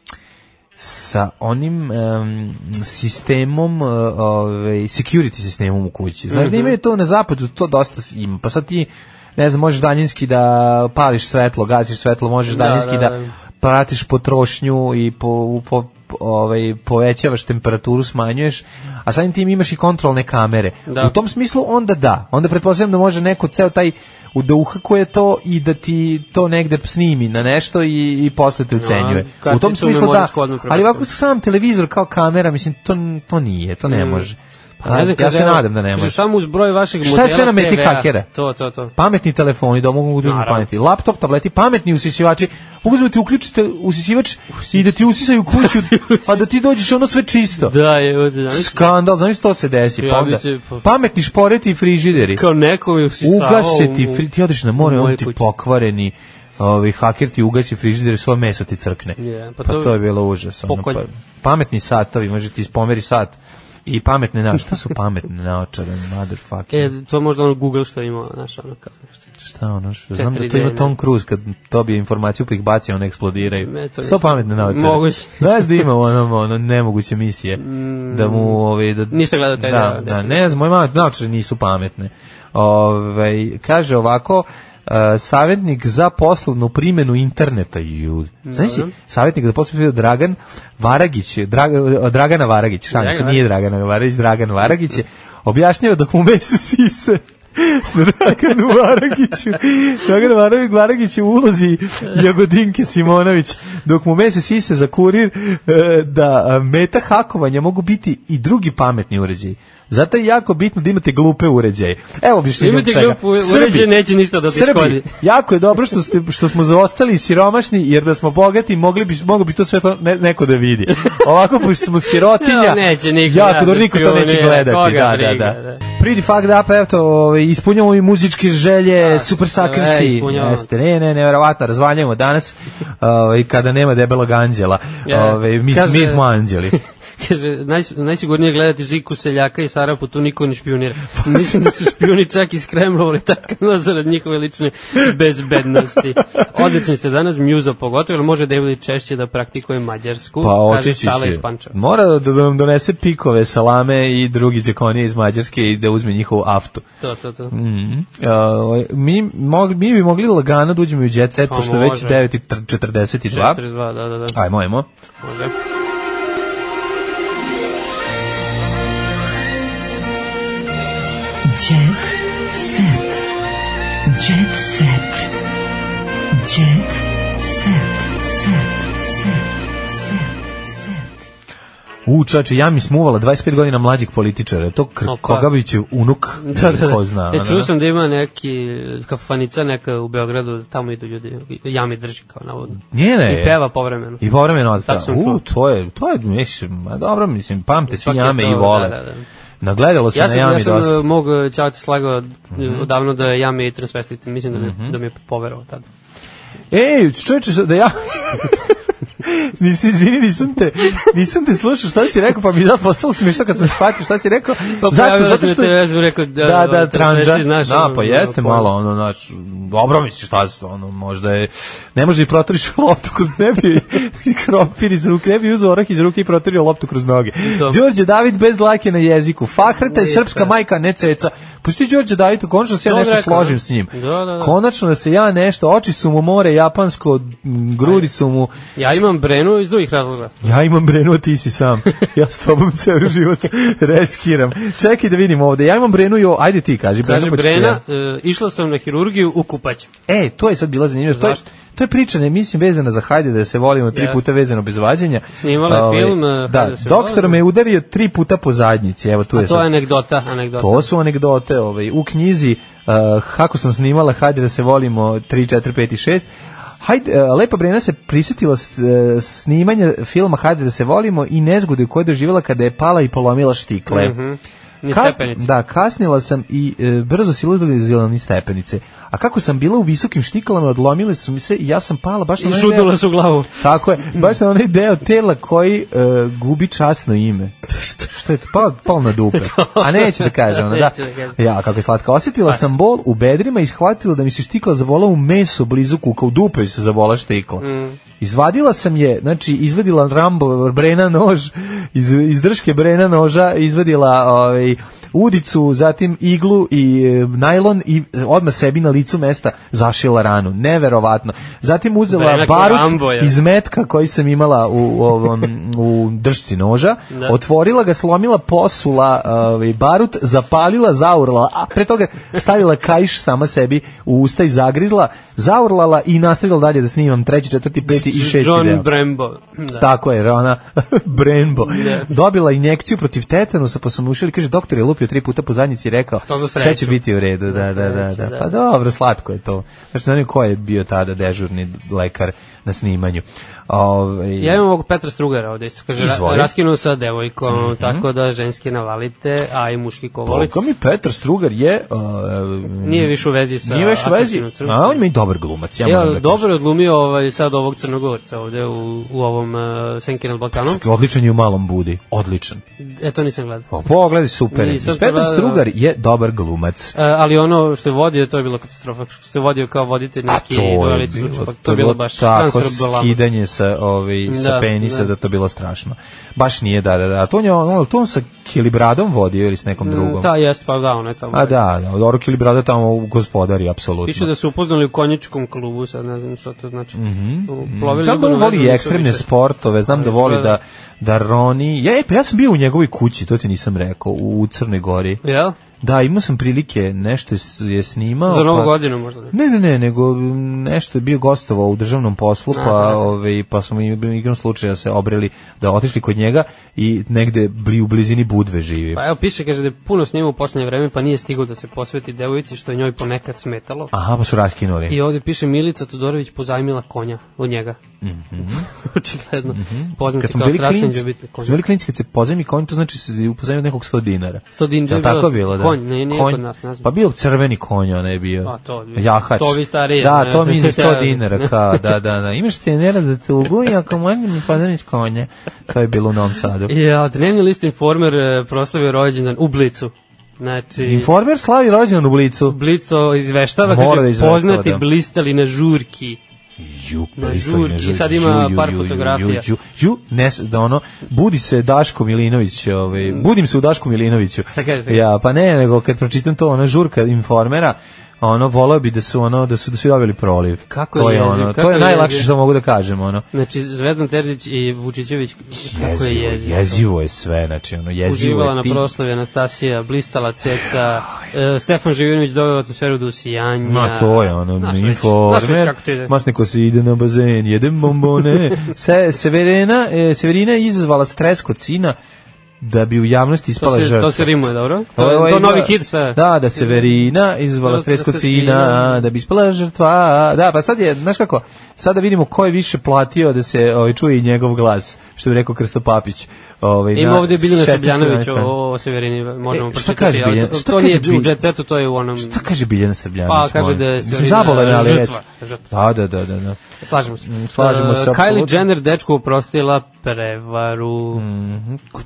Speaker 5: sa onim em, sistemom e, ovaj security sistemom u kući. Znaš
Speaker 6: Mhm.
Speaker 5: da imaju to na zapadu, to dosta s- ima. Pa sad ti ne znam, možeš daljinski da pališ svetlo, gasiš svetlo, možeš
Speaker 6: Da,
Speaker 5: daljinski
Speaker 6: da,
Speaker 5: da,
Speaker 6: da.
Speaker 5: pratiš potrošnju i po, u- po, po- ovaj, povećavaš temperaturu, smanjuješ, a samim tim imaš i kontrolne kamere.
Speaker 6: Da.
Speaker 5: U tom smislu onda da. Onda pretpostavljam da može neko ceo taj u- da uhakuje to i da ti to negde snimi na nešto i, i posle te ucenjuje.
Speaker 6: karticu
Speaker 5: u tom smislu da,
Speaker 6: memorijsku odmah prebacujem.
Speaker 5: ali ovako sam televizor kao kamera, mislim, to, to nije, to ne
Speaker 6: Mm.
Speaker 5: može.
Speaker 6: Pa ne znam,
Speaker 5: ja
Speaker 6: kaže,
Speaker 5: se
Speaker 6: evo,
Speaker 5: nadam da ne
Speaker 6: kaže,
Speaker 5: može.
Speaker 6: Samo uz broj vašeg
Speaker 5: Šta je
Speaker 6: modela
Speaker 5: sve na meti
Speaker 6: TV-a?
Speaker 5: hakera?
Speaker 6: To, to, to.
Speaker 5: pametni telefoni da mogu da uzmu
Speaker 6: Naravno.
Speaker 5: pameti, laptop, tableti, pametni usisivači, mogu da ti uključite usisivač i da ti usisaju
Speaker 6: <laughs>
Speaker 5: kuću, a da ti dođeš ono sve čisto.
Speaker 6: Da, je, ovdje, znaš,
Speaker 5: Skandal, znaš to se desi.
Speaker 6: Ja
Speaker 5: Pa
Speaker 6: bi
Speaker 5: onda,
Speaker 6: se- pa-
Speaker 5: pametni šporeti i frižideri.
Speaker 6: kao neko je usisavao
Speaker 5: Ugase ti,
Speaker 6: u-
Speaker 5: fri, ti odeš na
Speaker 6: u
Speaker 5: more,
Speaker 6: mojoj
Speaker 5: on ti
Speaker 6: kući.
Speaker 5: pokvareni, ovaj, haker ti ugasi frižider, svoje meso ti crkne.
Speaker 6: Je, pa
Speaker 5: pa,
Speaker 6: to-
Speaker 5: to, je bilo užas. ono,
Speaker 6: Pokolj.
Speaker 5: pa- pametni satovi, može ti ispomeri sat. I pametne naočare, šta su pametne naočare, motherfucker.
Speaker 6: E, to je možda ono Google što je imao, znaš, ono kao nešto.
Speaker 5: Šta ono, što, znam da to
Speaker 6: 4D,
Speaker 5: ima
Speaker 6: ne.
Speaker 5: Tom Cruise kad dobije informaciju pa ih baci, one eksplodiraju.
Speaker 6: Ne, to
Speaker 5: Sto
Speaker 6: nisam.
Speaker 5: pametne naočare.
Speaker 6: Moguće. Mm.
Speaker 5: Znaš da ima ono, ono nemoguće misije. Da mu, ove, da,
Speaker 6: Nisam gledao taj
Speaker 5: da,
Speaker 6: deo,
Speaker 5: da, ne znam, moje mame naočare nisu pametne. Ove, kaže ovako, Uh, savjetnik za poslovnu primenu interneta ju. Znaš si, savjetnik za poslovnu primenu Dragan Varagić, Draga, Dragana Varagić, šalim se,
Speaker 6: Dragana
Speaker 5: nije Dragana Varagić, Dragan Varagić je objašnjava dok mu mesu sise. Draganu Varagiću, Dragan Varagić, Varagić je u ulozi Jagodinke Simonović, dok mu mese sise za kurir e, da e, meta hakovanja mogu biti i drugi pametni uređaji. Zato je jako bitno da imate glupe uređaje. Evo objašnjenje
Speaker 6: Imate
Speaker 5: svega.
Speaker 6: glup u-
Speaker 5: Srbi,
Speaker 6: uređaj, neće ništa da ti
Speaker 5: Srbi,
Speaker 6: škodi. <laughs>
Speaker 5: Jako je dobro što, ste, što smo zaostali i siromašni, jer da smo bogati, mogli bi, mogli bi to sve to ne- neko da vidi. Ovako, pošto
Speaker 6: <laughs>
Speaker 5: smo sirotinja,
Speaker 6: Ja, neće niko
Speaker 5: jako
Speaker 6: gledati
Speaker 5: dobro, niko to neće
Speaker 6: pionira,
Speaker 5: gledati.
Speaker 6: koga
Speaker 5: Da, da,
Speaker 6: briga,
Speaker 5: da.
Speaker 6: da.
Speaker 5: Pretty fucked up, evo, to, ovaj, ispunjamo i muzičke želje, super
Speaker 6: Da, sve
Speaker 5: sakrsi.
Speaker 6: ispunjavamo.
Speaker 5: Jeste, ne, ne, nevjerovatno, razvaljujemo danas, ovaj, kada nema debelog anđela.
Speaker 6: Ja,
Speaker 5: Ovaj, mi,
Speaker 6: kaže-
Speaker 5: mi smo anđeli.
Speaker 6: <laughs> Kaže, naj, najsigurnije je gledati Žiku Seljaka i Sarapu, tu niko ne špionira. <laughs> Mislim da su špioni čak iz Kremlova i tako zarad njihove lične bezbednosti. Odlični ste danas, Mjuzo pogotovo, ali može David češće da praktikuje Mađarsku.
Speaker 5: Pa
Speaker 6: kaže
Speaker 5: otići
Speaker 6: Sala
Speaker 5: će.
Speaker 6: iz Pančeva.
Speaker 5: Mora da, da nam donese pikove, salame i drugi džekonije iz Mađarske i da uzme njihovu aftu.
Speaker 6: To, to, to.
Speaker 5: Mm. Uh, mi, mog, mi bi mogli lagano da uđemo i u jet set,
Speaker 6: Pa
Speaker 5: pošto je već
Speaker 6: može.
Speaker 5: 9.42.
Speaker 6: 42, da, da, da.
Speaker 5: Ajmo, ajmo.
Speaker 6: Može.
Speaker 5: da,
Speaker 4: Jet set. Jet set. Jet set. Set.
Speaker 5: U, čače, ja mi smuvala 25 godina mlađeg političara. To kr
Speaker 6: Opa.
Speaker 5: Kogabić je unuk,
Speaker 6: pa. <laughs> Da, da, da.
Speaker 5: ko zna.
Speaker 6: E,
Speaker 5: ono.
Speaker 6: čuo sam da ima neki kafanica neka u Beogradu, tamo idu ljudi, jami drži kao navodno.
Speaker 5: Njena je.
Speaker 6: I peva povremeno.
Speaker 5: I povremeno otpeva.
Speaker 6: Tako sam čuo.
Speaker 5: U, to je, to je, mislim, ma dobro, mislim, pamte svi
Speaker 6: Ipak je
Speaker 5: jame
Speaker 6: to,
Speaker 5: i vole.
Speaker 6: da, da, da.
Speaker 5: Nagledalo se
Speaker 6: Ja
Speaker 5: Znači, na
Speaker 6: sam, ja
Speaker 5: jami
Speaker 6: sam
Speaker 5: dosta. Mhm.
Speaker 6: e, mog e, ćata slagao e, odavno da je jame i transvestit, mislim da, mi- da mi je poverovao tada.
Speaker 5: Ej, čovječe, sad
Speaker 6: <laughs>
Speaker 5: da ja... Nisi, izvini, nisam te, nisam te slušao šta si rekao, pa mi je da postalo smiješno kad sam shvatio šta si rekao.
Speaker 6: Pa
Speaker 5: Zašto? Zato što...
Speaker 6: Ja sam rekao,
Speaker 5: Da, da,
Speaker 6: ovaj, transvestit,
Speaker 5: tranža.
Speaker 6: Znaš,
Speaker 5: da,
Speaker 6: ono,
Speaker 5: pa jeste
Speaker 6: ono,
Speaker 5: malo ono, znaš, dobro misliš šta se to, ono, možda je, ne može i protoriš <laughs> loptu kroz ne bi <laughs> kropir iz ruke, ne bi uzeo orah iz ruke i protorio loptu kroz noge.
Speaker 6: To.
Speaker 5: Đorđe David bez dlake na jeziku, Fahreta je
Speaker 6: Ništa.
Speaker 5: srpska majka, ne ceca. Pusti Đorđe Davidu, konačno se ja
Speaker 6: To
Speaker 5: nešto
Speaker 6: da. rekao,
Speaker 5: složim
Speaker 6: da.
Speaker 5: s njim.
Speaker 6: Da, da, da.
Speaker 5: Konačno da se ja nešto, oči su mu more japansko, m, grudi su mu,
Speaker 6: Ja imam brenu iz drugih razloga.
Speaker 5: ja imam brenu, a ti si sam. Ja s tobom ceo život reskiram. Čekaj da vidim ovde. Ja imam brenu i o... Ajde ti, kaži.
Speaker 6: Kaže
Speaker 5: pa ću ti ja.
Speaker 6: Brena, e, išla sam na hirurgiju u kupaću.
Speaker 5: E, to je sad bila zanimljivost. To je,
Speaker 6: Zašto?
Speaker 5: To je priča, ne mislim, vezana za Hajde da se volimo, tri
Speaker 6: Jeste.
Speaker 5: puta vezano bez vađenja.
Speaker 6: Snimala je
Speaker 5: Ovaj,
Speaker 6: film, eh,
Speaker 5: Da,
Speaker 6: Hajde da se
Speaker 5: doktor
Speaker 6: volimo.
Speaker 5: me udario tri puta po zadnjici, evo tu
Speaker 6: A
Speaker 5: je
Speaker 6: to
Speaker 5: sad.
Speaker 6: je anegdota, anegdota.
Speaker 5: To su anegdote, ovaj, u knjizi uh, kako sam snimala Hajde da se volimo 3, 4, 5 i 6. Hajde, uh, Lepa Brena se prisjetila s- uh, snimanja filma Hajde da se volimo i nezgode koju je doživjela kada je pala i polomila štikle.
Speaker 6: Mhm. Niz
Speaker 5: Kas-
Speaker 6: stepenice.
Speaker 5: da, kasnila sam i e, brzo si ludili zeleni stepenice. A kako sam bila u visokim štiklama, odlomile su mi se i ja sam pala baš
Speaker 6: I
Speaker 5: onaj
Speaker 6: šutnula
Speaker 5: deo-
Speaker 6: su u glavu.
Speaker 5: Tako je, baš na onaj deo tela koji e, gubi časno ime. Što je to? Pal, pal na dupe. A neće da kaže ona, da.
Speaker 6: Neće da kaže.
Speaker 5: Ja, kako je slatka. Osjetila sam bol u bedrima i shvatila da mi se štikla zavola u meso blizu kuka, u dupe joj se zavola štikla.
Speaker 6: Mm.
Speaker 5: Izvadila sam je, znači izvadila Rambo brena nož, iz, iz drške brena noža izvadila ovaj, udicu, zatim iglu i e, najlon i e, odmah sebi na licu mesta zašila ranu. Neverovatno. Zatim uzela
Speaker 6: Brena ko
Speaker 5: barut
Speaker 6: Rambo, je.
Speaker 5: iz metka koji sam imala u, ovom, u držci noža,
Speaker 6: Da.
Speaker 5: otvorila ga, slomila, posula ovaj, barut, zapalila, zaurlala, a pre toga stavila kajš sama sebi u usta i zagrizla, zaurlala i nastavila dalje da snimam treći, četvrti, peti i šesti
Speaker 6: John
Speaker 5: deo.
Speaker 6: Brembo. Da.
Speaker 5: Tako je, ona <laughs> Brembo. Dobila injekciju protiv tetanusa, pa su mu ušili, kaže, doktor je lupio tri puta po zadnjici i rekao,
Speaker 6: To za
Speaker 5: sve
Speaker 6: sreću."
Speaker 5: će biti u redu, da, da, da,
Speaker 6: sreću,
Speaker 5: da.
Speaker 6: da.
Speaker 5: Pa dobro, slatko je to. Znači, znam ko je bio tada dežurni lekar na snimanju. Ovaj, Ove,
Speaker 6: Ja imam ovog Petra Strugara ovde isto, kaže, ra
Speaker 5: Izvoli. Mhm.
Speaker 6: raskinu sa devojkom, tako da ženski navalite, a i muški ko voli.
Speaker 5: Koliko mi Petar Strugar je... uh,
Speaker 6: Nije više u vezi sa
Speaker 5: Nije više u vezi,
Speaker 6: atraktivnom crnom.
Speaker 5: a on ima i dobar glumac. Ja, moram da
Speaker 6: Ja,
Speaker 5: kažem.
Speaker 6: dobro je odlumio ovaj, sad ovog crnogorca ovde u, u ovom uh, Senki nad Balkanom.
Speaker 5: Odličan je u malom budi, odličan.
Speaker 6: E, to nisam gledao.
Speaker 5: Pa pogledaj, super. je.
Speaker 6: Nisam
Speaker 5: Petar
Speaker 6: pogledao.
Speaker 5: Strugar je dobar glumac.
Speaker 6: E, ali ono što je vodio, to je bilo katastrofa. Što je vodio kao voditelj neki duelici zvuči, pa to je bilo baš
Speaker 5: tako
Speaker 6: transfer
Speaker 5: skidanje sa ovaj sa
Speaker 6: Da,
Speaker 5: penisa da.
Speaker 6: da.
Speaker 5: to bilo strašno. Baš nije da da da. A To on je on, to on sa Kilibradom vodio ili s nekom drugom.
Speaker 6: Mm, Ta, jes, pa da, ono je tamo.
Speaker 5: A da, da, Doro Kilibrada tamo u gospodari apsolutno.
Speaker 6: Piše da su upoznali u konjičkom klubu, sad ne znam što to znači. Mm Plovili
Speaker 5: Znam da on
Speaker 6: ljubavno
Speaker 5: voli i
Speaker 6: vezani su
Speaker 5: ekstremne
Speaker 6: više.
Speaker 5: sportove, znam da
Speaker 6: Ali
Speaker 5: voli
Speaker 6: izgleda-
Speaker 5: da da roni. Ja, e, pa ja sam bio u njegovoj kući, to ti nisam rekao, u, u Crnoj Gori.
Speaker 6: Jel?
Speaker 5: Da, imao sam prilike, nešto je s- je snimao.
Speaker 6: Za novu
Speaker 5: pa-
Speaker 6: godinu možda. da. ne?
Speaker 5: Ne, ne, ne, nego m, nešto je bio gostovao u državnom poslu, pa,
Speaker 6: Aha.
Speaker 5: ovaj, pa smo im- igrom slučaja se obreli da otišli kod njega i negde bli, u blizini Budve živi.
Speaker 6: Pa evo piše, kaže da je puno snima u poslednje vreme, pa nije stigao da se posveti devojci, što je njoj ponekad smetalo.
Speaker 5: Aha, pa su raskinuli.
Speaker 6: I ovde piše Milica Todorović pozajmila konja od njega. <laughs> Očigledno. Poznati
Speaker 5: Mhm. Kad smo
Speaker 6: kao
Speaker 5: bili
Speaker 6: strašan
Speaker 5: klinci,
Speaker 6: ljubitelj
Speaker 5: kad
Speaker 6: konja.
Speaker 5: smo bili klinci, kad se pozajmi konj, to znači se upozajmi od nekog 100 dinara.
Speaker 6: Sto dinđe
Speaker 5: Jel
Speaker 6: je
Speaker 5: tako
Speaker 6: bilo-
Speaker 5: bilo, da.
Speaker 6: Konj, ne, nije
Speaker 5: Konj.
Speaker 6: kod nas, ne znam.
Speaker 5: Pa bio crveni konj, onaj je bio.
Speaker 6: A, to-
Speaker 5: Jahač.
Speaker 6: to vi stariji,
Speaker 5: Da,
Speaker 6: ne?
Speaker 5: to
Speaker 6: <laughs>
Speaker 5: mi je za 100
Speaker 6: Da.
Speaker 5: dinara, kao, da, da, da. Imaš cenera da te uguji, ako manje mi pozajmiš konje. To je bilo u Novom Sadu.
Speaker 6: Ja, dnevni list Informer e, proslavio rođendan u Blicu. Znači,
Speaker 5: Informer slavi rođendan u Blicu.
Speaker 6: Blic to izveštava,
Speaker 5: Mora
Speaker 6: kaže,
Speaker 5: da izveštava,
Speaker 6: poznati
Speaker 5: da.
Speaker 6: blistali na žurki.
Speaker 5: Ju, pa
Speaker 6: Na
Speaker 5: pristali
Speaker 6: žurki,
Speaker 5: žurki.
Speaker 6: sad ima
Speaker 5: Ju, ju,
Speaker 6: par
Speaker 5: ju,
Speaker 6: fotografija.
Speaker 5: Ju, ju, ju, ne, s- da ono, budi se Daško Milinović, ovaj, budim se u Daško Milinoviću.
Speaker 6: Šta kažeš, šta kažeš?
Speaker 5: Ja, pa ne, nego kad pročitam to, ona žurka informera, ono, voleo bi da su, ono, da su, da su dobili proliv.
Speaker 6: Kako
Speaker 5: to je,
Speaker 6: je jeziv,
Speaker 5: ono,
Speaker 6: kako
Speaker 5: to je
Speaker 6: je
Speaker 5: najlakše
Speaker 6: jeziv.
Speaker 5: što mogu da kažem, ono.
Speaker 6: Znači, Zvezdan Terzić i Vučićević, kako je jezivo.
Speaker 5: jezivo je sve, znači, ono, jezivo
Speaker 6: Uživala
Speaker 5: je
Speaker 6: na
Speaker 5: ti.
Speaker 6: proslavi Anastasija, blistala ceca, e, Stefan Živinović doveo atmosferu do usijanja.
Speaker 5: Ma to je ono,
Speaker 6: Znaš
Speaker 5: znaš
Speaker 6: već- Znaš već
Speaker 5: informer,
Speaker 6: kako to ide.
Speaker 5: masniko se ide na bazen, jedem
Speaker 6: <laughs>
Speaker 5: bombone. Se, Severina, e, Severina je izazvala stres kod sina da bi u javnosti
Speaker 6: To
Speaker 5: ispala
Speaker 6: se,
Speaker 5: žrtva.
Speaker 6: to se rimuje, dobro? To, je-
Speaker 5: Ovo je
Speaker 6: to je novi
Speaker 5: izgleda-
Speaker 6: hit sa...
Speaker 5: Da, da Severina izvala
Speaker 6: Izazvala
Speaker 5: stres kod
Speaker 6: stres kod
Speaker 5: sina,
Speaker 6: sina.
Speaker 5: da bi ispala žrtva. Da, pa sad je, znaš kako, sada vidimo ko je više platio da se ovaj, čuje i njegov glas, što bi rekao Krsto Papić. Ovaj,
Speaker 6: Ima ovde Biljana
Speaker 5: 16.
Speaker 6: Srbljanović o, o Severini, možemo
Speaker 5: E, šta
Speaker 6: pročitati.
Speaker 5: kaže
Speaker 6: ali
Speaker 5: Biljana?
Speaker 6: To,
Speaker 5: Šta
Speaker 6: to nije
Speaker 5: kaže
Speaker 6: u
Speaker 5: Biljana?
Speaker 6: jet setu, to je u onom...
Speaker 5: Šta kaže Biljana Srbljanović?
Speaker 6: Pa, kaže
Speaker 5: molim?
Speaker 6: da je
Speaker 5: Mislim,
Speaker 6: Severina
Speaker 5: zabolan je, ali
Speaker 6: žrtva,
Speaker 5: eto.
Speaker 6: žrtva.
Speaker 5: Da, da, da, da. da.
Speaker 6: Slažemo se.
Speaker 5: slažemo
Speaker 6: E,
Speaker 5: se,
Speaker 6: Kylie
Speaker 5: apsolutno. Mm.
Speaker 6: Jenner dečku oprostila prevaru.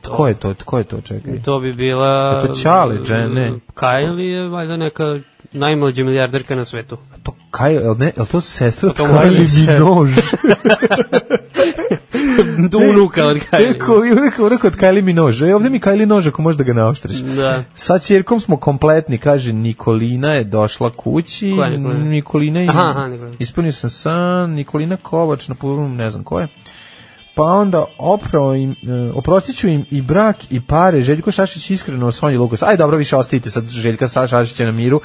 Speaker 5: Ko je to? Ko je to? Čekaj.
Speaker 6: To bi bila...
Speaker 5: Je Pa to Ćale Jenner, ne?
Speaker 6: Kylie je valjda neka najmlađa milijarderka na svetu.
Speaker 5: <laughs> To kaj, el ne, el to sestra od
Speaker 6: To moja
Speaker 5: Kylie
Speaker 6: sestra.
Speaker 5: Minogue.
Speaker 6: Unuka od <laughs> Kylie.
Speaker 5: Eko, uvijek uvijek od Kylie Minogue. E, ovde mi Kylie nož ako možeš da ga naoštriš.
Speaker 6: Da.
Speaker 5: Sa ćerkom smo kompletni, kaže Nikolina je došla kući.
Speaker 6: Koja je Nikolina?
Speaker 5: Nikolina i,
Speaker 6: Aha, aha, Nikolina.
Speaker 5: Ispunio sam san, Nikolina Kovač na polurum, ne znam ko je. Pa onda oprao im, e, oprostit ću im i brak i pare, Željko Šašić iskreno Sonji Lukas. Aj dobro, više ostavite sad Željka Sa- Šašića na miru.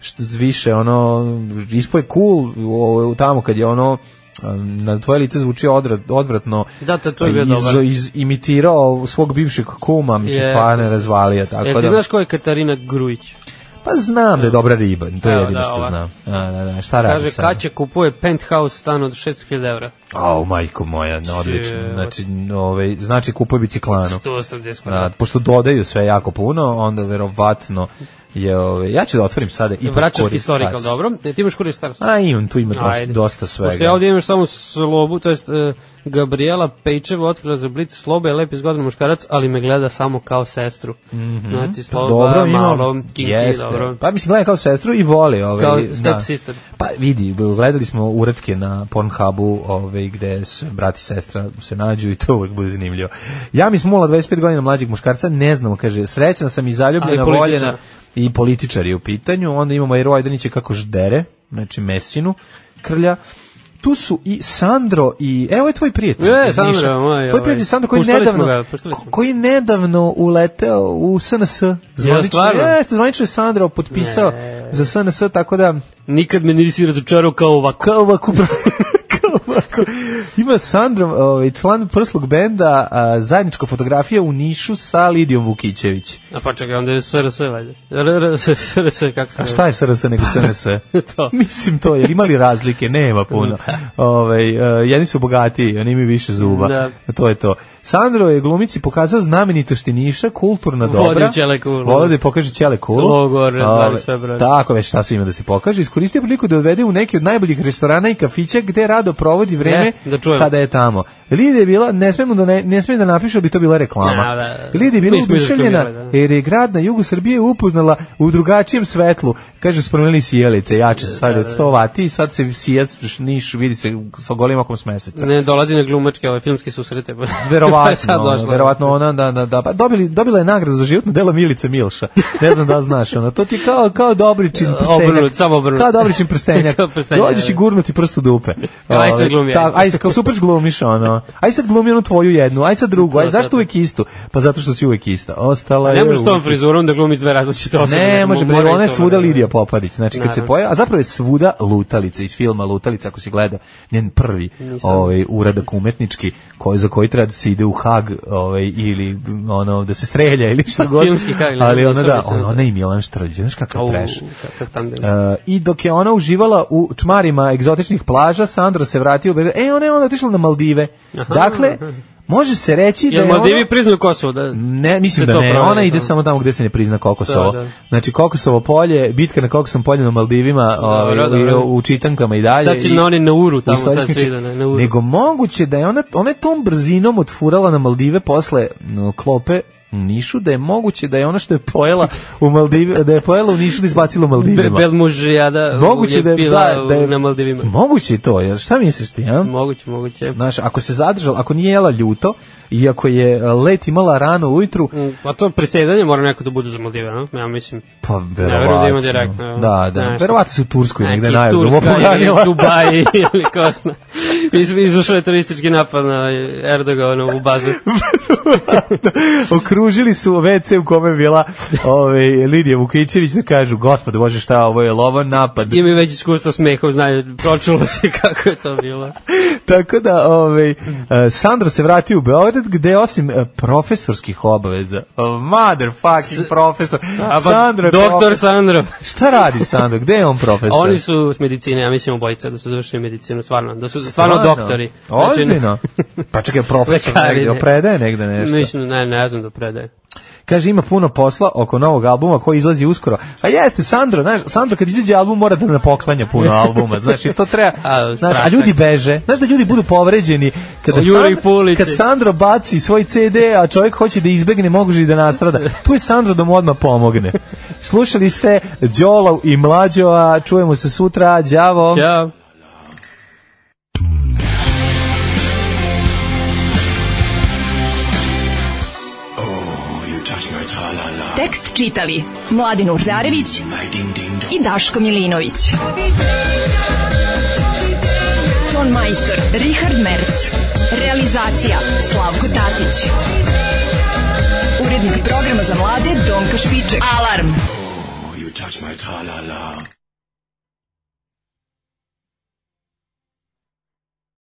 Speaker 5: što više ono ispoje cool o, tamo kad je ono um, na tvoje lice zvuči odra- odvratno
Speaker 6: Da, to- to je bio dobar.
Speaker 5: iz, imitirao svog bivšeg kuma mi se
Speaker 6: Jeste.
Speaker 5: stvarno je razvalio tako
Speaker 6: E,
Speaker 5: da
Speaker 6: ti znaš ko je Katarina Grujić?
Speaker 5: pa znam da je dobra riba to je
Speaker 6: Evo,
Speaker 5: jedino
Speaker 6: da,
Speaker 5: što
Speaker 6: ova.
Speaker 5: znam da, da, da, šta radi
Speaker 6: Kaže,
Speaker 5: sad?
Speaker 6: Kaća kupuje penthouse stan od 600.000 evra.
Speaker 5: Au, majko moja, no, odlično.
Speaker 6: Če-
Speaker 5: Znači, ovaj, znači kupuje biciklanu.
Speaker 6: 180
Speaker 5: Da,
Speaker 6: kvadrata.
Speaker 5: pošto dodaju sve jako puno, onda verovatno je... Ovaj, ja ću da otvorim sada i
Speaker 6: Vračarski historical, dobro. E, ti imaš Kurir Stars?
Speaker 5: A imam, tu ima dosta,
Speaker 6: Ajde.
Speaker 5: dosta svega.
Speaker 6: Pošto ja ovdje imam samo slobu, to jest e, Gabriela Pejčeva otkrila za blic sloba je lep izgodan muškarac, ali me gleda samo kao sestru. Znači, sloba,
Speaker 5: Mhm. Pa dobro, imam-
Speaker 6: malo, kinky,
Speaker 5: jeste.
Speaker 6: dobro.
Speaker 5: Pa mislim, gledam kao sestru i voli. Ovaj,
Speaker 6: Kao stepsister.
Speaker 5: Pa vidi, gledali smo uratke na Pornhubu ovaj, gde se brat i sestra se nađu i to uvek bude zanimljivo. Ja mi smula 25 godina mlađeg muškarca, ne znamo, kaže, srećna sam i zaljubljena,
Speaker 6: Ali političar.
Speaker 5: voljena i političar je u pitanju. Onda imamo Ero Ajdanića kako ždere, znači mesinu, krlja. Tu su i Sandro i evo je tvoj prijatelj.
Speaker 6: E,
Speaker 5: iz
Speaker 6: Sandro,
Speaker 5: Niša.
Speaker 6: moj,
Speaker 5: tvoj prijatelj
Speaker 6: ovaj,
Speaker 5: Sandro koji
Speaker 6: puštali smo
Speaker 5: nedavno
Speaker 6: ga, puštali smo.
Speaker 5: koji nedavno uleteo u SNS. Zvanično,
Speaker 6: stvarno?
Speaker 5: jeste, zvanično je Sandro potpisao za SNS, tako da
Speaker 6: Nikad me nisi razočarao kao ovako.
Speaker 5: kao ovako pra- <laughs> kao ovako. Ima Sandro, ovaj, član prslog benda, a, zajednička fotografija u Nišu sa Lidijom Vukićević.
Speaker 6: A pa čekaj, onda je SRS valjda. RRS, SRS, kako se
Speaker 5: A šta je SRS nego SNS?
Speaker 6: <laughs> To.
Speaker 5: <laughs> Mislim to, jer imali razlike, nema puno. Ovaj, e, jedni su bogatiji, oni imaju više zuba.
Speaker 6: Da.
Speaker 5: To je to. Sandro je glumici pokazao znamenitosti Niša, kulturna dobra.
Speaker 6: Vodio Ćele Kulu.
Speaker 5: Volio da je pokaže Ćele Kulu.
Speaker 6: Logor,
Speaker 5: Ove,
Speaker 6: 12 februara.
Speaker 5: Tako već šta sve ima da se pokaže. Iskoristio priliku da je odvede u neki od najboljih restorana i kafića gde rado provodi vreme
Speaker 6: E, da čujem.
Speaker 5: kada je tamo. Lidija je bila, ne smem da, ne, ne smem da napišu, bi to bila reklama.
Speaker 6: Ja, da.
Speaker 5: Lidija je bila
Speaker 6: Mi smo
Speaker 5: oduševljena
Speaker 6: izrekli, da, da.
Speaker 5: jer je grad na jugu Srbije upoznala u drugačijem svetlu. Kaže, spromenili sjelice, jače se
Speaker 6: Da,
Speaker 5: sad od 100 vati i sad se sija niš, vidi se sa golim okom s meseca.
Speaker 6: Ne, <laughs> dolazi na glumačke ove filmske susrete. <laughs> pa- pa je sad
Speaker 5: Verovatno,
Speaker 6: došla.
Speaker 5: ono, verovatno ona da da da pa dobili dobila je nagradu za životno delo Milice Milša. Ne znam da li znaš, ona to ti je kao kao dobri čin prstenjak.
Speaker 6: Obrnut, samo obrnut.
Speaker 5: Kao dobri čin prstenjak.
Speaker 6: <laughs> Kao prstenjak,
Speaker 5: Dođeš i
Speaker 6: da.
Speaker 5: gurnuti prst u dupe.
Speaker 6: Aj, sad
Speaker 5: Ovaj,
Speaker 6: glumi,
Speaker 5: ta-
Speaker 6: ajde.
Speaker 5: Aj kao super glumiš ono. Aj sad glumi onu tvoju jednu, aj sad drugu, aj
Speaker 6: To,
Speaker 5: zašto
Speaker 6: to, to.
Speaker 5: uvek istu? Pa zato što si uvek ista. Ostala je.
Speaker 6: Ne možeš s tom
Speaker 5: uvek
Speaker 6: frizurom da glumiš dve različite osobe.
Speaker 5: ne, može,
Speaker 6: mora
Speaker 5: bre, ona je
Speaker 6: isto
Speaker 5: svuda
Speaker 6: ono, da.
Speaker 5: Lidija Popadić. Znači, kad se
Speaker 6: Naravno.
Speaker 5: pojava, a zapravo je svuda lutalica iz filma Lutalica, ako si gledao, njen prvi ovaj, uradak umetnički, koji, za koji treba da se ide u hag ovaj, ili ono, da se strelja ili
Speaker 6: <laughs>
Speaker 5: šta god.
Speaker 6: Filmski hag, ili
Speaker 5: Ali
Speaker 6: da
Speaker 5: ona,
Speaker 6: se
Speaker 5: da,
Speaker 6: obisne,
Speaker 5: ona,
Speaker 6: da.
Speaker 5: ona i Milan Štrljić, znaš kakav
Speaker 6: Au,
Speaker 5: trash.
Speaker 6: kakav tandem.
Speaker 5: E, I dok je ona uživala u čmarima egzotičnih plaža, Sandro se vratio u Beograd. E, ona je onda otišla na Maldive. Dakle, može se reći da
Speaker 6: Jel
Speaker 5: je ona-
Speaker 6: Maldivi priznaju Kosovo? Da,
Speaker 5: ne, mislim
Speaker 6: Se
Speaker 5: da
Speaker 6: to
Speaker 5: ne.
Speaker 6: proveri,
Speaker 5: Ona ide
Speaker 6: da.
Speaker 5: samo tamo gde se ne prizna Kokosovo.
Speaker 6: Da, da.
Speaker 5: Znači Kokosovo polje, bitka na Kokosom polju na Maldivima, ovaj, i
Speaker 6: dobro.
Speaker 5: u čitankama i dalje.
Speaker 6: Sad će
Speaker 5: i-
Speaker 6: na oni na Uru,
Speaker 5: i
Speaker 6: tamo sad da
Speaker 5: istorijskim
Speaker 6: se ide na- na Uru.
Speaker 5: Nego moguće da je ona ona je tom brzinom otfurala na Maldive posle no, klope u Nišu da je moguće da je ono što je pojela u Maldivi da je pojela u Nišu da izbacila u
Speaker 6: Be,
Speaker 5: Maldivima.
Speaker 6: bel muž i jada
Speaker 5: moguće
Speaker 6: je
Speaker 5: da je,
Speaker 6: pila
Speaker 5: da, da je-
Speaker 6: u- na Maldivima.
Speaker 5: Moguće je to, jer šta misliš ti, a?
Speaker 6: Moguće, moguće.
Speaker 5: Znaš, ako se zadržala, ako nije jela ljuto, i ako je e, let imala rano ujutru,
Speaker 6: Mm, Pa to presedanje mora neko da bude za Maldive, no? ja mislim.
Speaker 5: Pa
Speaker 6: verujem da
Speaker 5: verovatno.
Speaker 6: ima direktno, evo.
Speaker 5: Da, da.
Speaker 6: Znaš,
Speaker 5: verovatno su u Turskoj negde da
Speaker 6: Neki
Speaker 5: na aerodromu
Speaker 6: Turska
Speaker 5: poganila. <laughs>
Speaker 6: ili Dubaji ili ko zna. Mi smo izvršili teroristički napad na Erdoganu u bazu.
Speaker 5: Okružili su WC u kome je bila ovaj, Lidija Vukićević da kažu, gospode bože šta, ovo je lovan napad.
Speaker 6: Imaju već iskustva smehom, znaju, pročulo se <laughs> kako je to bilo.
Speaker 5: Tako da, ovaj, eh, Sandro se vratio u Beograd gde osim eh, profesorskih obaveza, oh, motherfucking profesor,
Speaker 6: A pa,
Speaker 5: Sandro je
Speaker 6: doktor
Speaker 5: profesor.
Speaker 6: Sandro.
Speaker 5: Šta radi Sandro, gde je on
Speaker 6: A
Speaker 5: profesor?
Speaker 6: Oni su s medicine, ja mislim obojica da su završili medicinu, stvarno, da su stvarno, doktori. Znači,
Speaker 5: Ozbiljno? Pa čekaj, profesor
Speaker 6: Lekari,
Speaker 5: negde,
Speaker 6: ne.
Speaker 5: predaje negde nešto.
Speaker 6: Mislim, ne, ne znam da predaje.
Speaker 5: Kaže ima puno posla oko novog albuma koji izlazi uskoro. A jeste Sandro, znaš, Sandro kad izađe album mora da ne poklanja
Speaker 6: <laughs>
Speaker 5: puno albuma. Znači to treba,
Speaker 6: A,
Speaker 5: znaš, a
Speaker 6: strašno
Speaker 5: ljudi
Speaker 6: je.
Speaker 5: beže. Znaš da ljudi budu povređeni kada
Speaker 6: O Juri
Speaker 5: Sand-
Speaker 6: Pulici.
Speaker 5: kad Sandro baci svoj CD, a čovjek hoće da izbegne, može i da nastrada. Tu je Sandro da mu odmah pomogne. Slušali ste Đolo i Mlađo, a čujemo se sutra. Đavo.
Speaker 6: Ćao.
Speaker 2: Oh,
Speaker 4: Tekst čitali Mladin Urdarević i Daško Milinović. Ton majstor Richard Merc. Realizacija Slavko Tatić. Urednik programa za mlade Donka Špiček. Alarm!
Speaker 2: Oh, you
Speaker 3: you touch my tra-la-la.